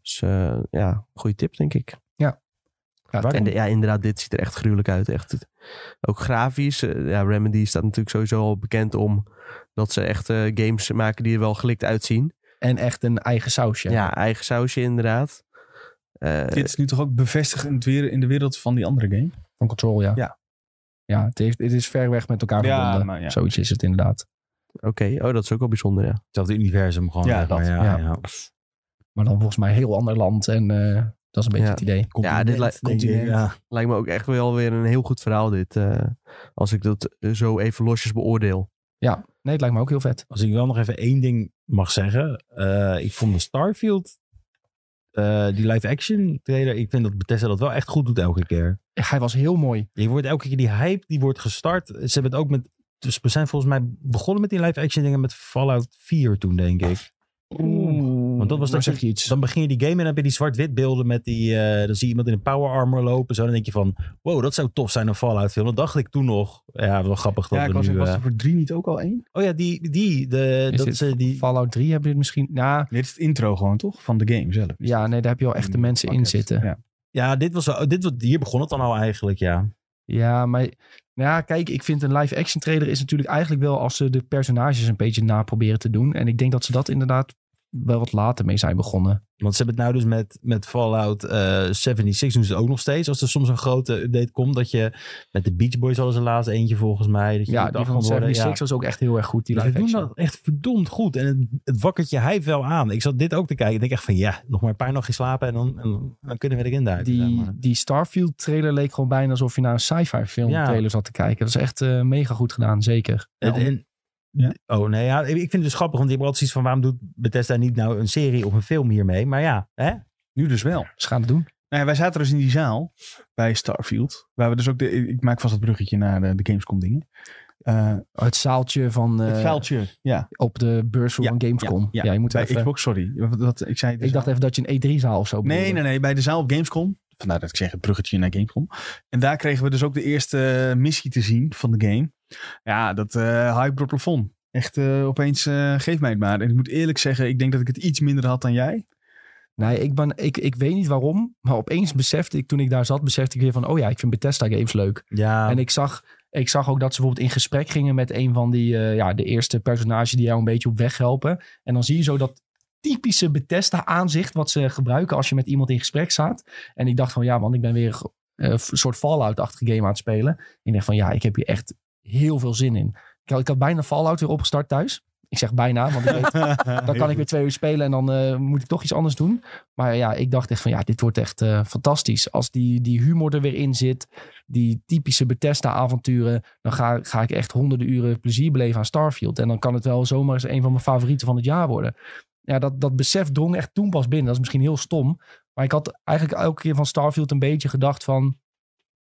[SPEAKER 3] Dus eh, ja, goede tip, denk ik.
[SPEAKER 1] Ja,
[SPEAKER 4] Waar-
[SPEAKER 1] en-
[SPEAKER 3] En de- ja, inderdaad, dit ziet er echt gruwelijk uit. Echt, het- ook grafisch. eh, ja, Remedy staat natuurlijk sowieso al bekend om dat ze echt eh, games maken die er wel gelikt uitzien.
[SPEAKER 1] en echt een eigen sausje.
[SPEAKER 3] Ja, eigen sausje inderdaad. Eh,
[SPEAKER 2] Dit is nu toch ook bevestigend weer in de wereld van die andere game?
[SPEAKER 1] Van Control, ja.
[SPEAKER 2] Ja.
[SPEAKER 1] Ja, het, heeft, het is ver weg met elkaar
[SPEAKER 2] Ja,
[SPEAKER 1] verbonden.
[SPEAKER 2] maar ja.
[SPEAKER 1] Zoiets is het inderdaad.
[SPEAKER 3] Oké, oh, dat is ook wel bijzonder, ja.
[SPEAKER 4] Hetzelfde universum gewoon.
[SPEAKER 2] Ja,
[SPEAKER 4] zeg maar.
[SPEAKER 2] dat.
[SPEAKER 4] ja,
[SPEAKER 1] Ja.
[SPEAKER 4] ja.
[SPEAKER 1] Maar dan volgens mij een heel ander land. En eh, dat is een beetje
[SPEAKER 3] Ja.
[SPEAKER 1] het idee.
[SPEAKER 3] Ja, dit lijkt-
[SPEAKER 4] denk ik,
[SPEAKER 1] continent.
[SPEAKER 4] ja.
[SPEAKER 3] Lijkt me ook echt wel weer een heel goed verhaal dit. eh, als ik dat eh, zo even losjes beoordeel.
[SPEAKER 1] Nee, het lijkt me ook heel vet.
[SPEAKER 4] Als ik wel nog even één ding mag zeggen. eh, ik vond de Starfield, eh, die live action trailer, ik vind dat Bethesda dat wel echt goed doet elke keer.
[SPEAKER 1] Hij was heel mooi.
[SPEAKER 4] Je wordt elke keer die hype, die wordt gestart. Ze hebben het ook met, dus we zijn volgens mij begonnen met die live action dingen met Fallout 4 toen, denk ik. Want dat was
[SPEAKER 1] dan
[SPEAKER 4] dat
[SPEAKER 1] zeg je iets.
[SPEAKER 4] Dan begin je die game en dan heb je die zwart-wit beelden met die, eh, dan zie je iemand in een power armor lopen. Zo, dan denk je van, wow, dat zou tof zijn een Fallout film. Dat dacht ik toen nog. Ja, wel grappig dat
[SPEAKER 2] Ja,
[SPEAKER 4] we
[SPEAKER 2] ik was,
[SPEAKER 4] nu...
[SPEAKER 2] was
[SPEAKER 4] eh,
[SPEAKER 2] er voor drie niet ook al één?
[SPEAKER 4] oh ja, die, die, de,
[SPEAKER 1] Is
[SPEAKER 4] dat
[SPEAKER 1] dit
[SPEAKER 4] ze die...
[SPEAKER 1] Fallout 3 hebben dit misschien. Nou,
[SPEAKER 2] Dit is het intro gewoon, toch? Van de game zelf.
[SPEAKER 1] ja, nee, daar heb je al echt
[SPEAKER 4] Hmm,
[SPEAKER 1] de
[SPEAKER 2] Een
[SPEAKER 1] mensen in
[SPEAKER 2] pakket.
[SPEAKER 1] zitten.
[SPEAKER 2] Ja.
[SPEAKER 4] Ja, dit was, wel- dit, was- hier begon het dan al eigenlijk, ja.
[SPEAKER 1] Ja, maar nou ja, kijk, ik vind een live action trailer is natuurlijk eigenlijk wel als ze de personages een beetje na proberen te doen. En ik denk dat ze dat inderdaad wel wat later mee zijn begonnen.
[SPEAKER 4] Want ze hebben het nou dus met, met Fallout eh 76 doen ze het ook nog steeds. Als er soms een grote update komt, dat je met de Beach Boys hadden ze laatst eentje volgens mij. Dat je
[SPEAKER 1] Ja,
[SPEAKER 4] moet
[SPEAKER 1] die
[SPEAKER 4] af
[SPEAKER 1] van
[SPEAKER 4] kan worden.
[SPEAKER 1] 76 was ook echt heel erg goed, die
[SPEAKER 4] Ja.
[SPEAKER 1] live
[SPEAKER 4] Ze doen
[SPEAKER 1] action.
[SPEAKER 4] dat echt verdomd goed. En het, het wakkert je hype wel aan. Ik zat dit ook te kijken. Ik denk echt van ja, nog maar een paar nachtjes slapen en dan, en dan kunnen we erin duiken. zeg
[SPEAKER 1] Die,
[SPEAKER 4] maar.
[SPEAKER 1] die Starfield trailer leek gewoon bijna alsof je naar een sci-fi film
[SPEAKER 4] Ja.
[SPEAKER 1] trailer zat te kijken. Dat is echt eh, mega goed gedaan, zeker.
[SPEAKER 4] Het-
[SPEAKER 1] Ja,
[SPEAKER 4] en-
[SPEAKER 2] Ja.
[SPEAKER 4] Oh nee, ja, ik ik vind het dus grappig. Want je hebt altijd zoiets van waarom doet Bethesda niet nou een serie of een film hiermee? Maar ja, hè?
[SPEAKER 2] Nu dus wel.
[SPEAKER 1] ze gaan het doen.
[SPEAKER 2] Nou ja, wij zaten dus in die zaal bij Starfield. Waar we dus ook de. Ik maak vast het bruggetje naar de, de Gamescom dingen. Eh,
[SPEAKER 1] Oh, Het zaaltje van eh,
[SPEAKER 2] het zaaltje. Ja.
[SPEAKER 1] op de beurs
[SPEAKER 2] Ja,
[SPEAKER 1] van Gamescom. Ja,
[SPEAKER 2] ja, ja.
[SPEAKER 1] je moet er
[SPEAKER 2] Bij
[SPEAKER 1] even,
[SPEAKER 2] Xbox, sorry. Wat, wat- ik zei de
[SPEAKER 1] eh, ik
[SPEAKER 2] zaal-
[SPEAKER 1] dacht even dat je een E3-zaal of zo
[SPEAKER 2] Nee,
[SPEAKER 1] bedoelde.
[SPEAKER 2] nee, nee. Bij de zaal op Gamescom. Vandaar dat ik zeg het bruggetje naar Gamescom. En daar kregen we dus ook de eerste eh, missie te zien van de game. Ja, dat eh hype door plafond. Echt eh, opeens, eh, geef mij het maar. En ik moet eerlijk zeggen, ik denk dat ik het iets minder had dan jij.
[SPEAKER 1] Nee, ik, ben, ik, ik weet niet waarom, maar opeens besefte ik, toen ik daar zat, besefte ik weer van, oh ja, ik vind Bethesda games leuk.
[SPEAKER 4] Ja,
[SPEAKER 1] En ik zag, ik zag ook dat ze bijvoorbeeld in gesprek gingen met een van die, eh, ja, de eerste personages die jou een beetje op weg helpen. En dan zie je zo dat typische Bethesda aanzicht, wat ze gebruiken als je met iemand in gesprek staat. En ik dacht van, ja man, ik ben weer eh, een soort Fallout-achtige game aan het spelen. En ik dacht van, ja, ik heb hier echt heel veel zin in. Ik had, ik had bijna Fallout weer opgestart thuis. Ik zeg bijna, want ik weet, dan kan ik weer twee uur spelen en dan eh, moet ik toch iets anders doen. Maar ja, ik dacht echt van ja, dit wordt echt eh, fantastisch. Als die, die humor er weer in zit, die typische Bethesda-avonturen, dan ga, ga ik echt honderden uren plezier beleven aan Starfield. En dan kan het wel zomaar eens een van mijn favorieten van het jaar worden. Ja, dat, dat besef drong echt toen pas binnen. Dat is misschien heel stom. Maar ik had eigenlijk elke keer van Starfield een beetje gedacht van...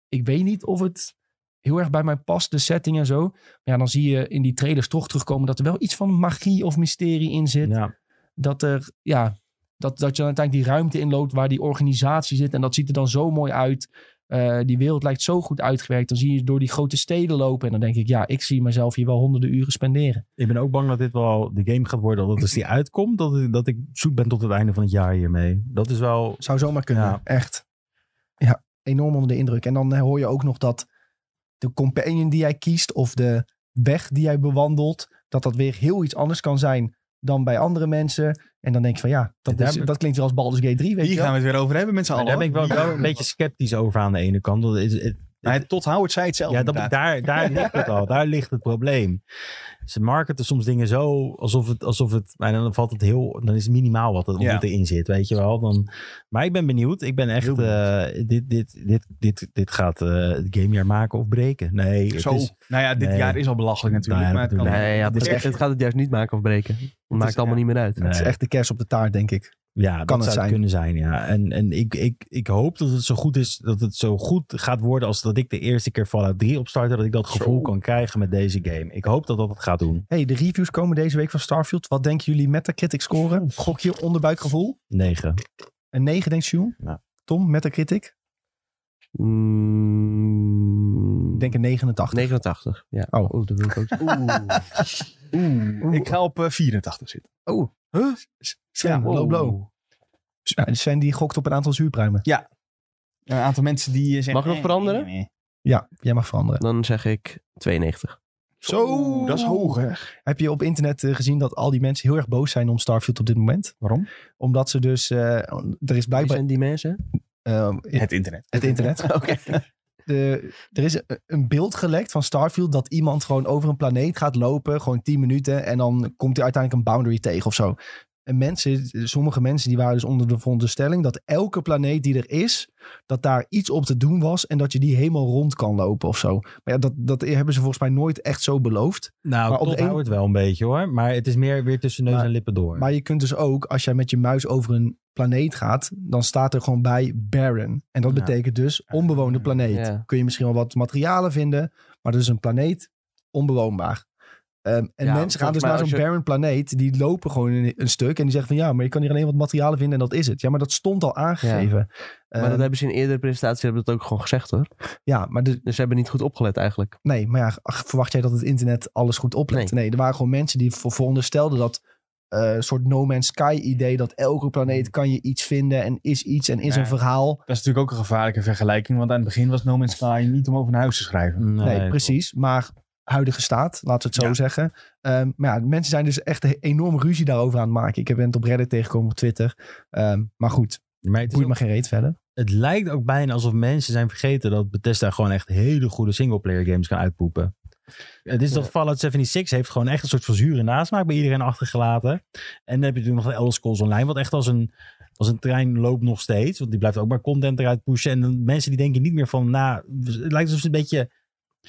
[SPEAKER 1] Ik weet niet of het heel erg bij mij past, de setting en zo. Maar ja, dan zie je in die trailers toch terugkomen dat er wel iets van magie of mysterie in zit.
[SPEAKER 4] Ja.
[SPEAKER 1] Dat er, ja, dat, dat je dan uiteindelijk die ruimte inloopt waar die organisatie zit. En dat ziet er dan zo mooi uit. Eh, die wereld lijkt zo goed uitgewerkt. Dan zie je door die grote steden lopen. En dan denk ik, ja, ik zie mezelf hier wel honderden uren spenderen.
[SPEAKER 4] Ik ben ook bang dat dit wel de game gaat worden. Dat als die uitkomt, dat, ik- dat ik zoet ben tot het einde van het jaar hiermee. Dat is wel...
[SPEAKER 1] Zou zomaar kunnen,
[SPEAKER 4] Ja.
[SPEAKER 1] echt. Ja, enorm onder de indruk. En dan eh, hoor je ook nog dat de companion die jij kiest of de weg die jij bewandelt, dat dat weer heel iets anders kan zijn dan bij andere mensen. En dan denk je van ja, dat,
[SPEAKER 4] Daar
[SPEAKER 1] is,
[SPEAKER 4] ben-
[SPEAKER 1] dat klinkt weer als Baldur's Gate 3, weet
[SPEAKER 2] Hier
[SPEAKER 1] je
[SPEAKER 2] gaan
[SPEAKER 1] wel.
[SPEAKER 2] we het weer over hebben met z'n
[SPEAKER 4] Maar
[SPEAKER 2] allen.
[SPEAKER 4] daar ben ik wel,
[SPEAKER 2] hoor.
[SPEAKER 4] wel een beetje sceptisch over aan de ene kant. Dat is, het,
[SPEAKER 2] Maar het- tot Howard zei het zelf.
[SPEAKER 4] ja, dat,
[SPEAKER 2] inderdaad.
[SPEAKER 4] daar, daar ligt het al. Daar ligt het probleem. Ze marketen soms dingen zo alsof het, alsof het en dan valt het heel, dan is het minimaal wat er,
[SPEAKER 2] Ja.
[SPEAKER 4] wat erin zit, weet je wel. Dan, maar ik ben benieuwd. Ik ben echt,
[SPEAKER 2] Heel
[SPEAKER 4] eh, dit, dit, dit, dit, dit gaat eh, het gamejaar maken of breken. Nee, het
[SPEAKER 2] Zo.
[SPEAKER 4] is,
[SPEAKER 2] nou ja, dit
[SPEAKER 4] Nee.
[SPEAKER 2] jaar is al belachelijk natuurlijk.
[SPEAKER 4] Nou ja,
[SPEAKER 2] maar het
[SPEAKER 4] dat
[SPEAKER 2] kan
[SPEAKER 4] bedoel
[SPEAKER 3] Nee, ja,
[SPEAKER 2] dit
[SPEAKER 3] het,
[SPEAKER 2] is echt-
[SPEAKER 3] het gaat het juist niet maken of breken. Het maakt
[SPEAKER 2] is-
[SPEAKER 3] allemaal
[SPEAKER 2] ja.
[SPEAKER 3] niet meer uit.
[SPEAKER 4] nee.
[SPEAKER 1] Het is echt de kers op de taart, denk ik.
[SPEAKER 4] Ja,
[SPEAKER 1] het
[SPEAKER 4] dat zou het
[SPEAKER 1] zijn.
[SPEAKER 4] kunnen zijn, ja. En, en ik, ik, ik hoop dat het zo goed is, dat het zo goed gaat worden als dat ik de eerste keer Fallout 3 opstartte, dat ik dat gevoel kan krijgen met deze game. Ik hoop dat dat het gaat doen.
[SPEAKER 1] hey, de reviews komen deze week van Starfield. Wat denken jullie Metacritic scoren? Gokje onderbuikgevoel?
[SPEAKER 4] 9.
[SPEAKER 1] Een 9, denkt Sjoen?
[SPEAKER 4] Ja.
[SPEAKER 1] Tom, Metacritic?
[SPEAKER 3] Mm,
[SPEAKER 1] Ik denk een 89.
[SPEAKER 3] 89. Mm, Ja.
[SPEAKER 1] Oh.
[SPEAKER 3] dat wil ik ook.
[SPEAKER 2] Oeh. Ik ga op eh, 84 zitten.
[SPEAKER 1] Oh.
[SPEAKER 2] Huh?
[SPEAKER 1] Sven,
[SPEAKER 2] Ja, wow.
[SPEAKER 1] low blow. Ja, Sven die gokt op een aantal zuurpruimen.
[SPEAKER 2] Een aantal mensen die eh, zeggen...
[SPEAKER 3] Mag ik nog
[SPEAKER 2] eh,
[SPEAKER 3] veranderen?
[SPEAKER 2] eh, eh.
[SPEAKER 1] Ja, jij mag veranderen.
[SPEAKER 3] Dan zeg ik 92.
[SPEAKER 1] Zo.
[SPEAKER 2] dat is hoger.
[SPEAKER 1] Heb je op internet eh, gezien dat al die mensen heel erg boos zijn om Starfield op dit moment?
[SPEAKER 2] Waarom?
[SPEAKER 1] Omdat ze dus, eh, er is
[SPEAKER 3] Wie
[SPEAKER 1] blijkbaar
[SPEAKER 3] zijn die mensen?
[SPEAKER 1] eh,
[SPEAKER 2] Het internet.
[SPEAKER 1] het internet.
[SPEAKER 3] Oké.
[SPEAKER 1] De, er is een- een beeld gelekt van Starfield dat iemand gewoon over een planeet gaat lopen, gewoon 10 minuten, en dan komt hij uiteindelijk een boundary tegen of zo. En mensen, sommige mensen die waren dus onder de veronderstelling dat elke planeet die er is, dat daar iets op te doen was en dat je die helemaal rond kan lopen of zo. Maar ja, dat, dat hebben ze volgens mij nooit echt zo beloofd.
[SPEAKER 4] Nou,
[SPEAKER 1] Maar
[SPEAKER 4] maar
[SPEAKER 1] op de
[SPEAKER 4] tot
[SPEAKER 1] een-
[SPEAKER 4] houdt het wel een beetje hoor. Maar het is meer weer tussen neus
[SPEAKER 1] Maar-
[SPEAKER 4] en lippen door.
[SPEAKER 1] Maar je kunt dus ook, als jij met je muis over een planeet gaat, dan staat er gewoon bij barren. En dat
[SPEAKER 4] Ja.
[SPEAKER 1] betekent dus onbewoonde planeet.
[SPEAKER 3] Ah, Ja.
[SPEAKER 1] Kun je misschien wel wat materialen vinden, maar dat is een planeet onbewoonbaar. Ehm, en
[SPEAKER 3] Ja,
[SPEAKER 1] mensen gaan
[SPEAKER 3] volgens
[SPEAKER 1] dus
[SPEAKER 3] mij
[SPEAKER 1] naar zo'n
[SPEAKER 3] als je-
[SPEAKER 1] barren planeet, die lopen gewoon een, een stuk en die zeggen van ja, maar je kan hier alleen wat materialen vinden en dat is het. Ja, maar dat stond al aangegeven. Ehm,
[SPEAKER 3] Maar dat hebben ze in eerdere presentaties hebben dat ook gewoon gezegd hoor.
[SPEAKER 1] Ja, maar de,
[SPEAKER 3] Dus ze hebben niet goed opgelet eigenlijk.
[SPEAKER 1] Nee, maar ja, ach, verwacht jij dat het internet alles goed oplet? Nee, er waren gewoon mensen die voor, veronderstelden dat eh, soort No Man's Sky idee dat elke
[SPEAKER 4] Mm.
[SPEAKER 1] planeet kan je iets vinden en is iets en is
[SPEAKER 2] Nee.
[SPEAKER 1] een verhaal.
[SPEAKER 2] Dat is natuurlijk ook een gevaarlijke vergelijking. Want aan het begin was No Man's Sky niet om over naar huis te schrijven.
[SPEAKER 1] Nee, precies. Maar huidige staat, laten we het zo
[SPEAKER 2] Ja.
[SPEAKER 1] zeggen. Ehm, maar ja, mensen zijn dus echt een enorme ruzie daarover aan het maken. Ik heb het op Reddit tegengekomen op Twitter. Ehm, maar goed,
[SPEAKER 4] Maar het, is
[SPEAKER 1] boeit
[SPEAKER 4] ook-
[SPEAKER 1] maar geen reet verder.
[SPEAKER 4] het lijkt ook bijna alsof mensen zijn vergeten dat Bethesda gewoon echt hele goede singleplayer games kan uitpoepen. Het is dat Fallout 76 heeft gewoon echt een soort van zure nasmaak bij iedereen achtergelaten. En dan heb je natuurlijk nog de Elder Scrolls Online, wat echt als een, als een trein loopt nog steeds. Want die blijft ook maar content eruit pushen. En dan mensen die denken niet meer van, nou, het lijkt alsof ze een beetje...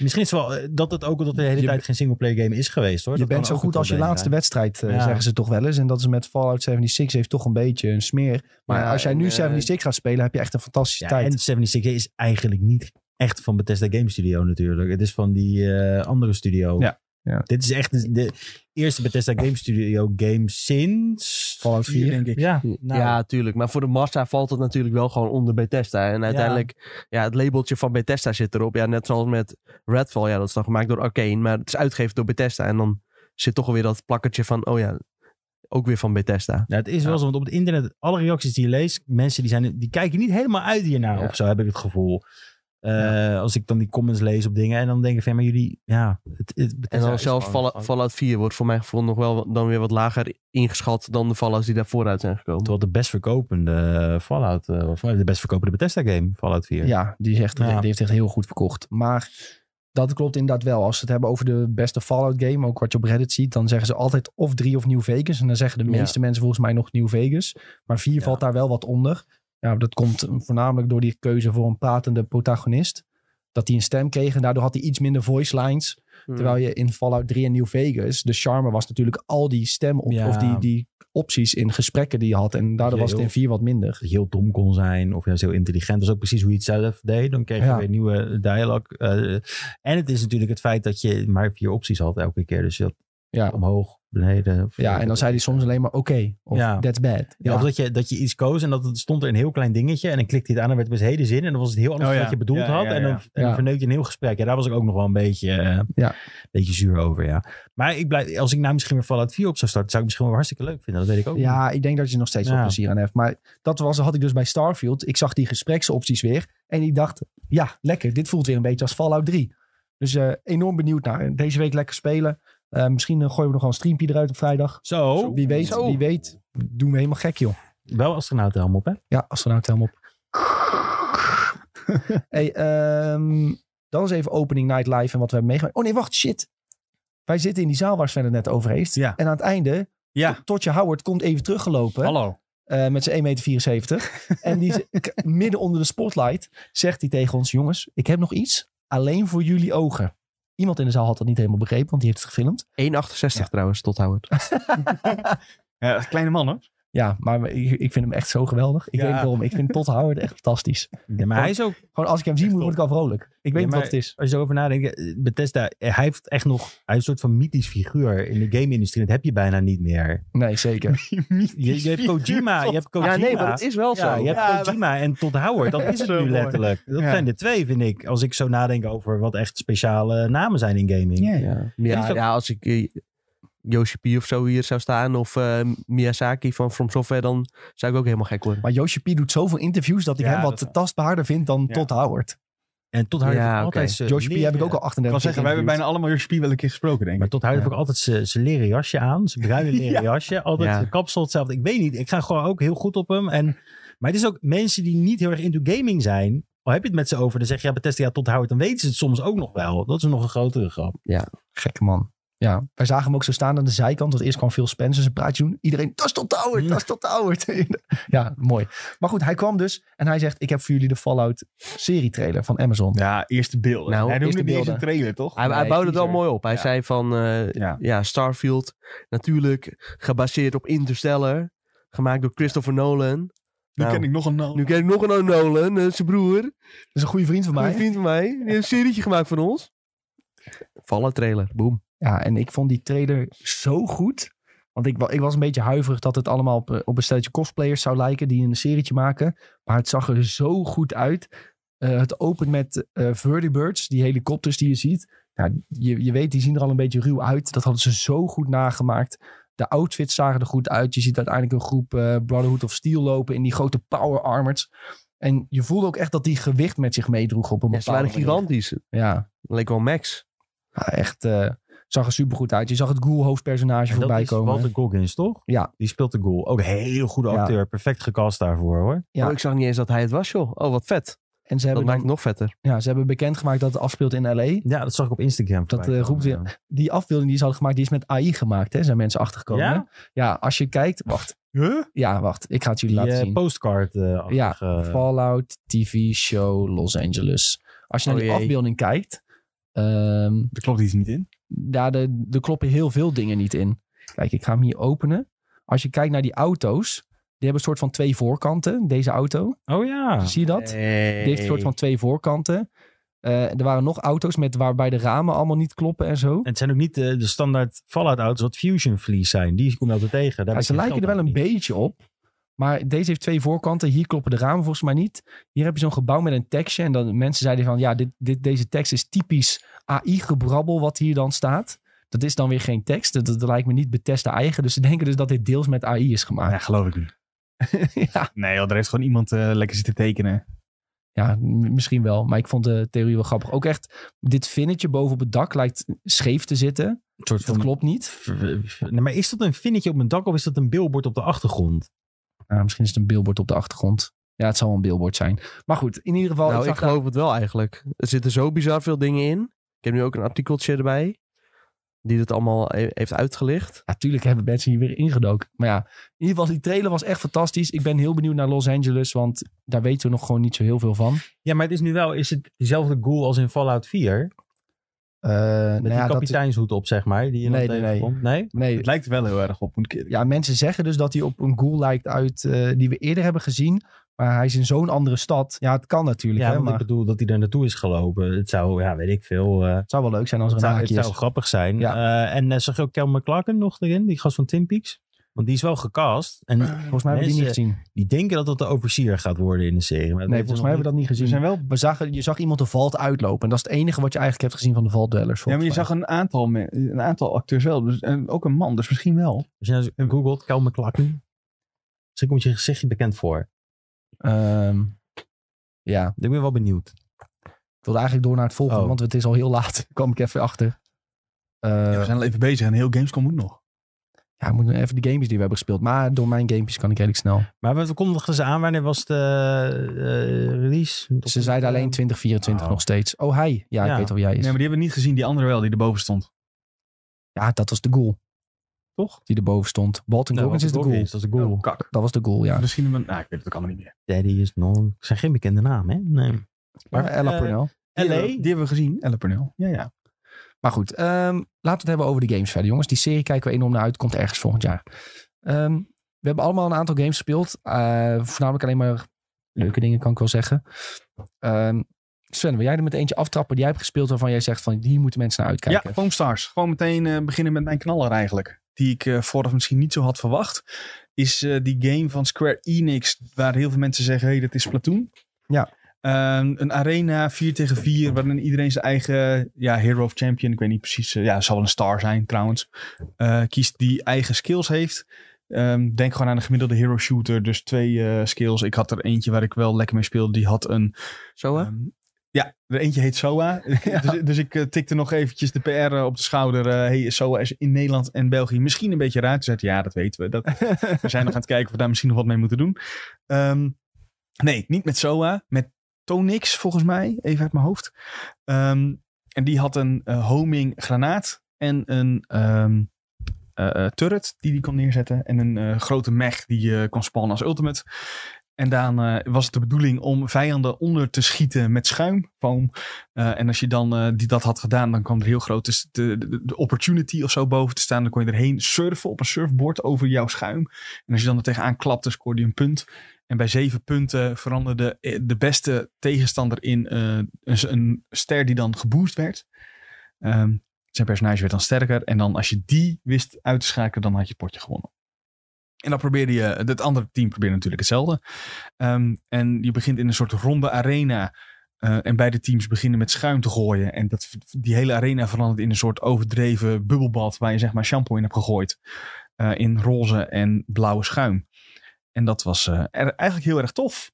[SPEAKER 4] Misschien is het wel eh, dat het ook dat er de hele
[SPEAKER 1] Je
[SPEAKER 4] tijd geen singleplayer game is geweest hoor.
[SPEAKER 1] Je
[SPEAKER 4] Dat
[SPEAKER 1] bent
[SPEAKER 4] kan
[SPEAKER 1] zo
[SPEAKER 4] ook
[SPEAKER 1] goed
[SPEAKER 4] een
[SPEAKER 1] als je
[SPEAKER 4] probleem
[SPEAKER 1] laatste
[SPEAKER 4] zijn.
[SPEAKER 1] wedstrijd, eh,
[SPEAKER 4] Ja.
[SPEAKER 1] zeggen ze toch wel eens. En dat is met Fallout 76 heeft toch een beetje een smeer. Maar
[SPEAKER 3] Ja,
[SPEAKER 1] als jij
[SPEAKER 3] en,
[SPEAKER 1] nu
[SPEAKER 3] eh,
[SPEAKER 1] 76 gaat spelen, heb je echt een fantastische
[SPEAKER 4] Ja,
[SPEAKER 1] tijd.
[SPEAKER 4] en 76 is eigenlijk niet echt van Bethesda Game Studio natuurlijk. Het is van die eh, andere studio.
[SPEAKER 2] Ja,
[SPEAKER 1] ja.
[SPEAKER 4] Dit is echt de, de eerste Bethesda Game Studio game sinds... Nou,
[SPEAKER 1] Fallout 4.
[SPEAKER 2] denk ik.
[SPEAKER 4] Ja,
[SPEAKER 3] Ja, tuurlijk. Maar voor de massa valt het natuurlijk wel gewoon onder Bethesda. En uiteindelijk, ja. het labeltje van Bethesda zit erop. Ja, net zoals met Redfall. Ja, dat is dan gemaakt door Arcane. Maar het is uitgegeven door Bethesda. En dan zit toch alweer dat plakkertje van, oh ja, ook weer van Bethesda.
[SPEAKER 4] Nou, het is wel zo, want op het internet, alle reacties die je leest, mensen die, zijn, die kijken niet helemaal uit hiernaar
[SPEAKER 3] Ja.
[SPEAKER 4] of zo, heb ik het gevoel. Eh, Als ik dan die comments lees op dingen en dan denk ik van, maar jullie, ja, het, het
[SPEAKER 3] En
[SPEAKER 4] Bethesda
[SPEAKER 3] dan
[SPEAKER 4] is
[SPEAKER 3] zelfs
[SPEAKER 4] gewoon-
[SPEAKER 3] Fallout, Fallout 4 wordt voor mijn gevoel nog wel wat- dan weer wat lager ingeschat dan de Fallouts die daarvoor uit zijn gekomen.
[SPEAKER 4] Terwijl de best verkopende Fallout eh, was, de best verkopende Bethesda game, Fallout 4.
[SPEAKER 1] Ja, die, is echt,
[SPEAKER 4] Ja.
[SPEAKER 1] die heeft echt heel goed verkocht. Maar dat klopt inderdaad wel. Als we het hebben over de beste Fallout game, ook wat je op Reddit ziet, dan zeggen ze altijd of drie of New Vegas. En dan zeggen de
[SPEAKER 3] Ja.
[SPEAKER 1] meeste mensen volgens mij nog New Vegas. Maar vier
[SPEAKER 4] Ja.
[SPEAKER 1] valt daar wel wat onder. Ja, dat komt eh, voornamelijk
[SPEAKER 4] Mm.
[SPEAKER 1] door die keuze voor een pratende protagonist. Dat hij een stem kreeg en daardoor had hij iets minder voice lines. Terwijl je in Fallout 3 en New Vegas, de charme was natuurlijk al die stem op,
[SPEAKER 4] Ja.
[SPEAKER 1] of die, die opties in gesprekken die je had. En daardoor was het in
[SPEAKER 4] Heel-
[SPEAKER 1] 4 wat minder.
[SPEAKER 4] dat je heel dom kon zijn of juist heel intelligent. Dat is ook precies hoe je het zelf deed. Dan kreeg je
[SPEAKER 1] Ja.
[SPEAKER 4] weer nieuwe dialoog. eh, en het is natuurlijk het feit dat je maar vier opties had elke keer. Dus je had
[SPEAKER 1] Ja.
[SPEAKER 4] omhoog, beneden. of-
[SPEAKER 1] Ja, en dan zei hij soms alleen maar oké. of
[SPEAKER 4] Ja.
[SPEAKER 1] that's bad.
[SPEAKER 4] Ja, Of dat je, dat je iets koos en dat het stond er een heel klein dingetje. En dan klikte hij het aan en werd het best hele zin. En dan was het heel
[SPEAKER 2] Oh
[SPEAKER 4] anders dan
[SPEAKER 2] ja.
[SPEAKER 4] wat je bedoeld
[SPEAKER 2] Ja,
[SPEAKER 4] had.
[SPEAKER 2] ja,
[SPEAKER 4] En dan,
[SPEAKER 2] ja.
[SPEAKER 4] en dan
[SPEAKER 1] Ja.
[SPEAKER 4] verneukt je een heel gesprek. Ja, daar was ik ook nog wel een beetje, eh,
[SPEAKER 1] Ja.
[SPEAKER 4] een beetje zuur over. Ja. Maar ik blijf, als ik nou misschien weer Fallout 4 op zou starten, zou ik het misschien wel hartstikke leuk vinden. Dat weet ik ook. niet.
[SPEAKER 1] Ja, ik denk dat je er nog steeds
[SPEAKER 4] Ja.
[SPEAKER 1] wel plezier aan hebt. Maar dat was, had ik dus bij Starfield. Ik zag die gespreksopties weer. En ik dacht, ja, lekker. Dit voelt weer een beetje als Fallout 3. Dus eh, enorm benieuwd naar. Deze week lekker spelen. Eh, misschien eh, gooien we nog wel een streampje eruit op vrijdag.
[SPEAKER 4] Oh, Zo,
[SPEAKER 1] Wie weet,
[SPEAKER 3] Zo.
[SPEAKER 1] wie weet. Doen we helemaal gek, joh.
[SPEAKER 4] wel astronautenhelm op, hè?
[SPEAKER 1] Ja, astronaut helm op. hey, ehm, dan is even opening night live en wat we hebben meegemaakt. Oh nee, wacht, shit. Wij zitten in die zaal waar Sven het net over heeft.
[SPEAKER 2] Ja.
[SPEAKER 1] En aan het einde,
[SPEAKER 2] Ja,
[SPEAKER 1] Totje Howard komt even teruggelopen.
[SPEAKER 2] hallo.
[SPEAKER 1] Eh, met zijn 1,74 meter. en die, z- k- midden onder de spotlight zegt hij tegen ons: Jongens, ik heb nog iets. Alleen voor jullie ogen. Iemand in de zaal had dat niet helemaal begrepen, want die heeft het gefilmd.
[SPEAKER 3] 1,68 trouwens, tot Howard.
[SPEAKER 2] Ja, kleine man, hoor.
[SPEAKER 1] Ja, maar ik, ik vind hem echt zo geweldig. Ik
[SPEAKER 2] Ja.
[SPEAKER 1] weet niet waarom. Ik vind Todd Howard echt fantastisch.
[SPEAKER 4] Ja, maar hij is ook
[SPEAKER 1] Gewoon als ik hem zie,
[SPEAKER 2] Echt
[SPEAKER 1] word ik al vrolijk. Ik weet
[SPEAKER 4] Ja,
[SPEAKER 1] niet
[SPEAKER 4] maar-
[SPEAKER 1] wat het is.
[SPEAKER 4] als je erover nadenkt, eh, Bethesda, eh, hij heeft echt nog, hij is een soort van mythisch figuur in de game-industrie. Dat heb je bijna niet meer.
[SPEAKER 1] Nee, zeker.
[SPEAKER 4] Je, je hebt Kojima, Ah, je hebt Kojima.
[SPEAKER 3] Ja, nee, maar het is wel
[SPEAKER 4] Ja,
[SPEAKER 3] zo.
[SPEAKER 4] je hebt
[SPEAKER 2] Ja,
[SPEAKER 4] Kojima en Todd Howard. Dat is het
[SPEAKER 2] Zo
[SPEAKER 4] nu
[SPEAKER 2] mooi.
[SPEAKER 4] letterlijk. Dat
[SPEAKER 2] Ja.
[SPEAKER 4] zijn de twee, vind ik. Als ik zo nadenk over wat echt speciale namen zijn in gaming.
[SPEAKER 3] Ja, ja, ja, als ik eh, Yoshi P of zo hier zou staan of eh, Miyazaki van From Software, dan zou ik ook helemaal gek worden.
[SPEAKER 1] Maar Yoshi P doet zoveel interviews dat ik
[SPEAKER 2] Ja,
[SPEAKER 1] hem wat
[SPEAKER 2] dat wel.
[SPEAKER 1] tastbaarder vind dan
[SPEAKER 2] Ja.
[SPEAKER 1] Todd Howard.
[SPEAKER 4] En Todd Howard
[SPEAKER 3] Ja,
[SPEAKER 4] heeft
[SPEAKER 3] oké.
[SPEAKER 4] altijd zijn
[SPEAKER 1] Yoshi P
[SPEAKER 4] leren-
[SPEAKER 1] heb ik ook al
[SPEAKER 2] Ik
[SPEAKER 1] 38
[SPEAKER 2] kan zeggen, wij hebben bijna allemaal Yoshi P wel een keer gesproken, denk
[SPEAKER 4] Maar
[SPEAKER 2] ik.
[SPEAKER 4] Todd Howard
[SPEAKER 1] Ja.
[SPEAKER 4] heeft ook altijd zijn- zijn leren jasje aan. Zijn bruine leren
[SPEAKER 2] Ja.
[SPEAKER 4] jasje. Altijd
[SPEAKER 3] Ja.
[SPEAKER 4] de kapsel hetzelfde. Ik weet niet. Ik ga gewoon ook heel goed op hem. En, maar het is ook mensen die niet heel erg into gaming zijn. Al heb je het met ze over. Dan zeg je ja, Bethesda, ja, Todd Howard. Dan weten ze het soms ook nog wel. Dat is nog een grotere grap.
[SPEAKER 1] Gekke man. Ja, wij zagen hem ook zo staan aan de zijkant. Want eerst kwam Phil Spencer zijn praatje doen. Iedereen, dat is tot de Howard,
[SPEAKER 4] Hmm.
[SPEAKER 1] dat is tot de Howard. ja, mooi. Maar goed, hij kwam dus en hij zegt... ik heb voor jullie de Fallout serietrailer van Amazon.
[SPEAKER 2] Ja, eerste beelden.
[SPEAKER 3] Nou,
[SPEAKER 2] hij noemde
[SPEAKER 1] eerste
[SPEAKER 2] niet eens een
[SPEAKER 1] beelden.
[SPEAKER 2] trailer, toch?
[SPEAKER 3] Hij, hij
[SPEAKER 1] Nee,
[SPEAKER 3] bouwde het wel
[SPEAKER 1] teaser.
[SPEAKER 3] mooi op. Hij
[SPEAKER 2] Ja.
[SPEAKER 3] zei van, eh,
[SPEAKER 2] Ja.
[SPEAKER 3] ja, Starfield, natuurlijk gebaseerd op Interstellar, gemaakt door Christopher Nolan.
[SPEAKER 2] Nu
[SPEAKER 3] Nou,
[SPEAKER 2] ken ik nog een naam.
[SPEAKER 3] nu ken ik nog een Nolan, eh, zijn broer,
[SPEAKER 1] Dat is een goede vriend van
[SPEAKER 3] een
[SPEAKER 1] mij.
[SPEAKER 3] vriend van mij. Die heeft een serietje gemaakt van ons. Vallen trailer, boom.
[SPEAKER 1] Ja, en ik vond die trailer zo goed. Want ik, wa- ik was een beetje huiverig dat het allemaal op, eh, op een stelletje cosplayers zou lijken... die een serietje maken. Maar het zag er zo goed uit. Eh, het opent met eh Vertibirds, die helikopters die je ziet. Nou, je, je weet, die zien er al een beetje ruw uit. Dat hadden ze zo goed nagemaakt. De outfits zagen er goed uit. Je ziet uiteindelijk een groep eh, Brotherhood of Steel lopen... in die grote power armors. En je voelde ook echt dat die gewicht met zich meedroeg op een
[SPEAKER 3] Ja, ze waren
[SPEAKER 1] bepaalde manier.
[SPEAKER 3] gigantisch.
[SPEAKER 1] Ja,
[SPEAKER 3] Leek wel Max.
[SPEAKER 1] ja, echt, eh, zag er supergoed uit. Je zag het ghoul hoofdpersonage
[SPEAKER 4] En dat
[SPEAKER 1] voorbij
[SPEAKER 4] is
[SPEAKER 1] komen.
[SPEAKER 4] Walter Goggins, toch?
[SPEAKER 1] Ja.
[SPEAKER 4] Die speelt de goal. Ook een hele goede
[SPEAKER 1] Ja.
[SPEAKER 4] acteur. Perfect gecast daarvoor, hoor.
[SPEAKER 1] Ja.
[SPEAKER 3] Oh, ik zag niet eens dat hij het was, joh. Oh, wat vet.
[SPEAKER 1] En ze
[SPEAKER 3] Dat
[SPEAKER 1] hebben,
[SPEAKER 3] maakt het
[SPEAKER 1] dan-
[SPEAKER 3] nog vetter.
[SPEAKER 1] ja, ze hebben bekendgemaakt dat het afspeelt in L.A.
[SPEAKER 4] Ja, dat zag ik op Instagram. voorbij
[SPEAKER 1] eh, roept
[SPEAKER 4] komen,
[SPEAKER 1] Die afbeelding die ze hadden gemaakt, die is met AI gemaakt. Hè? Zijn mensen
[SPEAKER 4] ja.
[SPEAKER 1] achtergekomen.
[SPEAKER 4] Ja,
[SPEAKER 1] Ja, als je kijkt... Wacht.
[SPEAKER 2] Huh?
[SPEAKER 1] Ja, wacht. Ik ga het jullie
[SPEAKER 4] die
[SPEAKER 1] laten
[SPEAKER 4] eh,
[SPEAKER 1] zien.
[SPEAKER 4] postcard. eh,
[SPEAKER 1] Ja,
[SPEAKER 4] achtige-
[SPEAKER 1] Fallout TV show Los Angeles. Als je naar
[SPEAKER 3] Oh
[SPEAKER 1] die
[SPEAKER 3] jee.
[SPEAKER 1] afbeelding kijkt... ehm,
[SPEAKER 2] Er klopt iets niet in.
[SPEAKER 1] ja, er er kloppen heel veel dingen niet in. Kijk, ik ga hem hier openen. Als je kijkt naar die auto's... Die hebben een soort van twee voorkanten, deze auto.
[SPEAKER 4] Oh
[SPEAKER 2] Ah.
[SPEAKER 4] ja.
[SPEAKER 1] Zie je dat? Die heeft een soort van twee voorkanten. Eh, er waren nog auto's met waarbij de ramen allemaal niet kloppen en zo.
[SPEAKER 4] En het zijn ook niet eh, de, de standaard Fallout auto's wat Fusion Fleece zijn. Die kom je altijd tegen. Daar
[SPEAKER 1] Ja,
[SPEAKER 4] heb
[SPEAKER 1] ze
[SPEAKER 4] ik geen
[SPEAKER 1] lijken er
[SPEAKER 4] geld
[SPEAKER 1] wel een
[SPEAKER 4] aan
[SPEAKER 1] beetje op. Maar deze heeft twee voorkanten. Hier kloppen de ramen volgens mij niet. Hier heb je zo'n gebouw met een tekstje. En dan mensen zeiden van ja, dit, dit, deze tekst is typisch AI-gebrabbel wat hier dan staat. Dat is dan weer geen tekst. Dat, dat lijkt me niet Bethesda eigen. Dus ze denken dus dat dit deels met AI is
[SPEAKER 2] Ja,
[SPEAKER 1] gemaakt.
[SPEAKER 2] geloof ik niet.
[SPEAKER 1] ja.
[SPEAKER 2] Nee, joh, er heeft gewoon iemand eh, lekker zitten tekenen.
[SPEAKER 1] Ja, m- misschien wel. Maar ik vond de theorie wel grappig. Ook echt, dit vinnetje boven op het dak lijkt scheef te zitten.
[SPEAKER 4] Een soort
[SPEAKER 1] Dat
[SPEAKER 4] van...
[SPEAKER 1] klopt niet.
[SPEAKER 4] Nee, maar is dat een vinnetje op mijn dak of is dat een billboard op de achtergrond?
[SPEAKER 1] Nou, misschien is het een billboard op de achtergrond. Ja, het zal wel een billboard zijn. Maar goed, in ieder geval.
[SPEAKER 3] Nou,
[SPEAKER 1] zag
[SPEAKER 3] ik geloof het wel eigenlijk. Er zitten zo bizar veel dingen in. Ik heb nu ook een artikeltje erbij. Die dat allemaal he- heeft uitgelicht.
[SPEAKER 1] Natuurlijk hebben mensen hier weer ingedoken. Maar ja, in ieder geval, die trailer was echt fantastisch. Ik ben heel benieuwd naar Los Angeles, want daar
[SPEAKER 4] Eh,
[SPEAKER 1] weten we nog gewoon niet zo heel veel van.
[SPEAKER 4] Ja, maar het is nu wel, is het dezelfde goal als in Fallout 4?
[SPEAKER 1] Eh, nou
[SPEAKER 4] Met
[SPEAKER 1] ja,
[SPEAKER 4] die
[SPEAKER 1] dat-
[SPEAKER 4] kapiteinshoed op, zeg maar. Die je
[SPEAKER 1] Nee,
[SPEAKER 4] dan
[SPEAKER 1] nee, nee.
[SPEAKER 4] tegenkomt. Nee?
[SPEAKER 1] nee,
[SPEAKER 2] Het lijkt er wel heel erg op, moet ik eerlijk
[SPEAKER 1] ja, mensen zeggen dus dat hij op een ghoul lijkt uit eh, die we eerder hebben gezien. Maar hij is in zo'n andere stad. Ja, het kan natuurlijk,
[SPEAKER 4] Ja,
[SPEAKER 1] hè,
[SPEAKER 4] want
[SPEAKER 1] maar
[SPEAKER 4] ik bedoel dat hij er naartoe is gelopen. Het zou, ja, weet ik veel. eh,
[SPEAKER 1] het zou wel leuk zijn als er
[SPEAKER 4] het
[SPEAKER 1] een
[SPEAKER 4] zou, het
[SPEAKER 1] haakje
[SPEAKER 4] zou
[SPEAKER 1] is.
[SPEAKER 4] grappig zijn.
[SPEAKER 1] Ja.
[SPEAKER 4] Eh, en eh, zag je ook Kel McClarken nog erin? Die gast van Tim Peaks? Want die is wel gecast. En
[SPEAKER 1] Volgens mij hebben we die niet
[SPEAKER 4] Mensen-
[SPEAKER 1] gezien.
[SPEAKER 4] die denken dat dat de overseer gaat worden in de serie. Maar
[SPEAKER 1] Nee,
[SPEAKER 4] dat weten
[SPEAKER 1] volgens
[SPEAKER 4] ze
[SPEAKER 1] mij
[SPEAKER 4] nog
[SPEAKER 1] hebben we dat niet
[SPEAKER 2] We
[SPEAKER 1] gezien.
[SPEAKER 2] Dus zijn wel...
[SPEAKER 1] We zagen, je zag iemand de valt uitlopen. En dat is het enige wat je eigenlijk hebt gezien van de valdwellers.
[SPEAKER 2] Ja, maar je zag een aantal, me- een aantal acteurs wel. Dus, en ook een man, dus misschien wel.
[SPEAKER 4] niet. Als je nou eens googelt, Kel McClarken. Misschien komt je gezichtje bekend voor.
[SPEAKER 1] Ehm, ja,
[SPEAKER 4] Ik ben wel benieuwd.
[SPEAKER 1] ik wilde eigenlijk door naar het volgende,
[SPEAKER 4] Oh.
[SPEAKER 1] want het is al heel laat. kwam ik even achter. Eh,
[SPEAKER 2] Ja, we zijn al even bezig en heel Gamescom moet nog.
[SPEAKER 1] ja, ik moet nog even de games die we hebben gespeeld. Maar door mijn gamepjes kan ik redelijk snel.
[SPEAKER 4] Maar wat kondigden ze aan? Wanneer was de eh, release?
[SPEAKER 1] Ze zeiden alleen 2024
[SPEAKER 4] Oh.
[SPEAKER 1] nog steeds. Oh, hij. Ja,
[SPEAKER 4] Ja.
[SPEAKER 1] ik weet al wie hij
[SPEAKER 2] Nee,
[SPEAKER 1] is.
[SPEAKER 2] maar die hebben we niet gezien. Die andere wel, die erboven stond.
[SPEAKER 1] Ja, dat was de goal
[SPEAKER 2] Toch?
[SPEAKER 1] die erboven stond. Walton
[SPEAKER 4] Nou,
[SPEAKER 1] Goggins is de goal.
[SPEAKER 4] Goggins, Dat is de goal.
[SPEAKER 2] Oh, kak.
[SPEAKER 1] Dat was de goal, ja.
[SPEAKER 2] Misschien, een- nou, ik weet het ook allemaal niet meer.
[SPEAKER 4] Daddy is nog... Het zijn geen bekende namen, hè? Nee.
[SPEAKER 1] Maar
[SPEAKER 4] Maar,
[SPEAKER 1] Ella
[SPEAKER 4] eh,
[SPEAKER 1] Purnell.
[SPEAKER 2] Die
[SPEAKER 4] LA?
[SPEAKER 2] hebben we- Hmm. Die hebben we gezien, Elle Purnell. Ja, ja.
[SPEAKER 1] Maar goed, ehm, laten we het hebben over de games verder, jongens. Die serie kijken we enorm naar uit. Komt ergens volgend jaar. Ehm, we hebben allemaal een aantal games gespeeld. Eh, voornamelijk alleen maar leuke dingen, kan ik wel zeggen. Ehm, Sven, wil jij er met eentje aftrappen die jij hebt gespeeld... waarvan jij zegt van hier moeten mensen naar uitkijken?
[SPEAKER 2] Ja, Foam Stars. Gewoon meteen eh, beginnen met mijn knaller eigenlijk. Die ik eh vorig misschien niet zo had verwacht. Is eh, die game van Square Enix. Waar heel veel mensen zeggen, hé, hey, dat is Platoon.
[SPEAKER 1] Ja.
[SPEAKER 2] Ehm, een arena, 4 tegen 4. Waarin iedereen zijn eigen ja, hero of champion. Ik weet niet precies. eh, ja, het zal wel een star zijn trouwens. eh, kiest die eigen skills heeft. Ehm, denk gewoon aan een gemiddelde hero shooter. Dus twee eh, skills. Ik had er eentje waar ik wel lekker mee speelde. Die had een
[SPEAKER 3] Zo hè?
[SPEAKER 2] Ehm, ja, er eentje heet SOA. dus, dus ik eh, tikte nog eventjes de PR op de schouder. eh hey, SOA is in Nederland en België misschien een beetje raar. Toen zei hij, ja, dat weten we. Dat, we zijn nog aan het kijken of we daar misschien nog wat mee moeten doen. Ehm, nee, niet met SOA. Met Tonix, volgens mij. Even uit mijn hoofd. Ehm, en die had een eh, homing granaat en een ehm, eh, eh, turret die die kon neerzetten. En een eh, grote mech die je kon spannen als ultimate. En dan eh, was het de bedoeling om vijanden onder te schieten met schuimfoam. Eh, en als je dan eh, die dat had gedaan, dan kwam er heel groot dus de, de, de opportunity of zo boven te staan. Dan kon je erheen surfen op een surfboard over jouw schuim. En als je dan er tegenaan klapte, scoorde je een punt. En bij zeven punten veranderde eh, de beste tegenstander in eh, een, een ster die dan geboost werd. Ehm, zijn personage werd dan sterker. En dan als je die wist uit te schakelen, dan had je het potje gewonnen. En dan probeerde je, het andere team probeerde natuurlijk hetzelfde. Ehm, en je begint in een soort ronde arena. eh, en beide teams beginnen met schuim te gooien. En dat, die hele arena verandert in een soort overdreven bubbelbad. Waar je zeg maar shampoo in hebt gegooid. eh, in roze en blauwe schuim. En dat was eh, er- eigenlijk heel erg tof.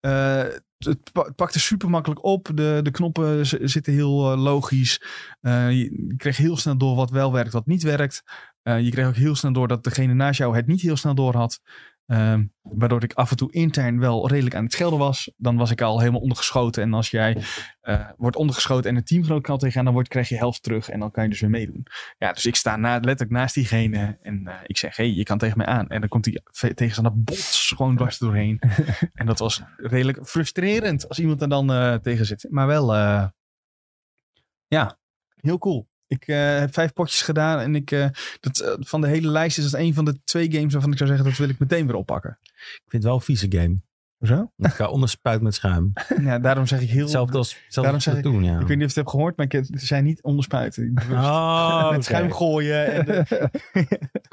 [SPEAKER 2] Eh, het, pa- het pakte super makkelijk op. De, de knoppen z- zitten heel eh, logisch. Eh, je, je kreeg heel snel door wat wel werkt, wat niet werkt. Eh, je kreeg ook heel snel door dat degene naast jou het niet heel snel door had. Ehm, waardoor ik af en toe intern wel redelijk aan het schelden was. Dan was ik al helemaal ondergeschoten. En als jij eh, wordt ondergeschoten en een teamgenoot kan tegenaan, dan wordt, krijg je helft terug. En dan kan je dus weer meedoen. Ja, dus ik sta na, letterlijk naast diegene. En eh, ik zeg, hé, hey, je kan tegen mij aan. En dan komt die ve- tegenstander bots gewoon dwars er doorheen. en dat was redelijk frustrerend als iemand er dan eh, tegen zit. Maar wel, eh, ja, heel cool. Ik eh, heb vijf potjes gedaan en ik, eh, dat, eh, van de hele lijst is dat een van de twee games waarvan ik zou zeggen dat wil ik meteen weer oppakken.
[SPEAKER 4] Ik vind het wel een vieze game.
[SPEAKER 2] Zo?
[SPEAKER 4] Dat elkaar onderspuit met schuim.
[SPEAKER 2] Ja, daarom zeg ik heel...
[SPEAKER 4] Hetzelfde als, hetzelfde
[SPEAKER 2] Daarom
[SPEAKER 4] als
[SPEAKER 2] zeg ik-
[SPEAKER 4] Platoon, ja.
[SPEAKER 2] Ik weet niet of je het hebt gehoord, maar ik, eh, ze zijn niet onderspuiten.
[SPEAKER 4] Oh,
[SPEAKER 2] Met
[SPEAKER 4] oké.
[SPEAKER 2] schuim gooien. En de-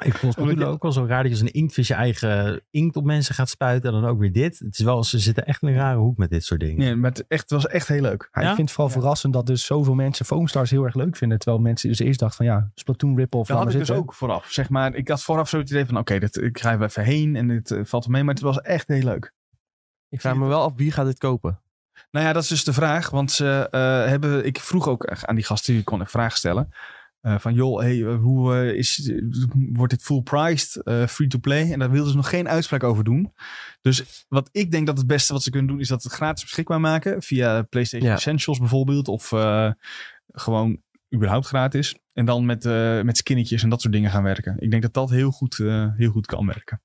[SPEAKER 4] Ik vond het
[SPEAKER 2] Omdat je-
[SPEAKER 4] ook wel zo raar dat je als een inktvis je eigen inkt op mensen gaat spuiten en dan ook weer dit. Het is wel, ze zitten echt in een rare hoek met dit soort dingen.
[SPEAKER 2] nee, maar het, echt, het was echt heel leuk.
[SPEAKER 1] Ja,
[SPEAKER 4] Ja?
[SPEAKER 1] Ik vind het vooral
[SPEAKER 2] Ja.
[SPEAKER 1] verrassend dat dus zoveel mensen Foamstars heel erg leuk vinden. Terwijl mensen dus eerst dachten van ja, Splatoon rip-off.
[SPEAKER 2] Dat
[SPEAKER 1] laat
[SPEAKER 2] had ik
[SPEAKER 1] maar
[SPEAKER 2] dus
[SPEAKER 1] zitten.
[SPEAKER 2] ook vooraf. Zeg maar, ik had vooraf zo het idee van, oké, dit- ik ga er even heen en dit eh, valt wel mee. Maar het was echt heel leuk.
[SPEAKER 3] Ik vraag me wel af wie gaat dit kopen.
[SPEAKER 2] Nou ja, dat is dus de vraag. Want ze eh, hebben. Ik vroeg ook aan die gasten, die kon een vraag stellen. eh, van joh, hey, eh, hoe eh, is, wordt dit full priced, eh, free to play? En daar wilden ze nog geen uitspraak over doen. Dus wat ik denk dat het beste wat ze kunnen doen, is dat het gratis beschikbaar maken. Via PlayStation
[SPEAKER 3] Ja.
[SPEAKER 2] Essentials bijvoorbeeld. Of eh, gewoon überhaupt gratis. En dan met, eh, met skinnetjes en dat soort dingen gaan werken. Ik denk dat dat heel goed, eh, heel goed kan werken.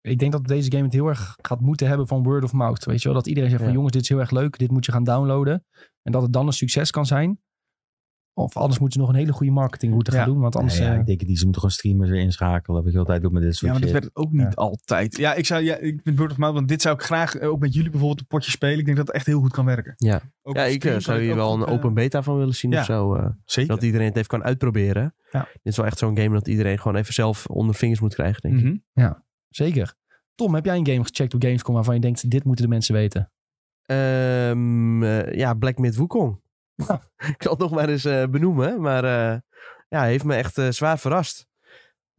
[SPEAKER 1] Ik denk dat deze game het heel erg gaat moeten hebben van word of mouth. Weet je wel? Dat iedereen zegt van
[SPEAKER 3] Ja.
[SPEAKER 1] jongens, dit is heel erg leuk. Dit moet je gaan downloaden. En dat het dan een succes kan zijn. Of anders moeten ze nog een hele goede marketingroute gaan
[SPEAKER 2] Ja.
[SPEAKER 1] doen. Want
[SPEAKER 4] Nee,
[SPEAKER 1] anders...
[SPEAKER 4] ja,
[SPEAKER 1] eh,
[SPEAKER 4] ik denk het niet. Ze moeten gewoon streamers weer inschakelen. Wat je altijd doet met dit soort
[SPEAKER 2] Ja, maar dat
[SPEAKER 4] shit.
[SPEAKER 2] werd het ook niet altijd. Ja, ik zou, ja, ik ben Bird of Mouth, want dit zou ik graag eh, ook met jullie bijvoorbeeld een potje spelen. Ik denk dat het echt heel goed kan werken.
[SPEAKER 3] Ja.
[SPEAKER 2] Ook
[SPEAKER 3] Ja,
[SPEAKER 2] als
[SPEAKER 3] ik
[SPEAKER 2] team
[SPEAKER 3] eh,
[SPEAKER 2] kan
[SPEAKER 3] zou
[SPEAKER 2] ik
[SPEAKER 3] hier
[SPEAKER 2] ook
[SPEAKER 3] wel een
[SPEAKER 2] goed, eh,
[SPEAKER 3] open beta van willen zien
[SPEAKER 2] ja.
[SPEAKER 3] of zo. eh,
[SPEAKER 2] Zeker.
[SPEAKER 3] dat iedereen het even kan uitproberen.
[SPEAKER 1] Ja.
[SPEAKER 3] Dit is wel echt zo'n game dat iedereen gewoon even zelf onder vingers moet krijgen, denk ik.
[SPEAKER 2] Mhm.
[SPEAKER 1] Zeker. Tom, heb jij een game gecheckt op Gamescom waarvan je denkt, dit moeten de mensen weten?
[SPEAKER 3] Ehm, eh, ja, Black Myth Wukong. ik zal het nog maar eens eh, benoemen. Maar eh, ja, heeft me echt eh, zwaar verrast.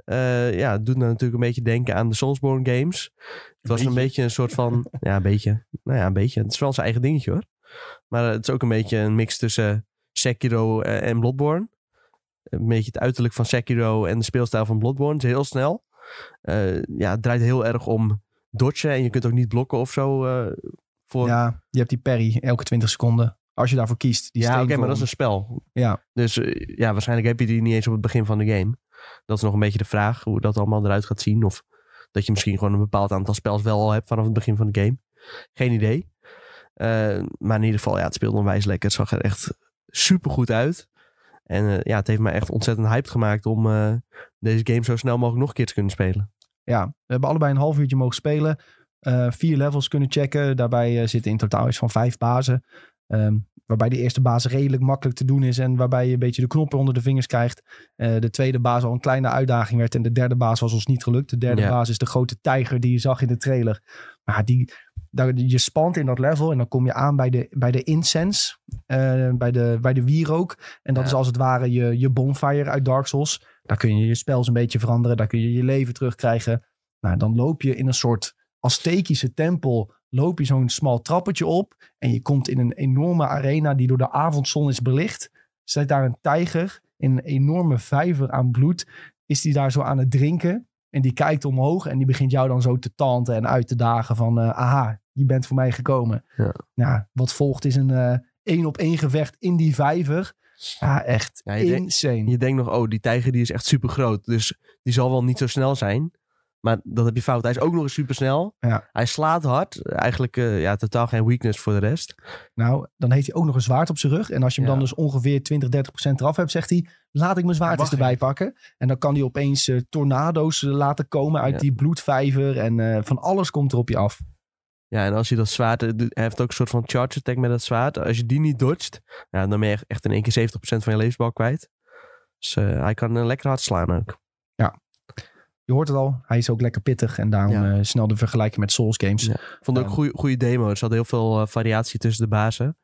[SPEAKER 3] Eh, ja, het doet me natuurlijk een beetje denken aan de Soulsborne games. Het was een beetje een soort van... ja, een beetje. Nou ja, een beetje. Het is wel zijn eigen dingetje hoor. Maar eh, het is ook een beetje een mix tussen Sekiro eh, en Bloodborne. Een beetje het uiterlijk van Sekiro en de speelstijl van Bloodborne. Het is heel snel. Eh, ja, het draait heel erg om dodgen. En je kunt ook niet blokken of zo. eh, voor
[SPEAKER 1] Ja, je hebt die parry elke 20 seconden. Als je daarvoor kiest. Die
[SPEAKER 3] ja, oké, maar
[SPEAKER 1] steenvorm.
[SPEAKER 3] dat is een spel.
[SPEAKER 1] Ja.
[SPEAKER 3] Dus eh, ja, waarschijnlijk heb je die niet eens op het begin van de game. Dat is nog een beetje de vraag hoe dat allemaal eruit gaat zien. Of dat je misschien gewoon een bepaald aantal spels wel al hebt vanaf het begin van de game. Geen idee. Eh, maar in ieder geval, ja, het speelde onwijs lekker. Het zag er echt supergoed uit. En eh, ja, het heeft mij echt ontzettend hyped gemaakt om eh, deze game zo snel mogelijk nog een keer te kunnen spelen.
[SPEAKER 1] Ja, we hebben allebei een half uurtje mogen spelen. Eh, vier levels kunnen checken. Daarbij eh, zitten in totaal iets van vijf bazen. Ehm, waarbij de eerste baas redelijk makkelijk te doen is. En waarbij je een beetje de knoppen onder de vingers krijgt. Eh, de tweede baas al een kleine uitdaging werd. En de derde baas was ons niet gelukt. De derde
[SPEAKER 3] Ja.
[SPEAKER 1] baas is de grote tijger die je zag in de trailer. Maar die, daar, je spant in dat level. En dan kom je aan bij de, bij de incense. eh, bij, de, bij de wierook. En dat
[SPEAKER 3] Ja.
[SPEAKER 1] is als het ware je, je bonfire uit Dark Souls. Daar kun je je spels een beetje veranderen. Daar kun je je leven terugkrijgen. Nou, dan loop je in een soort Aztekische tempel. Loop je zo'n smal trappetje op. En je komt in een enorme arena die door de avondzon is belicht. Zit daar een tijger in een enorme vijver aan bloed. Is die daar zo aan het drinken. En die kijkt omhoog en die begint jou dan zo te tanten en uit te dagen van... eh, aha, je bent voor mij gekomen.
[SPEAKER 3] Ja.
[SPEAKER 1] Nou, wat volgt is een eh, één op één gevecht in die vijver. Ja, echt
[SPEAKER 3] Ja, je denkt-
[SPEAKER 1] insane.
[SPEAKER 3] Je denkt nog, oh, die tijger die is echt super groot. Dus die zal wel niet zo snel zijn. Maar dat heb je fout. Hij is ook nog eens super snel.
[SPEAKER 1] Ja.
[SPEAKER 3] Hij slaat hard. Eigenlijk eh, ja, totaal geen weakness voor de rest.
[SPEAKER 1] Nou, dan heeft hij ook nog een zwaard op zijn rug. En als je hem
[SPEAKER 3] Ja.
[SPEAKER 1] dan dus ongeveer 20, 30 procent eraf hebt, zegt hij... laat ik mijn zwaard eens
[SPEAKER 2] Wacht
[SPEAKER 1] erbij pakken. En dan kan hij opeens eh, tornado's eh, laten komen uit
[SPEAKER 3] Ja.
[SPEAKER 1] die bloedvijver. En eh, van alles komt er op je af.
[SPEAKER 3] Ja, en als je dat zwaard... eh, doet- Hij heeft ook een soort van charge attack met dat zwaard. Als je die niet dodgt, ja, dan ben je echt in één keer 70% van je levensbal kwijt. Dus eh, hij kan eh, lekker hard slaan ook.
[SPEAKER 1] Je hoort het al, hij is ook lekker pittig. En daarom
[SPEAKER 3] Ja.
[SPEAKER 1] eh, snel de vergelijking met Souls games.
[SPEAKER 3] Ja. Vond ook
[SPEAKER 1] Ja.
[SPEAKER 3] een goeie- goede demo. Er zat heel veel eh, variatie tussen de bazen.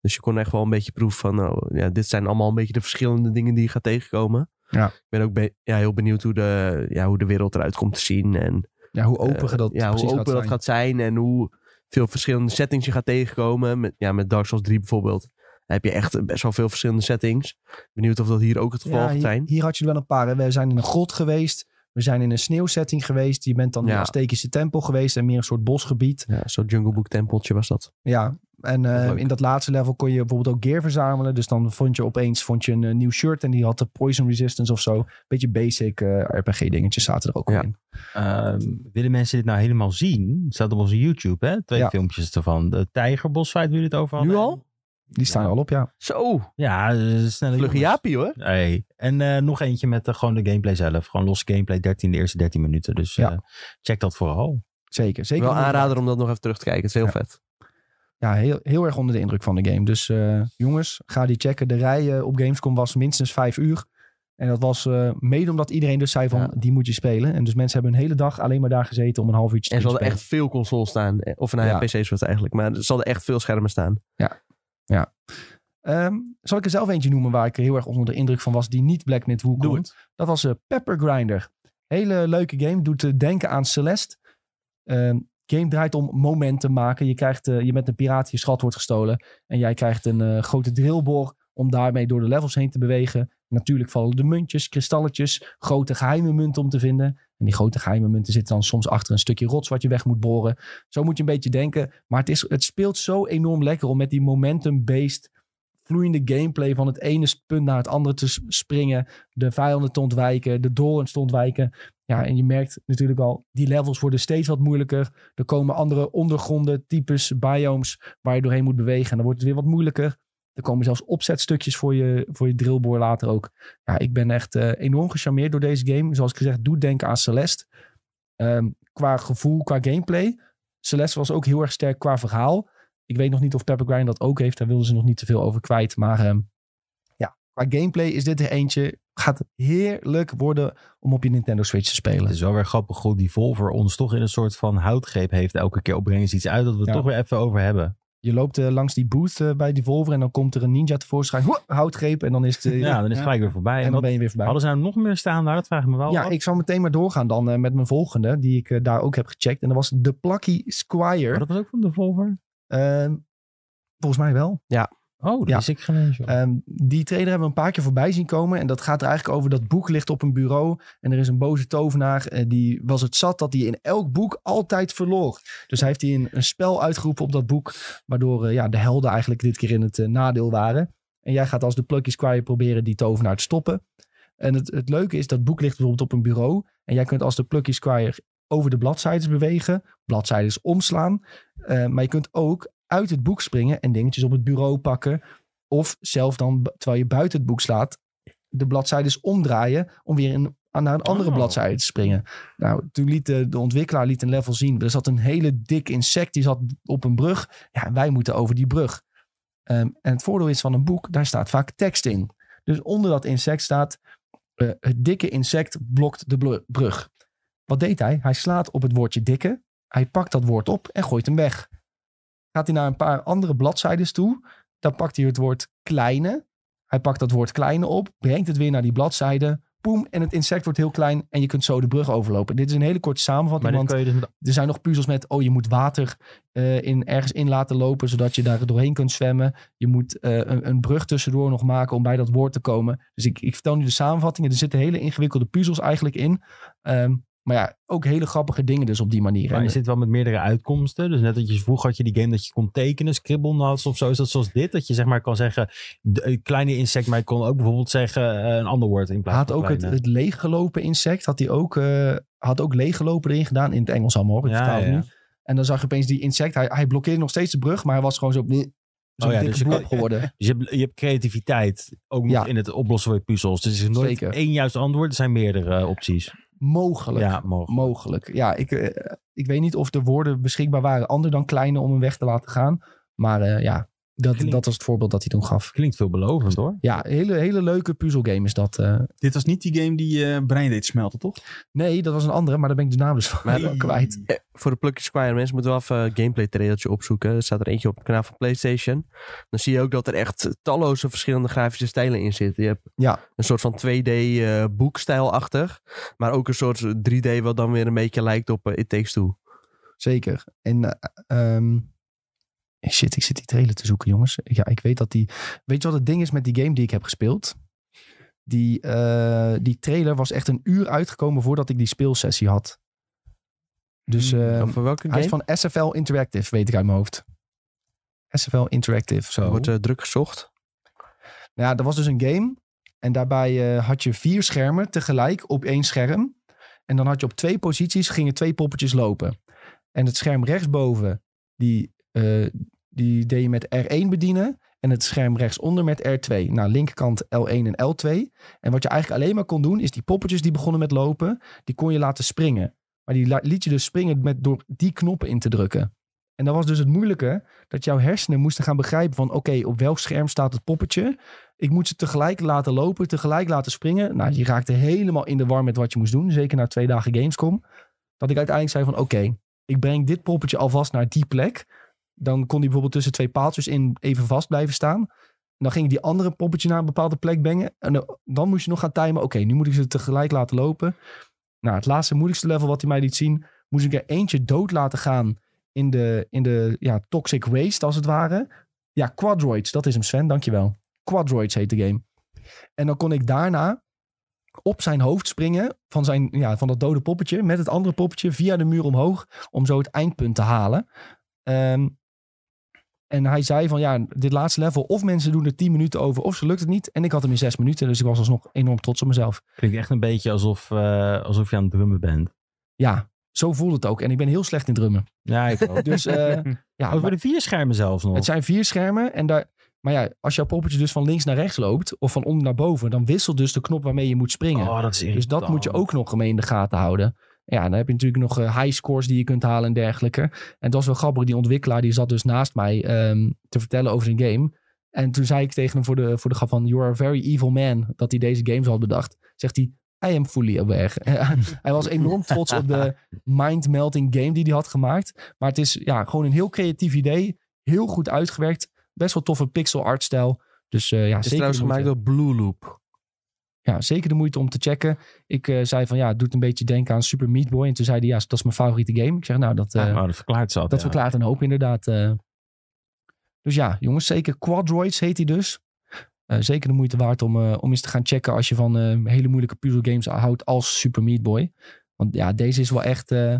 [SPEAKER 3] Dus je kon echt wel een beetje proeven van... nou, ja, dit zijn allemaal een beetje de verschillende dingen die je gaat tegenkomen.
[SPEAKER 1] Ja.
[SPEAKER 3] Ik ben ook be- ja, heel benieuwd hoe de, ja, hoe de wereld eruit komt te zien. En
[SPEAKER 1] Ja, hoe open
[SPEAKER 3] Eh,
[SPEAKER 1] dat
[SPEAKER 3] ja, hoe
[SPEAKER 1] precies gaat
[SPEAKER 3] open dat
[SPEAKER 1] zijn.
[SPEAKER 3] gaat zijn en hoe veel verschillende settings je gaat tegenkomen. Met, ja, met Dark Souls 3 bijvoorbeeld dan heb je echt best wel veel verschillende settings. Benieuwd of dat hier ook het geval
[SPEAKER 1] Ja,
[SPEAKER 3] gaat zijn.
[SPEAKER 1] hier, hier had je wel een paar. Hè. We zijn in een grot geweest. We zijn in een sneeuwsetting geweest. Je bent dan in
[SPEAKER 3] Ja.
[SPEAKER 1] een Aztekische tempel geweest. En meer een soort bosgebied.
[SPEAKER 3] Ja, Zo'n Jungle Book tempeltje was dat.
[SPEAKER 1] Ja, en eh,
[SPEAKER 3] Leuk.
[SPEAKER 1] in dat laatste level kon je bijvoorbeeld ook gear verzamelen. Dus dan vond je opeens vond je een eh, nieuw shirt en die had de poison resistance of zo. Beetje basic eh, RPG dingetjes zaten er ook
[SPEAKER 3] Ja.
[SPEAKER 1] in.
[SPEAKER 4] Ehm, willen mensen dit nou helemaal zien? Het staat op onze YouTube, hè? Twee
[SPEAKER 1] Ja.
[SPEAKER 4] filmpjes ervan. De tijgerbosfight, wil je het over hadden.
[SPEAKER 3] Nu al?
[SPEAKER 1] Die staan er al op, ja.
[SPEAKER 3] Zo,
[SPEAKER 4] Ja, eh, snelle
[SPEAKER 3] vlugge
[SPEAKER 4] jongens.
[SPEAKER 3] Jaapie hoor.
[SPEAKER 4] Hey. En eh, nog eentje met eh, gewoon de gameplay zelf. Gewoon los gameplay, 13, de eerste 13 minuten. Dus
[SPEAKER 1] Ja.
[SPEAKER 4] eh, check dat vooral.
[SPEAKER 1] Zeker. zeker
[SPEAKER 3] Wel
[SPEAKER 1] onder de-
[SPEAKER 3] aanrader om dat nog even terug te kijken. Het is heel
[SPEAKER 1] Ja.
[SPEAKER 3] vet.
[SPEAKER 1] Ja, heel, heel erg onder de indruk van de game. Dus eh, jongens, ga die checken. De rij eh, op Gamescom was minstens vijf uur. En dat was eh, mede omdat iedereen dus zei van,
[SPEAKER 3] Ja.
[SPEAKER 1] die moet je spelen. En dus mensen hebben een hele dag alleen maar daar gezeten om een half uurtje
[SPEAKER 3] En
[SPEAKER 1] te
[SPEAKER 3] ze
[SPEAKER 1] spelen.
[SPEAKER 3] hadden echt veel consoles staan. Eh, Of nou ja,
[SPEAKER 1] Ja.
[SPEAKER 3] PC's was het eigenlijk. Maar er hadden echt veel schermen staan.
[SPEAKER 1] Ehm, zal ik er zelf eentje noemen waar ik heel erg onder de indruk van was, die niet Black Myth Wukong.
[SPEAKER 2] Doe het.
[SPEAKER 1] Dat was eh, Pepper Grinder. Hele leuke game. Doet eh, denken aan Celeste. Ehm, game draait om momenten maken. Je, krijgt, eh, je bent een piraat, je schat wordt gestolen. En jij krijgt een eh, grote drillboor om daarmee door de levels heen te bewegen. Natuurlijk vallen de muntjes, kristalletjes, grote geheime munten om te vinden. En die grote geheime munten zitten dan soms achter een stukje rots wat je weg moet boren. Zo moet je een beetje denken. Maar het, is, het speelt zo enorm lekker om met die momentum-based vloeiende gameplay van het ene punt naar het andere te s- springen de vijanden te ontwijken, de dorens te ontwijken. Ja, en je merkt natuurlijk al, die levels worden steeds wat moeilijker. Er komen andere ondergronden, types, biomes waar je doorheen moet bewegen. En dan wordt het weer wat moeilijker. Er komen zelfs opzetstukjes voor je, voor je drillboor later ook. Ja, ik ben echt eh, enorm gecharmeerd door deze game. Zoals ik gezegd, doe denken aan Celeste. Ehm, qua gevoel, qua gameplay. Celeste was ook heel erg sterk qua verhaal. Ik weet nog niet of Pepper Grind dat ook heeft. Daar wilden ze nog niet te veel over kwijt. Maar ehm, ja, qua gameplay is dit er eentje. Gaat heerlijk worden om op je Nintendo Switch te
[SPEAKER 4] Het
[SPEAKER 1] spelen.
[SPEAKER 4] is wel weer grappig hoe die Volver ons toch in een soort van houtgreep heeft. Elke keer opbrengen ze iets uit dat we het
[SPEAKER 1] Ja.
[SPEAKER 4] toch weer even over hebben.
[SPEAKER 1] Je loopt eh, langs die booth eh, bij Devolver en dan komt er een ninja tevoorschijn. Hoe, houtgreep en dan is het... eh,
[SPEAKER 4] Ja, dan is het
[SPEAKER 2] Ja.
[SPEAKER 4] gelijk weer voorbij.
[SPEAKER 1] en
[SPEAKER 4] En
[SPEAKER 1] dan
[SPEAKER 4] wat,
[SPEAKER 1] ben je weer voorbij.
[SPEAKER 4] hadden ze nou nog meer staan daar? Dat vraag ik me wel
[SPEAKER 1] Ja,
[SPEAKER 4] af.
[SPEAKER 1] ik zal meteen maar doorgaan dan eh, met mijn volgende, die ik eh, daar ook heb gecheckt. En dat was de Plucky Squire.
[SPEAKER 4] Maar dat was ook van de Volver?
[SPEAKER 1] Ehm, volgens mij wel.
[SPEAKER 4] Oh, dat
[SPEAKER 1] Ja.
[SPEAKER 4] is ik geen eens, joh.
[SPEAKER 1] Ehm, die trailer hebben we een paar keer voorbij zien komen. En dat gaat er eigenlijk over dat boek ligt op een bureau. En er is een boze tovenaar. eh, die was het zat dat hij in elk boek altijd verloor. Dus hij heeft hij een, een spel uitgeroepen op dat boek. Waardoor eh, ja, de helden eigenlijk dit keer in het eh, nadeel waren. En jij gaat als de Plucky Squire proberen die tovenaar te stoppen. En het, het leuke is, dat boek ligt bijvoorbeeld op een bureau. En jij kunt als de Plucky Squire over de bladzijdes bewegen. Bladzijdes omslaan. Eh, maar je kunt ook uit het boek springen en dingetjes op het bureau pakken. Of zelf dan, b- terwijl je buiten het boek slaat, de bladzijdes omdraaien om weer in, aan- naar een andere
[SPEAKER 4] Oh.
[SPEAKER 1] bladzijde te springen. Nou, toen liet de, de ontwikkelaar liet een level zien. Er zat een hele dik insect, die zat op een brug. Ja, en wij moeten over die brug. Ehm, en het voordeel is van een boek, daar staat vaak tekst in. Dus onder dat insect staat, eh, het dikke insect blokt de blu- brug. Wat deed hij? Hij slaat op het woordje dikke. Hij pakt dat woord op en gooit hem weg. Gaat hij naar een paar andere bladzijdes toe, dan pakt hij het woord kleine. Hij pakt dat woord kleine op, brengt het weer naar die bladzijde. Poem, en het insect wordt heel klein en je kunt zo de brug overlopen. Dit is een hele korte
[SPEAKER 4] maar
[SPEAKER 1] samenvatting,
[SPEAKER 4] dit
[SPEAKER 1] want
[SPEAKER 4] kun je dus met
[SPEAKER 1] er zijn nog puzzels met, oh, je moet water eh, in, ergens in laten lopen, zodat je daar doorheen kunt zwemmen. Je moet eh, een, een brug tussendoor nog maken om bij dat woord te komen. Dus ik, ik vertel nu de samenvattingen. Er zitten hele ingewikkelde puzzels eigenlijk in. Ehm, maar ja, ook hele grappige dingen dus op die manier.
[SPEAKER 4] Maar
[SPEAKER 1] En-
[SPEAKER 4] is dit wel met meerdere uitkomsten? Dus net dat je vroeg had je die game dat je kon tekenen, scribbeln had of zo. Is dat zoals dit? Dat je zeg maar kan zeggen, de, een kleine insect, maar je kon ook bijvoorbeeld zeggen eh, een ander woord in
[SPEAKER 1] Hij
[SPEAKER 4] plaats
[SPEAKER 1] had
[SPEAKER 4] van
[SPEAKER 1] ook het,
[SPEAKER 4] kleine.
[SPEAKER 1] het leeggelopen insect, had hij ook, eh, had ook leeggelopen erin gedaan. In het Engels allemaal hoor, ik
[SPEAKER 4] Ja,
[SPEAKER 1] vertaal het
[SPEAKER 4] ja.
[SPEAKER 1] nu. En dan zag je opeens die insect, hij, hij blokkeerde nog steeds de brug, maar hij was gewoon zo, zo
[SPEAKER 4] ja,
[SPEAKER 1] dikke
[SPEAKER 4] dus je
[SPEAKER 1] blok
[SPEAKER 4] kan-
[SPEAKER 1] geworden.
[SPEAKER 4] Dus je hebt, je hebt creativiteit ook nog
[SPEAKER 1] Ja.
[SPEAKER 4] in het oplossen van je puzzels. Dus er is nooit
[SPEAKER 1] Zeker.
[SPEAKER 4] één juist antwoord. Er zijn meerdere eh, opties.
[SPEAKER 1] Mogelijk.
[SPEAKER 4] Ja, mogelijk.
[SPEAKER 1] mogelijk. Ja, ik, eh, ik weet niet of de woorden beschikbaar waren ander dan kleine om hem weg te laten gaan. Maar eh, ja, dat,
[SPEAKER 4] Klinkt-
[SPEAKER 1] dat was het voorbeeld dat hij toen gaf.
[SPEAKER 4] Klinkt veelbelovend hoor.
[SPEAKER 1] Ja, hele, hele leuke puzzelgame is dat. eh.
[SPEAKER 2] Dit was niet die game die je brein deed smelten, toch?
[SPEAKER 1] nee, dat was een andere, maar daar ben ik de naam dus van
[SPEAKER 2] Nee.
[SPEAKER 1] kwijt.
[SPEAKER 3] Eh, voor de Plucky Squire mensen moeten wel even een gameplay trailertje opzoeken. Er staat er eentje op het kanaal van PlayStation. Dan zie je ook dat er echt talloze verschillende grafische stijlen in zitten. Je hebt
[SPEAKER 1] Ja.
[SPEAKER 3] een soort van 2D eh, boekstijlachtig. Maar ook een soort 3D wat dan weer een beetje lijkt op eh, It Takes Two.
[SPEAKER 1] Zeker. En eh, ehm, eh, shit, ik zit die trailer te zoeken, jongens. Ja, ik weet dat die. Weet je wat het ding is met die game die ik heb gespeeld? Die, eh, die trailer was echt een uur uitgekomen voordat ik die speelsessie had. Dus
[SPEAKER 2] Hmm,
[SPEAKER 1] eh,
[SPEAKER 3] Over welke
[SPEAKER 1] Hij
[SPEAKER 3] game?
[SPEAKER 1] is van SFL Interactive, weet ik uit mijn hoofd. SFL Interactive, zo.
[SPEAKER 3] Er wordt eh, druk gezocht.
[SPEAKER 1] Nou ja, er was dus een game. En daarbij eh, had je vier schermen tegelijk op één scherm. En dan had je op twee posities, gingen twee poppetjes lopen. En het scherm rechtsboven, die, eh, die deed je met R1 bedienen. En het scherm rechtsonder met R2. Nou, linkerkant L1 en L2. En wat je eigenlijk alleen maar kon doen, is die poppetjes die begonnen met lopen, die kon je laten springen. Maar die la- liet je dus springen met, door die knoppen in te drukken. En dat was dus het moeilijke, dat jouw hersenen moesten gaan begrijpen van... oké, op welk scherm staat het poppetje? Ik moet ze tegelijk laten lopen, tegelijk laten springen. Nou, je raakte helemaal in de war met wat je moest doen. Zeker na twee dagen Gamescom. Dat ik uiteindelijk zei van oké, ik breng dit poppetje alvast naar die plek. Dan kon die bijvoorbeeld tussen twee paaltjes in even vast blijven staan. En dan ging ik die andere poppetje naar een bepaalde plek brengen. En dan- dan moest je nog gaan timen. Oké, nu moet ik ze tegelijk laten lopen. Nou, het laatste moeilijkste level wat hij mij liet zien... moest ik er eentje dood laten gaan in de, in de ja, toxic waste als het ware. Ja, Quadroids, dat is hem Sven, dankjewel. Quadroids heet de game. En dan kon ik daarna op zijn hoofd springen van, zijn, ja, van dat dode poppetje met het andere poppetje via de muur omhoog om zo het eindpunt te halen. Ehm, en hij zei van ja, dit laatste level, of mensen doen er 10 minuten over of ze lukt het niet. En ik had hem in 6 minuten, dus ik was alsnog enorm trots op mezelf.
[SPEAKER 4] Klinkt echt een beetje alsof, eh, alsof je aan het drummen bent.
[SPEAKER 1] Ja, zo voelde het ook. En ik ben heel slecht in drummen.
[SPEAKER 4] Ja, ik ook.
[SPEAKER 1] Dus eh, ja,
[SPEAKER 4] Over de vier schermen zelfs nog.
[SPEAKER 1] Het zijn vier schermen en daar, Maar ja, als jouw poppetje dus van links naar rechts loopt of van onder naar boven, dan wisselt dus de knop waarmee je moet springen.
[SPEAKER 4] Oh, dat is
[SPEAKER 1] dus dat moet je ook nog mee in de gaten houden. Ja, dan heb je natuurlijk nog eh, high scores die je kunt halen en dergelijke. En dat is wel grappig. Die ontwikkelaar die zat dus naast mij ehm, te vertellen over zijn game. En toen zei ik tegen hem voor de, voor de grap van... You are a very evil man. Dat hij deze games had bedacht. Zegt hij... I am fully aware. hij was enorm trots op de mind-melting game die hij had gemaakt. Maar het is ja, gewoon een heel creatief idee. Heel goed uitgewerkt. Best wel toffe pixel art stijl. Dus eh, ja,
[SPEAKER 3] Het is
[SPEAKER 1] zeker
[SPEAKER 3] trouwens
[SPEAKER 1] de moeite
[SPEAKER 3] gemaakt door Blue Loop.
[SPEAKER 1] ja, zeker de moeite om te checken. Ik eh, zei van ja, het doet een beetje denken aan Super Meat Boy. En toen zei hij ja, dat is mijn favoriete game. Ik zeg nou, dat, eh,
[SPEAKER 4] dat verklaart ze al.
[SPEAKER 1] dat verklaart een hoop inderdaad. eh. Dus ja, jongens, zeker Quadroids heet hij dus. Eh, zeker de moeite waard om, eh, om eens te gaan checken als je van eh, hele moeilijke puzzelgames houdt als Super Meat Boy. Want ja, deze is wel echt, eh,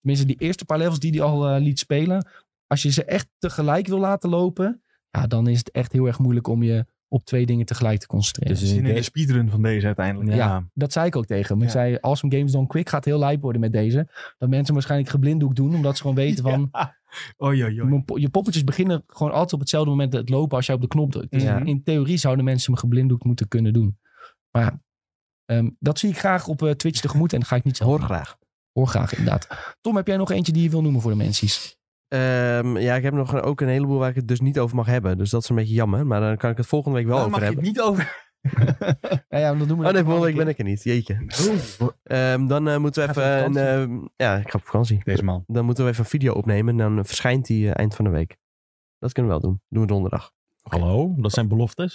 [SPEAKER 1] tenminste die eerste paar levels die hij al eh, liet spelen. Als je ze echt tegelijk wil laten lopen, ja, dan is het echt heel erg moeilijk om je op twee dingen tegelijk te concentreren.
[SPEAKER 4] Dus
[SPEAKER 2] Zin in de
[SPEAKER 4] in
[SPEAKER 2] speedrun van deze uiteindelijk.
[SPEAKER 1] Ja. dat zei ik ook tegen hem. Ik
[SPEAKER 2] Ja.
[SPEAKER 1] zei, Awesome Games Done Quick gaat heel lijp worden met deze. Dat mensen waarschijnlijk geblinddoek doen, omdat ze gewoon weten van...
[SPEAKER 2] Oei, oei, oei.
[SPEAKER 1] mijn po- Je poppetjes beginnen gewoon altijd op hetzelfde moment het lopen als jij op de knop drukt. Dus
[SPEAKER 2] Ja.
[SPEAKER 1] in theorie zouden mensen hem geblinddoekt moeten kunnen doen. Maar ja, ehm, dat zie ik graag op eh, Twitch tegemoet en dat ga ik niet zelf
[SPEAKER 3] Hoor
[SPEAKER 1] doen.
[SPEAKER 3] graag.
[SPEAKER 1] Hoor graag, inderdaad. Tom, heb jij nog eentje die je wil noemen voor de mensen?
[SPEAKER 3] Ehm, ja, ik heb nog een- ook een heleboel waar ik het dus niet over mag hebben. Dus dat is een beetje jammer. Maar dan kan ik het volgende week wel
[SPEAKER 1] Nou,
[SPEAKER 2] Daar
[SPEAKER 3] over
[SPEAKER 2] mag je het
[SPEAKER 3] hebben.
[SPEAKER 2] niet over.
[SPEAKER 1] Ja, ja, dat doen we
[SPEAKER 3] Oh nee, volgende
[SPEAKER 1] volgende
[SPEAKER 3] week ben ik er niet. Jeetje. Ehm, dan eh, moeten we
[SPEAKER 2] Gaat
[SPEAKER 3] even
[SPEAKER 2] op
[SPEAKER 3] een... ehm, ja, ik ga op vakantie.
[SPEAKER 2] Deze man.
[SPEAKER 3] Dan moeten we even een video opnemen. En dan verschijnt die eh, eind van de week. Dat kunnen we wel doen. Doen we donderdag.
[SPEAKER 4] Hallo, dat zijn beloftes.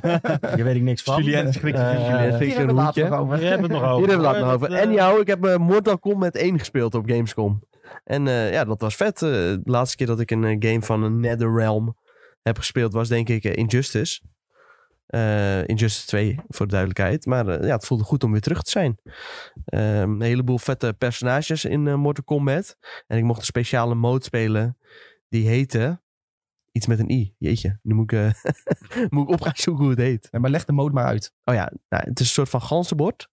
[SPEAKER 4] Hier weet ik niks van.
[SPEAKER 2] Julien schrikt zich.
[SPEAKER 4] Eh,
[SPEAKER 3] Julien schrikt
[SPEAKER 1] Hier
[SPEAKER 3] zich een
[SPEAKER 1] hebben we het
[SPEAKER 3] hoedje.
[SPEAKER 1] later nog over.
[SPEAKER 4] Hier hebben we het nog over.
[SPEAKER 3] Hier hebben we het later nog over.
[SPEAKER 4] Dat, eh,
[SPEAKER 3] En jou, ik heb eh, Mortal Kombat 1 gespeeld op Gamescom. En eh, ja, dat was vet. Eh, de laatste keer dat ik een eh, game van een NetherRealm heb gespeeld was denk ik eh, Injustice. Eh, Injustice 2, voor de duidelijkheid. Maar eh, ja, het voelde goed om weer terug te zijn. Ehm, een heleboel vette personages in eh, Mortal Kombat. En ik mocht een speciale mode spelen. Die heette... Iets met een i. Jeetje, nu moet ik, eh, moet ik op gaan zoeken hoe het heet.
[SPEAKER 1] Nee, maar leg de mode maar uit.
[SPEAKER 3] Oh ja, nou, het is een soort van ganzenbord.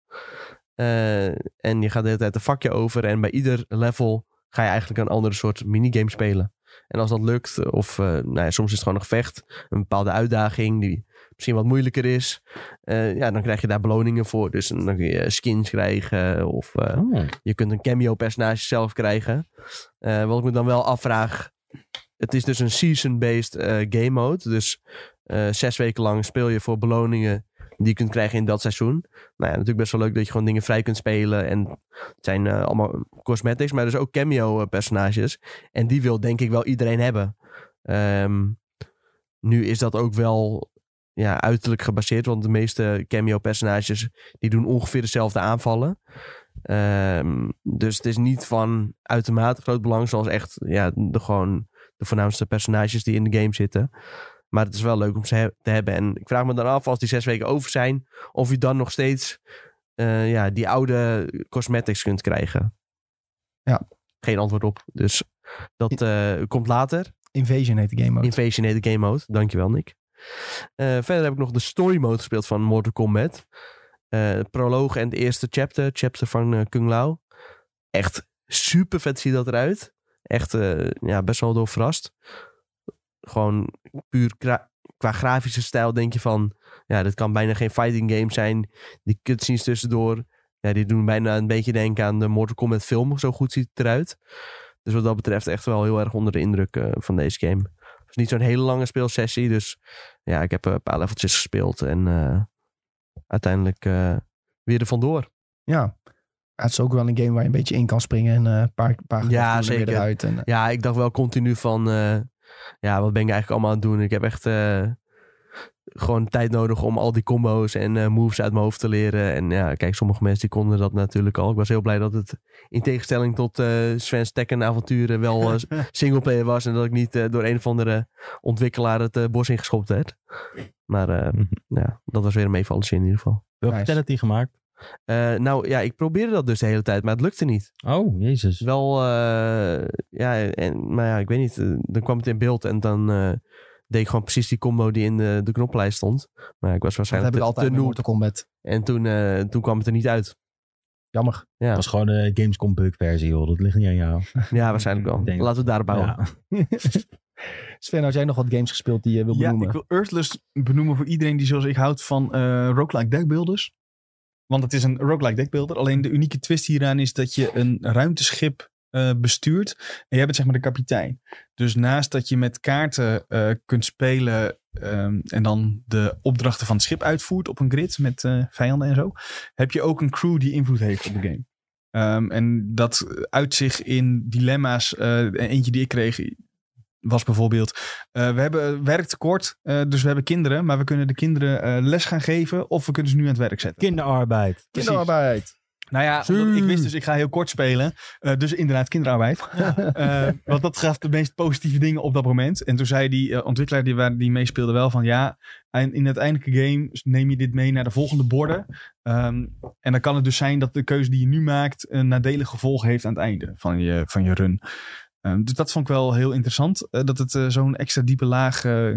[SPEAKER 3] Eh, en je gaat de hele tijd een vakje over. En bij ieder level ga je eigenlijk een andere soort minigame spelen. En als dat lukt, of eh, nou ja, soms is het gewoon een gevecht. Een bepaalde uitdaging die misschien wat moeilijker is. eh, ja, dan krijg je daar beloningen voor. Dus dan kun je skins krijgen. Of eh,
[SPEAKER 4] Oh.
[SPEAKER 3] je kunt een cameo personage zelf krijgen. Eh, wat ik me dan wel afvraag. Het is dus een season-based eh, game mode. Dus eh, zes weken lang speel je voor beloningen die je kunt krijgen in dat seizoen. Nou ja, natuurlijk best wel leuk dat je gewoon dingen vrij kunt spelen. En het zijn eh, allemaal cosmetics, maar dus ook cameo eh, personages. En die wil denk ik wel iedereen hebben. Ehm, nu is dat ook wel ja, uiterlijk gebaseerd, want de meeste cameo personages die doen ongeveer dezelfde aanvallen. Ehm, dus het is niet van uitermate groot belang, zoals echt ja, de, gewoon de voornaamste personages die in de game zitten. Maar het is wel leuk om ze he- te hebben. En ik vraag me dan af, als die zes weken over zijn, of je dan nog steeds eh, ja, die oude cosmetics kunt krijgen.
[SPEAKER 1] Ja.
[SPEAKER 3] Geen antwoord op. Dus dat eh, komt later.
[SPEAKER 1] Invasion heet de game mode.
[SPEAKER 3] Invasion heet de game mode. Dankjewel, Nick. Eh, verder heb ik nog de story mode gespeeld van Mortal Kombat. Eh proloog en het eerste chapter. Chapter van eh, Kung Lao. Echt super vet ziet dat eruit. Echt eh, ja, best wel door verrast. Gewoon puur kra- qua grafische stijl denk je van... Ja, dit kan bijna geen fighting game zijn. Die cutscenes tussendoor. Ja, die doen bijna een beetje denken aan de Mortal Kombat film. Zo goed ziet het eruit. Dus wat dat betreft echt wel heel erg onder de indruk eh, van deze game. Het is niet zo'n hele lange speelsessie. Dus ja, ik heb eh, een paar leveltjes gespeeld. En eh, uiteindelijk eh, weer er vandoor.
[SPEAKER 1] Ja. Ja, Het is ook wel een game waar je een beetje in kan springen en eh, een paar, paar gevechten
[SPEAKER 3] Ja,
[SPEAKER 1] doen er weer
[SPEAKER 3] zeker.
[SPEAKER 1] eruit. En, eh,
[SPEAKER 3] Ja, ik dacht wel continu van... eh, ja, wat ben ik eigenlijk allemaal aan het doen? Ik heb echt eh, gewoon tijd nodig om al die combo's en eh, moves uit mijn hoofd te leren. En ja, kijk, sommige mensen die konden dat natuurlijk al. Ik was heel blij dat het in tegenstelling tot eh Sven's Tekken-avonturen wel eh, singleplayer was. En dat ik niet eh, door een of andere ontwikkelaar het eh, bos ingeschopt werd. Maar eh,
[SPEAKER 4] Mhm.
[SPEAKER 3] ja, dat was weer een meevalletje in ieder geval.
[SPEAKER 4] Welke
[SPEAKER 1] Nice.
[SPEAKER 4] penalty gemaakt?
[SPEAKER 3] Eh, nou ja, ik probeerde dat dus de hele tijd, maar het lukte niet.
[SPEAKER 4] Oh, jezus.
[SPEAKER 3] Dus wel, eh, ja, en, maar ja, ik weet niet. eh, Dan kwam het in beeld en dan eh, deed ik gewoon precies die combo die in de, de knoppenlijst stond. Maar ja, ik was
[SPEAKER 1] dat
[SPEAKER 3] waarschijnlijk
[SPEAKER 1] heb ik
[SPEAKER 3] te,
[SPEAKER 1] altijd
[SPEAKER 3] te
[SPEAKER 1] met
[SPEAKER 3] noob.
[SPEAKER 1] Mortal Kombat.
[SPEAKER 3] En toen, eh, toen kwam het er niet uit.
[SPEAKER 1] Jammer.
[SPEAKER 3] Ja,
[SPEAKER 4] Dat was gewoon de Gamescom bug versie, joh. Dat ligt niet aan jou.
[SPEAKER 3] ja waarschijnlijk wel.
[SPEAKER 4] Ik denk-
[SPEAKER 3] Laten we het daarop houden.
[SPEAKER 4] Ja.
[SPEAKER 1] Sven, had jij nog wat games gespeeld die je eh, wil
[SPEAKER 2] Ja,
[SPEAKER 1] benoemen?
[SPEAKER 2] ik wil Earthlust benoemen voor iedereen die zoals ik houdt van eh roguelike deckbuilders. Want het is een roguelike deckbuilder. Alleen de unieke twist hieraan is dat je een ruimteschip eh, bestuurt. En jij bent zeg maar de kapitein. Dus naast dat je met kaarten eh, kunt spelen ehm, en dan de opdrachten van het schip uitvoert op een grid met eh, vijanden en zo, heb je ook een crew die invloed heeft op de game. Ehm, en dat uit zich in dilemma's. Eh, eentje die ik kreeg was bijvoorbeeld eh, we hebben werktekort, eh, dus we hebben kinderen. Maar we kunnen de kinderen eh, les gaan geven of we kunnen ze nu aan het werk zetten.
[SPEAKER 4] Kinderarbeid.
[SPEAKER 1] Kinderarbeid.
[SPEAKER 2] Nou ja,
[SPEAKER 1] Zuur.
[SPEAKER 2] omdat ik wist dus ik ga heel kort spelen. Eh, dus inderdaad kinderarbeid. Eh, want dat gaf de meest positieve dingen op dat moment. En toen zei die eh, ontwikkelaar die, waar- die meespeelde wel van... ja, en in het eindelijke game neem je dit mee naar de volgende borden. Ehm, en dan kan het dus zijn dat de keuze die je nu maakt... een nadelig gevolg heeft aan het einde van je, van je run. Ehm, dus dat vond ik wel heel interessant. eh, dat het eh, zo'n extra diepe laag... eh,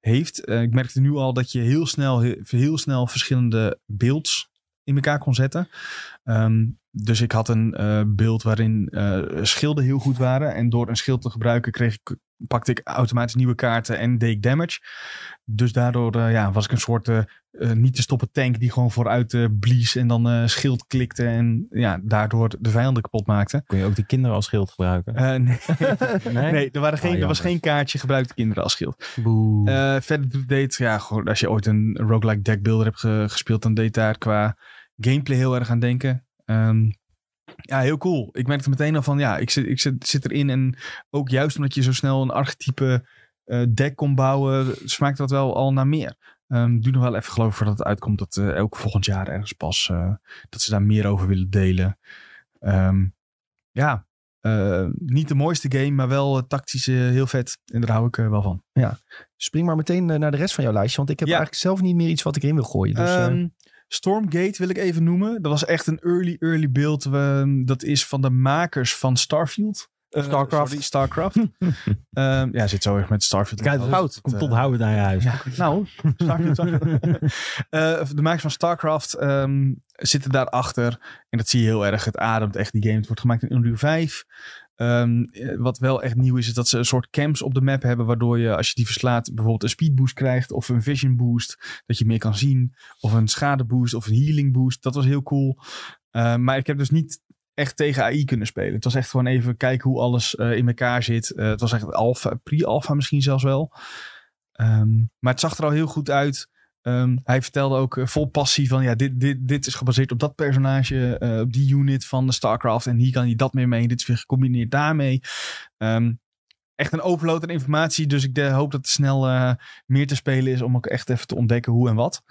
[SPEAKER 2] heeft. Eh, ik merkte nu al dat je heel snel, heel, snel verschillende beelds in elkaar kon zetten. Ehm, dus ik had een eh, beeld waarin eh, schilden heel goed waren. En door een schild te gebruiken kreeg ik, pakte ik automatisch nieuwe kaarten en deed ik damage. Dus daardoor eh, ja, was ik een soort eh, eh, niet te stoppen tank die gewoon vooruit eh blies en dan eh, schild klikte. En ja, daardoor de vijanden kapot maakte.
[SPEAKER 4] Kun je ook die kinderen als schild gebruiken?
[SPEAKER 2] Eh, nee,
[SPEAKER 4] nee?
[SPEAKER 2] nee er, waren geen, er was
[SPEAKER 4] jammer.
[SPEAKER 2] geen kaartje gebruikte kinderen als schild.
[SPEAKER 3] Boe.
[SPEAKER 2] Eh, verder deed, ja, gewoon, als je ooit een roguelike deckbuilder hebt ge- gespeeld, dan deed daar qua gameplay heel erg aan denken. Ehm, ja, heel cool. Ik merkte meteen al van, ja, ik zit, ik zit, zit erin. En ook juist omdat je zo snel een archetype eh, deck kon bouwen, smaakt dat wel al naar meer. Ehm doe nog wel even geloof ik voordat het uitkomt dat eh elk volgend jaar ergens pas eh, dat ze daar meer over willen delen. Ehm, ja, eh, niet de mooiste game, maar wel eh, tactisch eh, heel vet. En daar hou ik eh, wel van.
[SPEAKER 1] Spring maar meteen eh, naar de rest van jouw lijstje, want ik heb
[SPEAKER 2] Ja.
[SPEAKER 1] eigenlijk zelf niet meer iets wat ik erin wil gooien. Dus, eh,
[SPEAKER 2] Ehm, Stormgate wil ik even noemen. Dat was echt een early, early build. We- dat is van de makers van Starfield. Eh,
[SPEAKER 3] Starcraft.
[SPEAKER 2] sorry, Starcraft. Ehm, ja, zit zo erg met Starfield.
[SPEAKER 4] Kijk,
[SPEAKER 2] Dat-
[SPEAKER 4] hout.
[SPEAKER 2] dat,
[SPEAKER 4] Komt
[SPEAKER 2] eh,
[SPEAKER 4] onthouden naar je huis.
[SPEAKER 2] ja, nou, Starcraft. Eh, de makers van Starcraft ehm, zitten daarachter. En dat zie je heel erg. Het ademt echt die game. Het wordt gemaakt in Unreal 5. Ehm, eh, wat wel echt nieuw is, is dat ze een soort camps op de map hebben. Waardoor je, als je die verslaat, bijvoorbeeld een speed boost krijgt. Of een vision boost. Dat je meer kan zien. Of een schade boost. Of een healing boost. Dat was heel cool. Ehm, maar ik heb dus niet echt tegen AI kunnen spelen. Het was echt gewoon even kijken hoe alles eh, in elkaar zit. Eh, het was echt alpha, pre-alpha misschien zelfs wel. Ehm, maar het zag er al heel goed uit. Ehm, hij vertelde ook eh, vol passie van ja, dit, dit, dit is gebaseerd op dat personage, eh, op die unit van de StarCraft. En hier kan je dat meer mee. Dit is weer gecombineerd daarmee. Ehm, echt een overload aan informatie. Dus ik de- hoop dat er snel eh, meer te spelen is om ook echt even te ontdekken hoe en wat.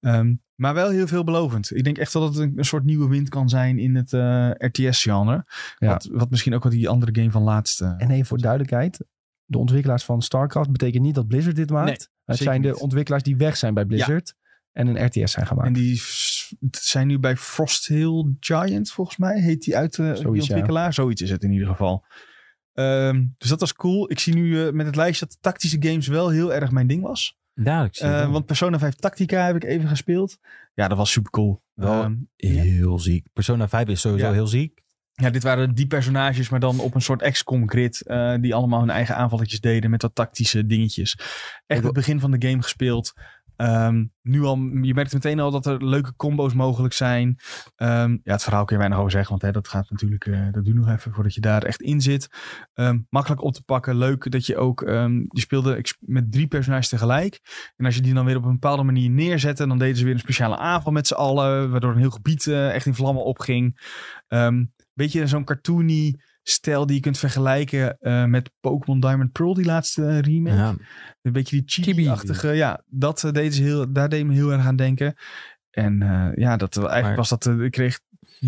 [SPEAKER 2] Ehm, maar wel heel veelbelovend. Ik denk echt wel dat het een, een soort nieuwe wind kan zijn in het eh, RTS-genre.
[SPEAKER 1] Ja.
[SPEAKER 2] Wat, wat misschien ook wel die andere game van laatst. eh,
[SPEAKER 1] en even voor duidelijkheid, de ontwikkelaars van StarCraft betekent niet dat Blizzard dit maakt. het
[SPEAKER 2] zeker
[SPEAKER 1] zijn de
[SPEAKER 2] niet.
[SPEAKER 1] ontwikkelaars die weg zijn bij Blizzard en een RTS zijn gemaakt.
[SPEAKER 2] En die s- zijn nu bij Frosthill Giant, volgens mij. Heet die uit de
[SPEAKER 1] Zoiets, ja.
[SPEAKER 2] ontwikkelaar. Zoiets is het in ieder geval. Ehm, dus dat was cool. Ik zie nu eh, met het lijstje dat tactische games wel heel erg mijn ding was.
[SPEAKER 4] Duidelijk. zie je
[SPEAKER 2] Eh,
[SPEAKER 4] wel.
[SPEAKER 2] want Persona 5 Tactica heb ik even gespeeld. Ja, dat was Ehm, super cool.
[SPEAKER 4] Wel- heel ziek. Persona 5 is sowieso
[SPEAKER 2] Ja.
[SPEAKER 4] heel ziek.
[SPEAKER 2] ja, dit waren die personages, maar dan op een soort XCOM-grid. eh, die allemaal hun eigen aanvalletjes deden met wat tactische dingetjes. Echt het begin van de game gespeeld. Ehm, nu al, je merkt meteen al dat er leuke combo's mogelijk zijn. Ehm, ja, het verhaal kun je weinig over zeggen, want hè, dat gaat natuurlijk, eh, dat duurt nog even voordat je daar echt in zit. Ehm, makkelijk op te pakken, leuk dat je ook, ehm, je speelde ex- met drie personages tegelijk. En als je die dan weer op een bepaalde manier neerzette, dan deden ze weer een speciale aanval met z'n allen, waardoor een heel gebied eh, echt in vlammen opging. Ehm beetje zo'n cartoony stijl die je kunt vergelijken eh, met Pokémon Diamond Pearl, die laatste eh, remake.
[SPEAKER 4] Ja.
[SPEAKER 2] Een beetje die chibi-achtige. Ja, dat, eh, deden ze heel, daar deed me heel erg aan denken. En eh, ja, dat, eh, eigenlijk
[SPEAKER 4] Maar-
[SPEAKER 2] was dat... eh, ik kreeg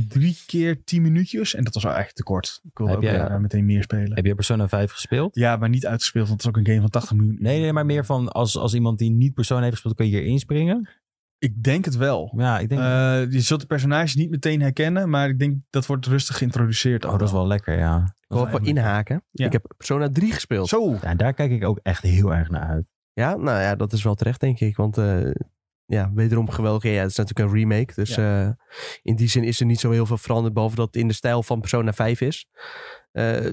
[SPEAKER 2] drie keer tien minuutjes. En dat was wel eigenlijk te kort. Ik wilde
[SPEAKER 4] Heb
[SPEAKER 2] ook
[SPEAKER 4] jij-
[SPEAKER 2] eh, meteen meer spelen.
[SPEAKER 4] Heb je Persona 5 gespeeld?
[SPEAKER 2] Ja, maar niet uitgespeeld, want het is ook een game van 80 miljoen.
[SPEAKER 4] Nee, nee, maar meer van als, als iemand die niet Persona heeft gespeeld, kun je hier inspringen.
[SPEAKER 2] Ik denk het wel.
[SPEAKER 4] Ja, ik denk.
[SPEAKER 2] Eh, je zult de personage niet meteen herkennen, maar ik denk dat wordt rustig geïntroduceerd.
[SPEAKER 4] oh, dat is wel lekker, ja.
[SPEAKER 3] Ik wil even inhaken.
[SPEAKER 2] Ja.
[SPEAKER 3] Ik heb Persona 3 gespeeld.
[SPEAKER 2] Zo!
[SPEAKER 4] ja. Daar kijk ik ook echt heel erg naar uit.
[SPEAKER 3] Ja, nou ja, dat is wel terecht, denk ik. Want eh, ja, wederom geweldig. Ja, het is natuurlijk een remake. Dus eh, in die zin is er niet zo heel veel veranderd. Behalve dat het in de stijl van Persona 5 is. Eh,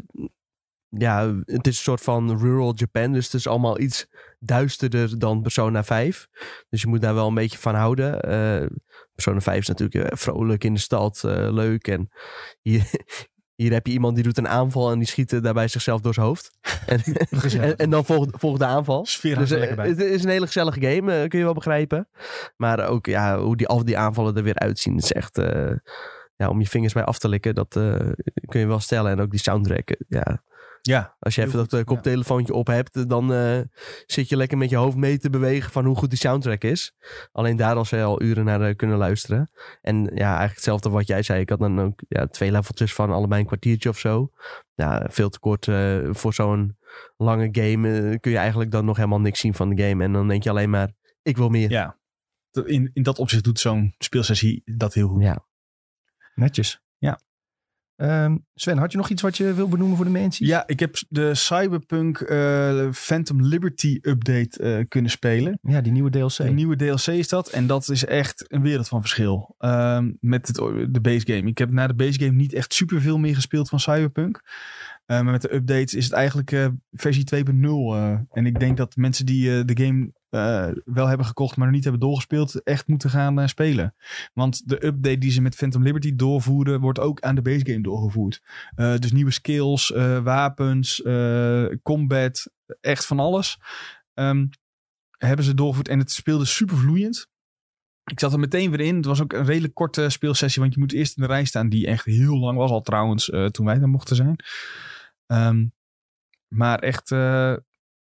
[SPEAKER 3] ja, het is een soort van rural Japan. Dus het is allemaal iets duisterder dan Persona 5. Dus je moet daar wel een beetje van houden. Eh, Persona 5 is natuurlijk eh, vrolijk in de stad, eh, leuk. En hier, hier heb je iemand die doet een aanval en die schiet eh, daarbij zichzelf door zijn hoofd. En, en, en dan volgt, volgt de aanval.
[SPEAKER 2] Sfeer
[SPEAKER 3] Dus,
[SPEAKER 2] dus,
[SPEAKER 3] eh,
[SPEAKER 2] lekker bij.
[SPEAKER 3] het is een hele gezellige game, eh, kun je wel begrijpen. Maar ook ja, hoe die, af, die aanvallen er weer uitzien, is echt... eh, ja, om je vingers bij af te likken, dat eh, kun je wel stellen. En ook die soundtrack, eh, ja,
[SPEAKER 2] Ja,
[SPEAKER 3] als je
[SPEAKER 2] Heel
[SPEAKER 3] even dat
[SPEAKER 2] goed,
[SPEAKER 3] eh, koptelefoontje op hebt, dan eh, zit je lekker met je hoofd mee te bewegen van hoe goed die soundtrack is. Alleen daar al zou je al uren naar eh, kunnen luisteren. En ja, eigenlijk hetzelfde wat jij zei. Ik had dan ook ja, twee leveltjes van allebei een kwartiertje of zo. Ja, veel te kort eh, voor zo'n lange game eh, kun je eigenlijk dan nog helemaal niks zien van de game. En dan denk je alleen maar, ik wil meer.
[SPEAKER 2] ja. Dat- In, in dat opzicht doet zo'n speelsessie dat heel goed.
[SPEAKER 3] Ja.
[SPEAKER 1] Netjes.
[SPEAKER 2] Ja.
[SPEAKER 1] Ehm, Sven, had je nog iets wat je wil benoemen voor de mensen?
[SPEAKER 2] Ja, ik heb de Cyberpunk eh, Phantom Liberty update eh, kunnen spelen.
[SPEAKER 1] Ja, die nieuwe DLC.
[SPEAKER 2] Een nieuwe DLC is dat. En dat is echt een wereld van verschil. ehm, met het, de base game. Ik heb na de base game niet echt superveel meer gespeeld van Cyberpunk. Eh, maar met de updates is het eigenlijk eh, versie 2.0. eh. en ik denk dat mensen die eh, de game eh, wel hebben gekocht, maar nog niet hebben doorgespeeld, echt moeten gaan eh, spelen. Want de update die ze met Phantom Liberty doorvoeren, wordt ook aan de base game doorgevoerd. Eh, dus nieuwe skills, eh, wapens, eh, combat, echt van alles. Ehm, hebben ze doorgevoerd en het speelde super vloeiend. Ik zat er meteen weer in. Het was ook een redelijk korte speelsessie, want je moet eerst in de rij staan, die echt heel lang was al trouwens eh, toen wij daar mochten zijn. Ehm, maar echt, eh,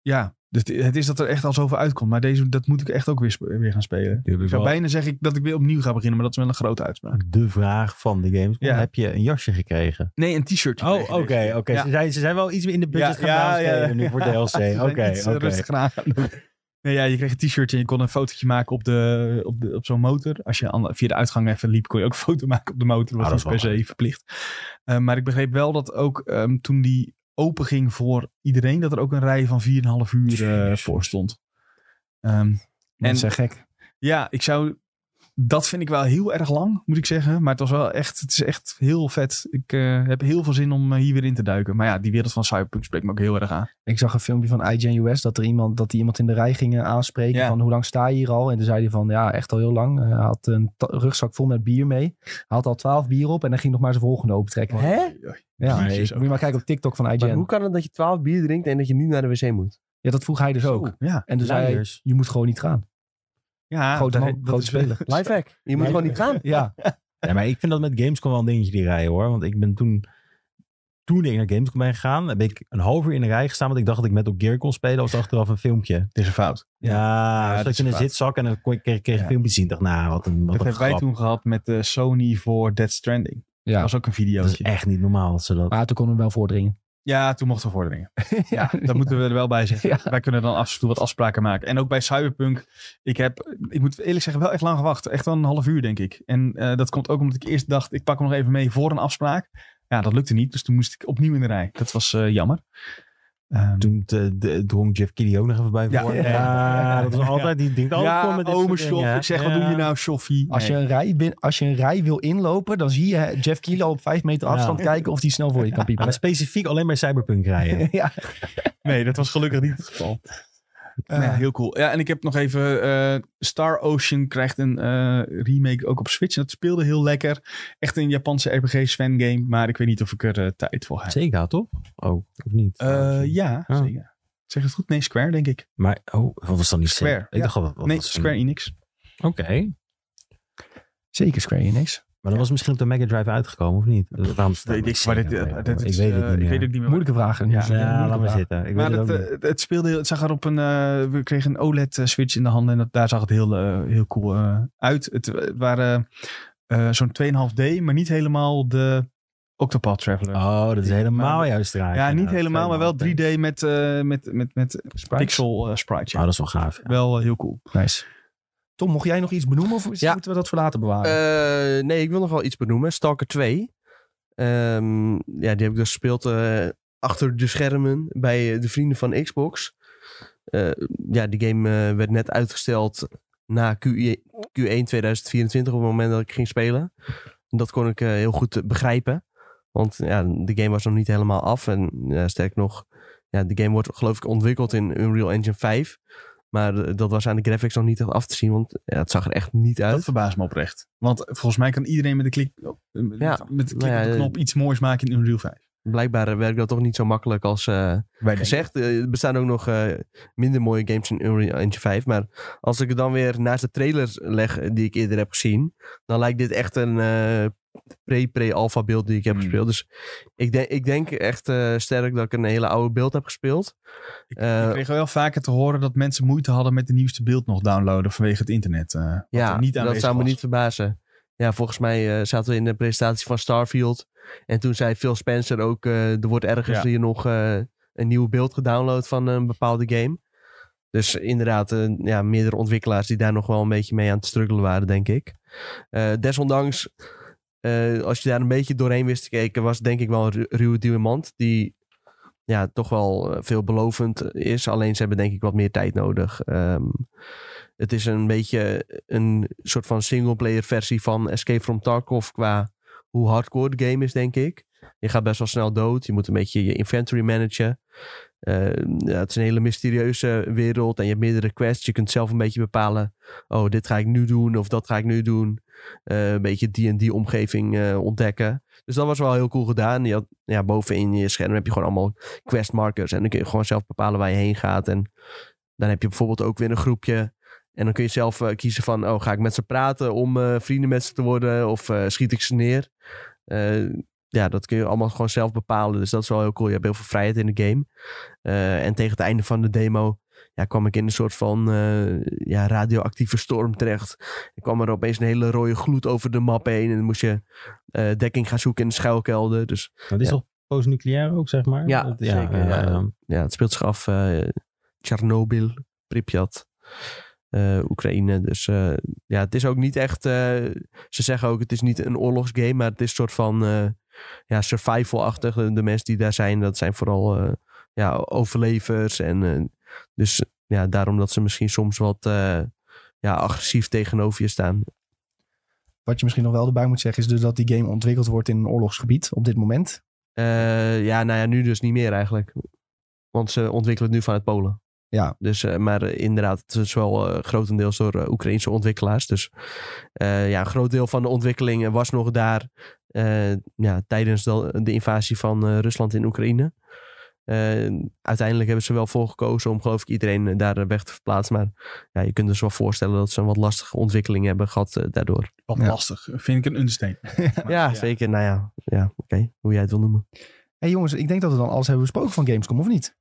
[SPEAKER 2] ja, het, het is dat er echt al zoveel uitkomt. Maar deze, dat moet ik echt ook weer, sp- weer gaan spelen.
[SPEAKER 4] Nu heb
[SPEAKER 2] Ik zou bijna zeggen dat ik weer opnieuw ga beginnen, maar dat is wel een grote uitspraak.
[SPEAKER 4] de vraag van de games.
[SPEAKER 2] Ja.
[SPEAKER 4] Heb je een jasje gekregen?
[SPEAKER 2] Nee, een t-shirt.
[SPEAKER 4] Oh, oké. oké.
[SPEAKER 2] Ja.
[SPEAKER 4] Ze, zijn, ze zijn wel iets meer in de budget
[SPEAKER 2] Ja,
[SPEAKER 4] gaan
[SPEAKER 2] ja,
[SPEAKER 4] downstellen
[SPEAKER 2] ja.
[SPEAKER 4] nu voor DLC. Oké,
[SPEAKER 2] Iets,
[SPEAKER 4] oké.
[SPEAKER 2] eh, Rustig aan. Nee, ja, je kreeg een t-shirtje en je kon een fotootje maken op, de, op, de, op zo'n motor. Als je an- via de uitgang even liep, kon je ook een foto maken op de motor.
[SPEAKER 4] Ah,
[SPEAKER 2] Dat was
[SPEAKER 4] dat is
[SPEAKER 2] niet per
[SPEAKER 4] wel
[SPEAKER 2] se verplicht. Eh, maar ik begreep wel dat ook ehm, toen die open ging voor iedereen, dat er ook een rij van 4,5 uur eh, voor stond. Ehm,
[SPEAKER 1] en
[SPEAKER 2] en-
[SPEAKER 1] zijn gek.
[SPEAKER 2] ja, ik zou. Dat vind ik wel heel erg lang, moet ik zeggen. Maar het was wel echt. Het is echt heel vet. Ik eh, heb heel veel zin om eh, hier weer in te duiken. Maar ja, die wereld van Cyberpunk spreekt me ook heel erg aan.
[SPEAKER 1] Ik zag een filmpje van IGN US dat er iemand, dat die iemand in de rij ging eh, aanspreken
[SPEAKER 2] Ja.
[SPEAKER 1] van hoe lang sta je hier al? En toen zei hij van ja, echt al heel lang. Eh, Hij had een ta- rugzak vol met bier mee. Hij had al twaalf bier op en dan ging nog maar zijn volgende opentrekken.
[SPEAKER 3] Hè?
[SPEAKER 1] Ja,
[SPEAKER 2] Jezus,
[SPEAKER 1] ik-
[SPEAKER 2] ook
[SPEAKER 1] moet je maar kijken op TikTok van
[SPEAKER 3] Maar hoe
[SPEAKER 1] IGN.
[SPEAKER 3] kan het dat je 12 bier drinkt en dat je niet naar de wc moet?
[SPEAKER 1] Ja, dat vroeg hij dus ook.
[SPEAKER 2] Ja.
[SPEAKER 1] En toen zei hij,
[SPEAKER 4] Luiers.
[SPEAKER 1] je moet gewoon niet gaan.
[SPEAKER 2] Ja,
[SPEAKER 1] Grote
[SPEAKER 2] dat-
[SPEAKER 1] man,
[SPEAKER 2] dat
[SPEAKER 1] grote
[SPEAKER 2] is-
[SPEAKER 1] speler.
[SPEAKER 3] Lifehack. Je moet gewoon niet gaan.
[SPEAKER 1] Ja,
[SPEAKER 4] Ja, maar ik vind dat met Gamescom wel een dingetje die rijden hoor. Want ik ben toen, toen ik naar Gamescom ben gegaan, heb ik een half uur in de rij gestaan. Want ik dacht dat ik met op Gear kon spelen. was achteraf een filmpje.
[SPEAKER 2] Het is een fout.
[SPEAKER 4] Ja,
[SPEAKER 2] dat
[SPEAKER 4] zat
[SPEAKER 2] is
[SPEAKER 4] je in een
[SPEAKER 2] waar.
[SPEAKER 4] zitzak en dan kon- kreeg kreeg je
[SPEAKER 2] Ja.
[SPEAKER 4] een filmpje te zien. Ik dacht, nou, wat een, wat
[SPEAKER 2] Dat
[SPEAKER 4] een
[SPEAKER 2] hebben wij
[SPEAKER 4] grap.
[SPEAKER 2] toen gehad met eh, Sony voor Dead Stranding.
[SPEAKER 1] Ja.
[SPEAKER 2] Dat was ook een
[SPEAKER 4] Dat is
[SPEAKER 2] videootje.
[SPEAKER 4] echt niet normaal dat ze dat...
[SPEAKER 1] maar toen kon hem wel voordringen.
[SPEAKER 2] Ja, toen mochten we vorderingen.
[SPEAKER 1] ja,
[SPEAKER 2] Dat moeten we er wel bij zeggen.
[SPEAKER 1] Ja.
[SPEAKER 2] Wij kunnen dan af en toe wat afspraken maken. En ook bij Cyberpunk. Ik heb, ik moet eerlijk zeggen, wel echt lang gewacht. Echt wel een half uur, denk ik. En eh, dat komt ook omdat ik eerst dacht, ik pak hem nog even mee voor een afspraak. Ja, dat lukte niet. Dus toen moest ik opnieuw in de rij. Dat was eh, jammer. Ehm,
[SPEAKER 4] Toen te- de- drong Jeff Keighley ook nog even bij
[SPEAKER 2] Ja.
[SPEAKER 4] voor.
[SPEAKER 2] Ja.
[SPEAKER 4] Ja, dat was altijd, die denkt altijd voor
[SPEAKER 2] ja,
[SPEAKER 4] met dit
[SPEAKER 2] ome
[SPEAKER 4] soort dingen,
[SPEAKER 2] Sjoff.
[SPEAKER 4] hè.
[SPEAKER 2] Ik zeg,
[SPEAKER 4] Ja.
[SPEAKER 2] wat doe je nou, Sjoffie?
[SPEAKER 1] Als je,
[SPEAKER 2] Nee.
[SPEAKER 1] een rij, bin- als je een rij wil inlopen, dan zie je Jeff Kilo op vijf meter
[SPEAKER 4] Ja.
[SPEAKER 1] afstand kijken of die snel voor je kan
[SPEAKER 4] Maar
[SPEAKER 1] piepen.
[SPEAKER 4] specifiek alleen maar Cyberpunk rijden.
[SPEAKER 1] Ja.
[SPEAKER 2] Nee, dat was gelukkig niet het geval.
[SPEAKER 1] Eh,
[SPEAKER 2] Nou ja, heel cool. Ja, en ik heb nog even... eh, Star Ocean krijgt een eh, remake ook op Switch. En dat speelde heel lekker. Echt een Japanse RPG-Sven-game. Maar ik weet niet of ik er eh, tijd voor heb.
[SPEAKER 4] Sega, toch? Oh, of niet?
[SPEAKER 2] Eh, ja,
[SPEAKER 4] Ah.
[SPEAKER 2] zeker. Zeg het goed? Nee, Square, denk ik.
[SPEAKER 4] Maar, oh, wat was dan niet Sega?
[SPEAKER 2] Square,
[SPEAKER 4] Ik dacht, wat, wat
[SPEAKER 2] nee,
[SPEAKER 4] was-
[SPEAKER 2] Square Enix.
[SPEAKER 4] Oké.
[SPEAKER 1] Zeker Square Enix.
[SPEAKER 4] Maar dan was misschien op de Mega Drive uitgekomen, of niet? Waarom staat
[SPEAKER 2] Weet
[SPEAKER 4] dat
[SPEAKER 2] maar
[SPEAKER 4] Sega
[SPEAKER 2] dit, eh,
[SPEAKER 4] bij?
[SPEAKER 2] dit
[SPEAKER 4] ik
[SPEAKER 2] is,
[SPEAKER 4] weet
[SPEAKER 2] eh,
[SPEAKER 4] het niet
[SPEAKER 2] Ik
[SPEAKER 4] meer.
[SPEAKER 2] weet het niet meer.
[SPEAKER 1] Moeilijke vragen.
[SPEAKER 2] Ja.
[SPEAKER 1] Dus, eh,
[SPEAKER 4] ja,
[SPEAKER 1] moeilijke
[SPEAKER 4] laat maar
[SPEAKER 1] vragen.
[SPEAKER 4] zitten. Ik
[SPEAKER 2] maar
[SPEAKER 4] weet
[SPEAKER 2] dat,
[SPEAKER 4] het ook
[SPEAKER 2] eh,
[SPEAKER 4] niet.
[SPEAKER 2] het, speelde heel, het zag er op een. eh, we kregen een OLED-switch in de handen. En dat, daar zag het heel, eh, heel cool eh, uit. Het eh, waren eh, zo'n 2,5D, maar niet helemaal de Octopath Traveler.
[SPEAKER 4] Oh, dat is helemaal jouw straatje.
[SPEAKER 2] eh, ja, niet
[SPEAKER 4] Nou,
[SPEAKER 2] helemaal, maar wel
[SPEAKER 4] 2,5.
[SPEAKER 2] 3D met, eh, met, met, met
[SPEAKER 1] Sprites.
[SPEAKER 2] pixel eh, sprite.
[SPEAKER 4] Oh, dat is wel gaaf. ja.
[SPEAKER 2] Wel eh, heel cool.
[SPEAKER 1] Nice. Tom, mocht jij nog iets benoemen of is-
[SPEAKER 3] Ja.
[SPEAKER 1] moeten we dat voor later bewaren?
[SPEAKER 3] Eh, nee, ik wil nog wel iets benoemen. Stalker 2. Ehm, ja, die heb ik dus gespeeld eh, achter de schermen bij eh, de vrienden van Xbox. Eh, ja, die game eh, werd net uitgesteld na E, Q1, Q1 2024 op het moment dat ik ging spelen. Dat kon ik eh, heel goed eh, begrijpen. Want ja, de game was nog niet helemaal af. En ja, sterk nog, ja, de game wordt geloof ik ontwikkeld in Unreal Engine 5. Maar eh, dat was aan de graphics nog niet echt af te zien, want ja, het zag er echt niet uit.
[SPEAKER 2] Dat verbaast me oprecht. Want volgens mij kan iedereen met de klik, oh, met,
[SPEAKER 3] Ja,
[SPEAKER 2] met de, klik
[SPEAKER 3] nou ja,
[SPEAKER 2] op de knop iets moois maken in Unreal 5.
[SPEAKER 3] Blijkbaar eh, werkt dat toch niet zo makkelijk als eh,
[SPEAKER 2] Wij
[SPEAKER 3] gezegd. Eh, er bestaan ook nog eh, minder mooie games in Unreal Engine 5. Maar als ik het dan weer naast de trailers leg eh, die ik eerder heb gezien, dan lijkt dit echt een eh, pre-pre-alpha beeld die ik heb
[SPEAKER 2] Hmm.
[SPEAKER 3] gespeeld. Dus ik, denk ik denk echt eh, sterk dat ik een hele oude beeld heb gespeeld.
[SPEAKER 2] Ik,
[SPEAKER 3] Eh,
[SPEAKER 2] ik kreeg wel vaker te horen dat mensen moeite hadden met de nieuwste beeld nog downloaden vanwege het internet. eh, wat
[SPEAKER 3] Ja,
[SPEAKER 2] er niet
[SPEAKER 3] dat
[SPEAKER 2] aanwezig
[SPEAKER 3] zou me
[SPEAKER 2] was.
[SPEAKER 3] niet verbazen. Ja, volgens mij eh, zaten we in de presentatie van Starfield. En toen zei Phil Spencer ook, eh, er wordt ergens
[SPEAKER 2] Ja.
[SPEAKER 3] hier nog eh, een nieuw beeld gedownload van een bepaalde game. Dus inderdaad, eh, ja, meerdere ontwikkelaars die daar nog wel een beetje mee aan het struggelen waren, denk ik. Eh, desondanks, eh, als je daar een beetje doorheen wist te kijken, was het denk ik wel een ru- ruwe diamant die ja, toch wel eh, veelbelovend is. Alleen ze hebben denk ik wat meer tijd nodig. Ehm, het is een beetje een soort van singleplayer versie van Escape from Tarkov qua hoe hardcore de game is, denk ik. Je gaat best wel snel dood. Je moet een beetje je inventory managen. Eh, ja, het is een hele mysterieuze wereld en je hebt meerdere quests. Je kunt zelf een beetje bepalen, oh, dit ga ik nu doen of dat ga ik nu doen. Eh, een beetje die en die omgeving eh, ontdekken. Dus dat was wel heel cool gedaan. Je had, ja, bovenin je scherm heb je gewoon allemaal quest markers en dan kun je gewoon zelf bepalen waar je heen gaat. En dan heb je bijvoorbeeld ook weer een groepje en dan kun je zelf eh, kiezen van, oh, ga ik met ze praten om eh, vrienden met ze te worden of eh, schiet ik ze neer? Eh, ja, dat kun je allemaal gewoon zelf bepalen. Dus dat is wel heel cool. Je hebt heel veel vrijheid in de game. Eh, en tegen het einde van de demo ja, kwam ik in een soort van eh, ja, radioactieve storm terecht. Er kwam er opeens een hele rode gloed over de map heen. En dan moest je eh, dekking gaan zoeken in de schuilkelder. Dus
[SPEAKER 4] Dat is
[SPEAKER 3] Ja.
[SPEAKER 4] toch post-nucleair ook, zeg maar? eh,
[SPEAKER 3] Ja,
[SPEAKER 4] Dat-
[SPEAKER 3] zeker, ja.
[SPEAKER 2] Dus
[SPEAKER 3] ja, het speelt zich af. eh Tsjernobyl, Pripyat, eh, Oekraïne. Dus eh, ja, het is ook niet echt. eh, ze zeggen ook, het is niet een oorlogsgame, maar het is een soort van eh, ja, survival-achtig. De, de mensen die daar zijn, dat zijn vooral eh, ja, overlevers. En eh, dus ja, daarom dat ze misschien soms wat eh, ja, agressief tegenover je staan.
[SPEAKER 1] Wat je misschien nog wel erbij moet zeggen is dus dat die game ontwikkeld wordt in een oorlogsgebied op dit moment.
[SPEAKER 3] Eh, ja, nou ja, nu dus niet meer eigenlijk. Want ze ontwikkelen het nu vanuit Polen.
[SPEAKER 1] Ja.
[SPEAKER 3] Dus, eh, maar eh, inderdaad, het is wel eh, grotendeels door eh, Oekraïnse ontwikkelaars. Dus eh, ja, een groot deel van de ontwikkeling eh, was nog daar eh, ja, tijdens de, de invasie van eh, Rusland in Oekraïne. Eh, uiteindelijk hebben ze wel voor gekozen om geloof ik iedereen eh, daar eh, weg te verplaatsen. Maar ja, je kunt dus wel voorstellen dat ze een wat lastige ontwikkeling hebben gehad eh, daardoor.
[SPEAKER 2] Wat
[SPEAKER 1] Ja.
[SPEAKER 2] lastig. Vind ik een understatement.
[SPEAKER 3] Ja, zeker. Nou ja, ja oké. Hoe jij het wil noemen.
[SPEAKER 1] Hé jongens, ik denk dat we dan alles hebben besproken van Gamescom, of niet?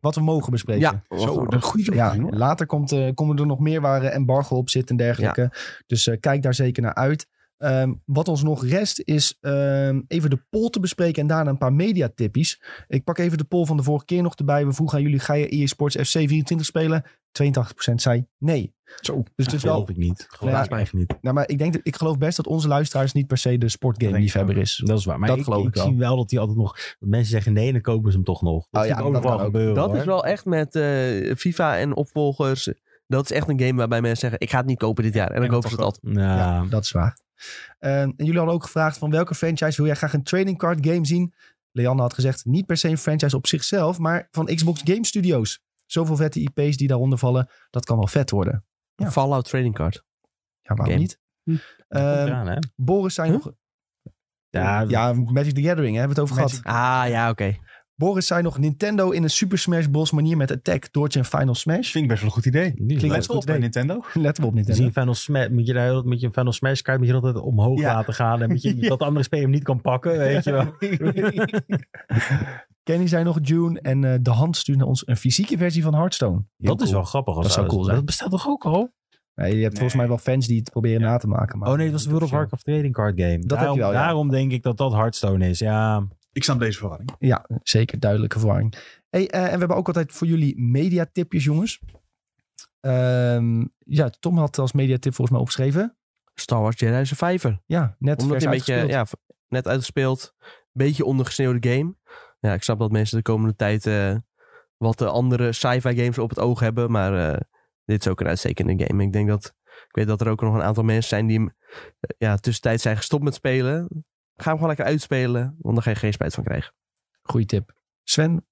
[SPEAKER 1] Wat we mogen bespreken.
[SPEAKER 2] Zo, dat is een goede
[SPEAKER 1] Ja,
[SPEAKER 2] opmerking, hoor.
[SPEAKER 1] later komt, eh, komen er nog meer waar eh, embargo op zit en dergelijke. Dus eh, kijk daar zeker naar uit. Ehm, wat ons nog rest is ehm, even de poll te bespreken en daarna een paar mediatippies. Ik pak even de poll van de vorige keer nog erbij. We vroegen aan jullie, ga je EA Sports FC 24 spelen? 82% zei nee.
[SPEAKER 2] Zo.
[SPEAKER 1] Dus het is wel...
[SPEAKER 4] geloof ik niet. Geloof
[SPEAKER 1] Ja.
[SPEAKER 4] ik eigenlijk niet.
[SPEAKER 1] Nou, maar ik, denk, dat- ik geloof best dat onze luisteraars niet per se de sportgame liefhebber is.
[SPEAKER 4] Dat is waar. Maar
[SPEAKER 1] Dat
[SPEAKER 4] ik,
[SPEAKER 1] geloof ik
[SPEAKER 4] ik
[SPEAKER 1] wel.
[SPEAKER 4] zie wel dat die altijd nog... Dat mensen zeggen nee en dan kopen ze hem toch nog. Dat
[SPEAKER 1] Oh ja,
[SPEAKER 4] zie ik ook
[SPEAKER 1] dat
[SPEAKER 4] nog wel
[SPEAKER 1] kan ook.
[SPEAKER 4] gebeuren,
[SPEAKER 3] Dat
[SPEAKER 4] hoor.
[SPEAKER 3] is wel echt met eh, FIFA en opvolgers. Dat is echt een game waarbij mensen zeggen: Ik ga het niet kopen dit jaar. En dan
[SPEAKER 2] En
[SPEAKER 3] kopen ze
[SPEAKER 2] toch
[SPEAKER 3] het altijd.
[SPEAKER 4] Ja.
[SPEAKER 1] Ja, dat is waar. Ehm, en jullie hadden ook gevraagd van welke franchise wil jij graag een trading card game zien? Leanne had gezegd niet per se een franchise op zichzelf, maar van Xbox Game Studios. Zoveel vette IP's die daaronder vallen, dat kan wel vet worden. Ja.
[SPEAKER 3] Fallout Trading Card.
[SPEAKER 1] Ja, waarom
[SPEAKER 3] Game.
[SPEAKER 1] niet?
[SPEAKER 2] Hm.
[SPEAKER 1] Ehm,
[SPEAKER 4] Komt eraan, hè?
[SPEAKER 1] Boris zei
[SPEAKER 3] Huh?
[SPEAKER 1] nog...
[SPEAKER 4] Ja, dat-
[SPEAKER 1] ja, Magic the Gathering, hè, hebben we het over
[SPEAKER 2] Magic
[SPEAKER 1] gehad.
[SPEAKER 3] Ah ja, oké.
[SPEAKER 1] Boris zei nog Nintendo in een Super Smash Bros. manier met Attack, Dodge en Final Smash.
[SPEAKER 2] Vind ik best wel een goed idee.
[SPEAKER 4] niet
[SPEAKER 1] klinkt
[SPEAKER 4] leuk.
[SPEAKER 1] als
[SPEAKER 2] Let
[SPEAKER 1] een goed
[SPEAKER 2] op bij
[SPEAKER 1] idee.
[SPEAKER 2] Nintendo.
[SPEAKER 1] Let op Nintendo.
[SPEAKER 4] Dus in Final Smash, moet je daar heel- met je Final Smash kaart moet je altijd omhoog
[SPEAKER 2] Ja.
[SPEAKER 4] laten gaan. En moet je, dat de andere speler hem niet kan pakken, weet je wel.
[SPEAKER 1] Kenny zei nog June en eh, De Hand stuurde ons een fysieke versie van Hearthstone. Heel
[SPEAKER 4] dat is
[SPEAKER 1] cool.
[SPEAKER 4] wel grappig. Als
[SPEAKER 1] Dat zou cool zijn.
[SPEAKER 4] Dat bestaat toch ook al?
[SPEAKER 1] Nee, je hebt volgens mij wel fans die het proberen na te maken. Maar
[SPEAKER 4] Oh nee, dat was de World of Warcraft Trading Card Game.
[SPEAKER 1] heb je
[SPEAKER 4] daarom,
[SPEAKER 1] wel, ja.
[SPEAKER 4] daarom denk ik dat dat Hearthstone is. Ja,
[SPEAKER 2] Ik snap deze verwarring.
[SPEAKER 1] Ja, zeker. Duidelijke verwarring. Hey, eh, en we hebben ook altijd voor jullie mediatipjes, jongens. Ehm, ja, Tom had als mediatip volgens mij opgeschreven.
[SPEAKER 3] Star Wars Jedi Survivor.
[SPEAKER 1] Ja, net
[SPEAKER 3] Omdat
[SPEAKER 1] vers
[SPEAKER 3] hij een beetje
[SPEAKER 1] uitgespeeld.
[SPEAKER 3] ja, v- net uitgespeeld. Beetje ondergesneeuwde game. Ja, ik snap dat mensen de komende tijd eh, wat de andere sci-fi games op het oog hebben. Maar eh, dit is ook een uitstekende game. Ik denk dat. Ik weet dat er ook nog een aantal mensen zijn die eh, ja, tussentijd zijn gestopt met spelen. Ga hem gewoon lekker uitspelen, want dan ga je geen spijt van krijgen.
[SPEAKER 1] Goeie tip. Sven,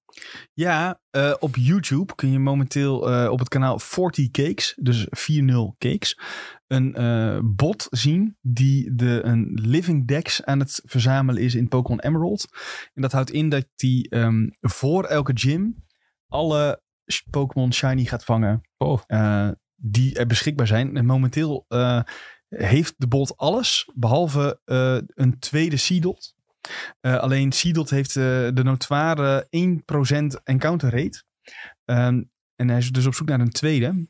[SPEAKER 2] Ja, eh, op YouTube kun je momenteel eh, op het kanaal 40 Cakes, dus 40 Cakes, een eh, bot zien die de, een Living Dex aan het verzamelen is in Pokémon Emerald. En dat houdt in dat die ehm, voor elke gym alle sh- Pokémon Shiny gaat vangen
[SPEAKER 1] Oh.
[SPEAKER 2] eh, die er beschikbaar zijn. En momenteel eh, heeft de bot alles, behalve eh, een tweede Seedot. Eh, alleen Seedot heeft eh, de notoire 1% encounter rate. Ehm, en hij is dus op zoek naar een tweede.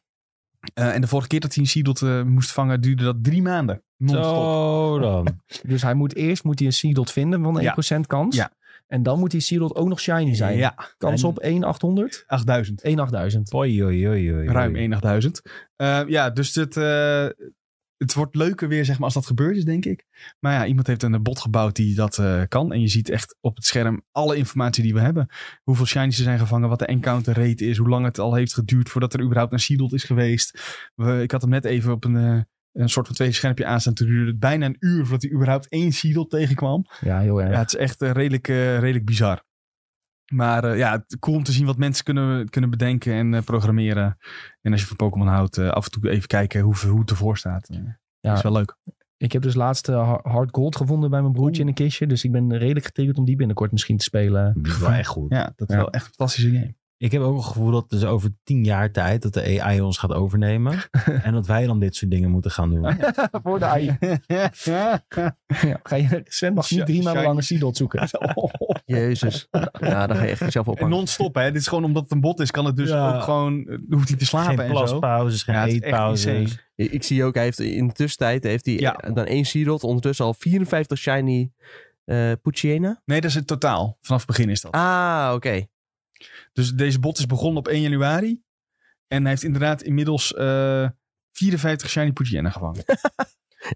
[SPEAKER 2] Eh, en de vorige keer dat hij een Seedot eh, moest vangen, duurde dat drie maanden. Non-stop.
[SPEAKER 4] Zo dan.
[SPEAKER 1] dus hij moet eerst moet hij een Seedot vinden van 1% kans.
[SPEAKER 2] Ja.
[SPEAKER 1] En dan moet die Seedot ook nog shiny zijn.
[SPEAKER 2] Ja,
[SPEAKER 1] Kans
[SPEAKER 4] En-
[SPEAKER 1] op 1 800?
[SPEAKER 2] 8000.
[SPEAKER 1] 1 8000.
[SPEAKER 4] Oei, oei, oei, oei.
[SPEAKER 2] Ruim 8000. Eh, ja, dus het, eh, het wordt leuker weer, zeg maar, als dat gebeurd is, denk ik. Maar ja, iemand heeft een bot gebouwd die dat eh, kan. En je ziet echt op het scherm alle informatie die we hebben. Hoeveel shinies er zijn gevangen, wat de encounter rate is, hoe lang het al heeft geduurd voordat er überhaupt een seedot is geweest. We, ik had hem net even op een, eh, een soort van tweede schermpje aanstaan. Toen duurde het bijna een uur voordat hij überhaupt één seedot tegenkwam.
[SPEAKER 1] Ja, heel erg.
[SPEAKER 2] Ja, het is echt eh, redelijk, eh, redelijk bizar. Maar eh, ja, het- cool om te zien wat mensen kunnen, kunnen bedenken en eh, programmeren. En als je van Pokémon houdt, eh, af en toe even kijken hoe, hoe het ervoor staat. Eh,
[SPEAKER 1] Ja.
[SPEAKER 2] is wel leuk.
[SPEAKER 1] Ik heb dus laatst eh, ha- hard gold gevonden bij mijn broertje in een kistje. Dus ik ben redelijk getriggerd om die binnenkort misschien te spelen.
[SPEAKER 4] Dat is wel echt goed.
[SPEAKER 2] Ja, dat is
[SPEAKER 1] Ja.
[SPEAKER 2] wel echt een fantastische game.
[SPEAKER 4] Ik heb ook het gevoel dat dus over tien jaar tijd dat de AI ons gaat overnemen. en dat wij dan dit soort dingen moeten gaan doen.
[SPEAKER 1] Voor de AI. Ja, ga je, Sven mag niet
[SPEAKER 2] Shi-
[SPEAKER 1] drie maanden
[SPEAKER 2] shiny.
[SPEAKER 1] lang een Seedot zoeken.
[SPEAKER 3] Jezus. ja, dan ga je echt jezelf
[SPEAKER 2] en
[SPEAKER 3] oppakken.
[SPEAKER 2] non-stop, hè. Dit is gewoon omdat het een bot is, kan het dus
[SPEAKER 4] Ja.
[SPEAKER 2] ook gewoon... eh, hoeft hij te slapen
[SPEAKER 4] geen
[SPEAKER 2] en zo.
[SPEAKER 4] plaspauzes, geen
[SPEAKER 2] Ja, het is echt
[SPEAKER 4] eetpauzes.
[SPEAKER 2] insane.
[SPEAKER 3] Ik, ik zie ook, hij heeft in de tussentijd heeft hij
[SPEAKER 2] Ja.
[SPEAKER 3] eh, dan één Seedot, ondertussen al 54 shiny eh Puccina.
[SPEAKER 2] Nee, dat is het totaal. Vanaf het begin is dat.
[SPEAKER 3] Ah, oké.
[SPEAKER 2] Dus deze bot is begonnen op 1 januari. En hij heeft inderdaad inmiddels eh, 54 Shiny Pugiana gevangen.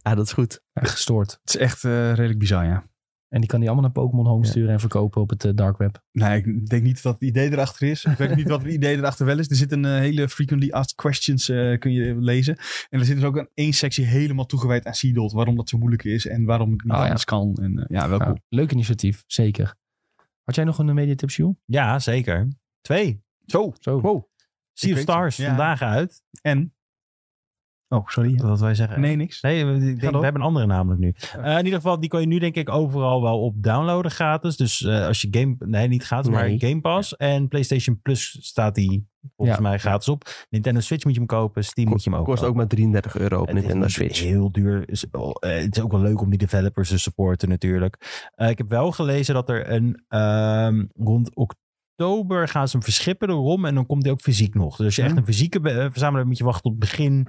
[SPEAKER 3] Ja, dat is goed.
[SPEAKER 1] Ja, gestoord.
[SPEAKER 2] Het is echt eh, redelijk bizar, ja.
[SPEAKER 1] En die kan die allemaal naar Pokémon Home
[SPEAKER 3] Ja.
[SPEAKER 1] sturen en verkopen op het eh, dark web.
[SPEAKER 2] Nou, ik denk niet dat het idee erachter is. Ik weet ook niet wat het idee erachter wel is. Er zit een eh, hele frequently asked questions, eh, kun je lezen. En er zit dus ook een één sectie helemaal toegewijd aan Seedot. Waarom dat zo moeilijk is en waarom het niet
[SPEAKER 1] Ah, ja.
[SPEAKER 2] anders kan. En eh, ja, wel
[SPEAKER 1] Ja,
[SPEAKER 2] cool.
[SPEAKER 1] Nou, leuk initiatief, zeker. Had jij nog een eh, mediatip, Jules?
[SPEAKER 4] Ja, zeker. Twee.
[SPEAKER 2] Zo,
[SPEAKER 1] Zo.
[SPEAKER 4] Sea of
[SPEAKER 2] weet het.
[SPEAKER 4] Stars,
[SPEAKER 2] Ja.
[SPEAKER 4] vandaag uit.
[SPEAKER 2] en? Oh, sorry.
[SPEAKER 4] Wat wij zeggen.
[SPEAKER 2] Nee, niks.
[SPEAKER 4] Eh, Nee, we, ik denk-
[SPEAKER 2] door.
[SPEAKER 4] we hebben een andere namelijk nu. Eh, in ieder geval, die kan je nu denk ik overal wel op downloaden gratis. Dus eh, als je Game... Nee, niet gratis,
[SPEAKER 3] Nee.
[SPEAKER 4] maar Game Pass. En PlayStation Plus staat die volgens
[SPEAKER 1] Ja.
[SPEAKER 4] mij gratis op. Nintendo Switch moet je hem kopen. Steam moet je hem ook
[SPEAKER 3] Kost
[SPEAKER 4] kopen.
[SPEAKER 3] ook maar 33 euro op
[SPEAKER 4] Het oh. is
[SPEAKER 3] Nintendo
[SPEAKER 4] niet
[SPEAKER 3] Switch.
[SPEAKER 4] Heel duur. Is- oh, eh, Het is ook wel leuk om die developers te supporten natuurlijk. Eh, ik heb wel gelezen dat er een ehm, rond oktober gaan ze hem verschippen erom en dan komt hij ook fysiek nog. Dus als je
[SPEAKER 2] Ja.
[SPEAKER 4] echt
[SPEAKER 3] Mhm.
[SPEAKER 4] een fysieke be- eh, verzamelaar bent, moet je wachten tot begin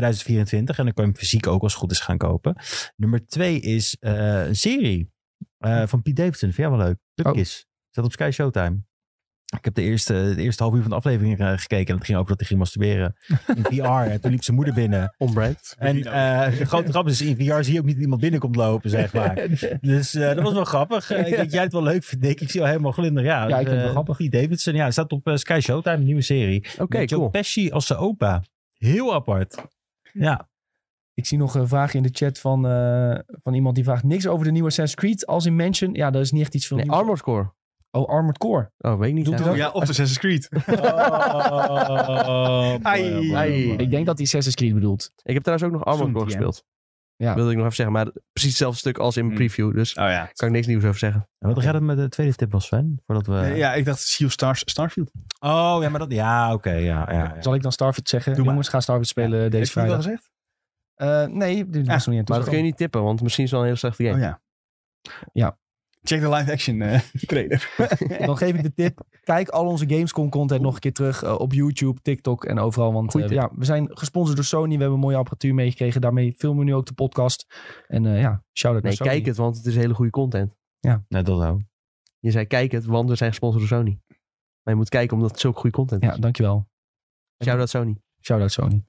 [SPEAKER 4] 2024 en dan kan je hem fysiek ook als het goed is gaan kopen. Nummer twee is eh, een serie eh, van Pete Davidson. Vind jij wel
[SPEAKER 3] Oh.
[SPEAKER 4] leuk? Pupkis. Zat op Sky Showtime. Ik heb de eerste, de eerste half uur van de aflevering eh, gekeken. En het ging over dat hij ging masturberen. In VR. En toen liep zijn moeder binnen.
[SPEAKER 3] Onbrand.
[SPEAKER 4] En eh, de grote grap is, in VR zie je ook niet dat iemand binnenkomt lopen, zeg maar. Dus eh, dat was wel grappig. Eh, ik denk, jij het wel leuk vindt, Dick. Ik zie al helemaal glinder. Ja,
[SPEAKER 1] Ja, ik vind het wel
[SPEAKER 4] eh,
[SPEAKER 1] grappig.
[SPEAKER 4] Pete Davidson, ja, hij staat op eh, Sky Showtime, een nieuwe serie.
[SPEAKER 3] Oké,
[SPEAKER 4] Met Joe
[SPEAKER 3] cool.
[SPEAKER 4] Pesci als zijn opa. Heel apart. Ja,
[SPEAKER 1] Ik zie nog een vraag in de chat van, eh, van iemand die vraagt niks over de nieuwe Assassin's Creed als in Mansion. Ja, dat is niet echt iets van...
[SPEAKER 3] Nee, Armored Core.
[SPEAKER 1] Oh, Armored Core.
[SPEAKER 3] Oh, weet ik niet.
[SPEAKER 1] Doet
[SPEAKER 3] eigenlijk.
[SPEAKER 2] Ja, of Assassin's Creed.
[SPEAKER 4] Oh,
[SPEAKER 2] Ai.
[SPEAKER 4] boy, boy, boy.
[SPEAKER 1] Ik denk dat hij Assassin's Creed bedoelt.
[SPEAKER 3] Ik heb trouwens ook nog Armored
[SPEAKER 2] Zo'n
[SPEAKER 3] Core
[SPEAKER 2] DM.
[SPEAKER 3] gespeeld.
[SPEAKER 1] Ja.
[SPEAKER 3] Wilde ik nog even zeggen, maar precies hetzelfde stuk als in
[SPEAKER 2] Hmm.
[SPEAKER 3] preview. Dus
[SPEAKER 2] Oh ja.
[SPEAKER 3] kan ik niks nieuws over zeggen.
[SPEAKER 4] En Wat gaat het met de tweede tip was, Sven? Voordat
[SPEAKER 1] eh,
[SPEAKER 4] we...
[SPEAKER 2] Eh, Ja, ik dacht Sea of Stars, Starfield.
[SPEAKER 4] Oh, ja, maar dat... Ja, oké, ja, ja, ja.
[SPEAKER 1] Zal ik dan Starfield zeggen?
[SPEAKER 2] Doe maar.
[SPEAKER 1] Jongens, ga Starfield spelen
[SPEAKER 2] Heb
[SPEAKER 1] deze
[SPEAKER 2] je dat al
[SPEAKER 1] vrijdag.
[SPEAKER 2] gezegd?
[SPEAKER 1] Eh, nee, dit was nog niet aan
[SPEAKER 3] Maar dat kun je
[SPEAKER 1] toegekomen.
[SPEAKER 3] niet tippen, want misschien is het wel een hele slechte game.
[SPEAKER 2] Oh ja.
[SPEAKER 1] Ja.
[SPEAKER 2] Check de live action eh, trailer.
[SPEAKER 1] Dan geef ik de tip. Kijk al onze Gamescom-content nog een keer terug eh, op YouTube, TikTok en overal. Want
[SPEAKER 3] Goeie
[SPEAKER 1] eh,
[SPEAKER 3] tip.
[SPEAKER 1] ja, we zijn gesponsord door Sony. We hebben mooie apparatuur meegekregen. Daarmee filmen we nu ook de podcast. En eh, ja, shout-out
[SPEAKER 3] Nee,
[SPEAKER 1] naar Sony.
[SPEAKER 3] kijk het, want het is hele goede content.
[SPEAKER 4] Nee, dat ook.
[SPEAKER 3] Je zei kijk het, want we zijn gesponsord door Sony. Maar je moet kijken omdat het zulke goede content
[SPEAKER 1] Ja,
[SPEAKER 3] is.
[SPEAKER 1] dankjewel.
[SPEAKER 3] Shout-out Sony.
[SPEAKER 1] Shout-out Sony.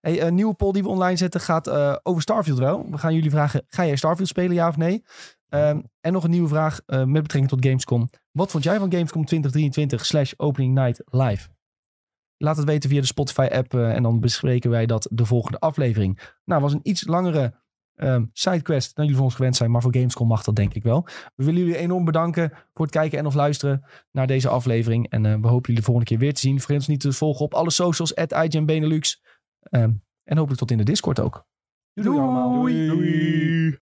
[SPEAKER 1] Hey, een nieuwe poll die we online zetten gaat eh, over Starfield wel. We gaan jullie vragen, ga jij Starfield spelen, ja of nee? Ehm, en nog een nieuwe vraag eh, met betrekking tot Gamescom. Wat vond jij van Gamescom 2023 slash opening night live? Laat het weten via de Spotify app eh, en dan bespreken wij dat de volgende aflevering. Nou, was een iets langere Ehm sidequest, dan jullie van ons gewend zijn, maar voor Gamescom mag dat denk ik wel. We willen jullie enorm bedanken voor het kijken en of luisteren naar deze aflevering. En eh, we hopen jullie de volgende keer weer te zien. Vergeet ons niet te volgen op alle socials, at Benelux. Ehm, en hopelijk tot in de Discord ook.
[SPEAKER 2] Doei.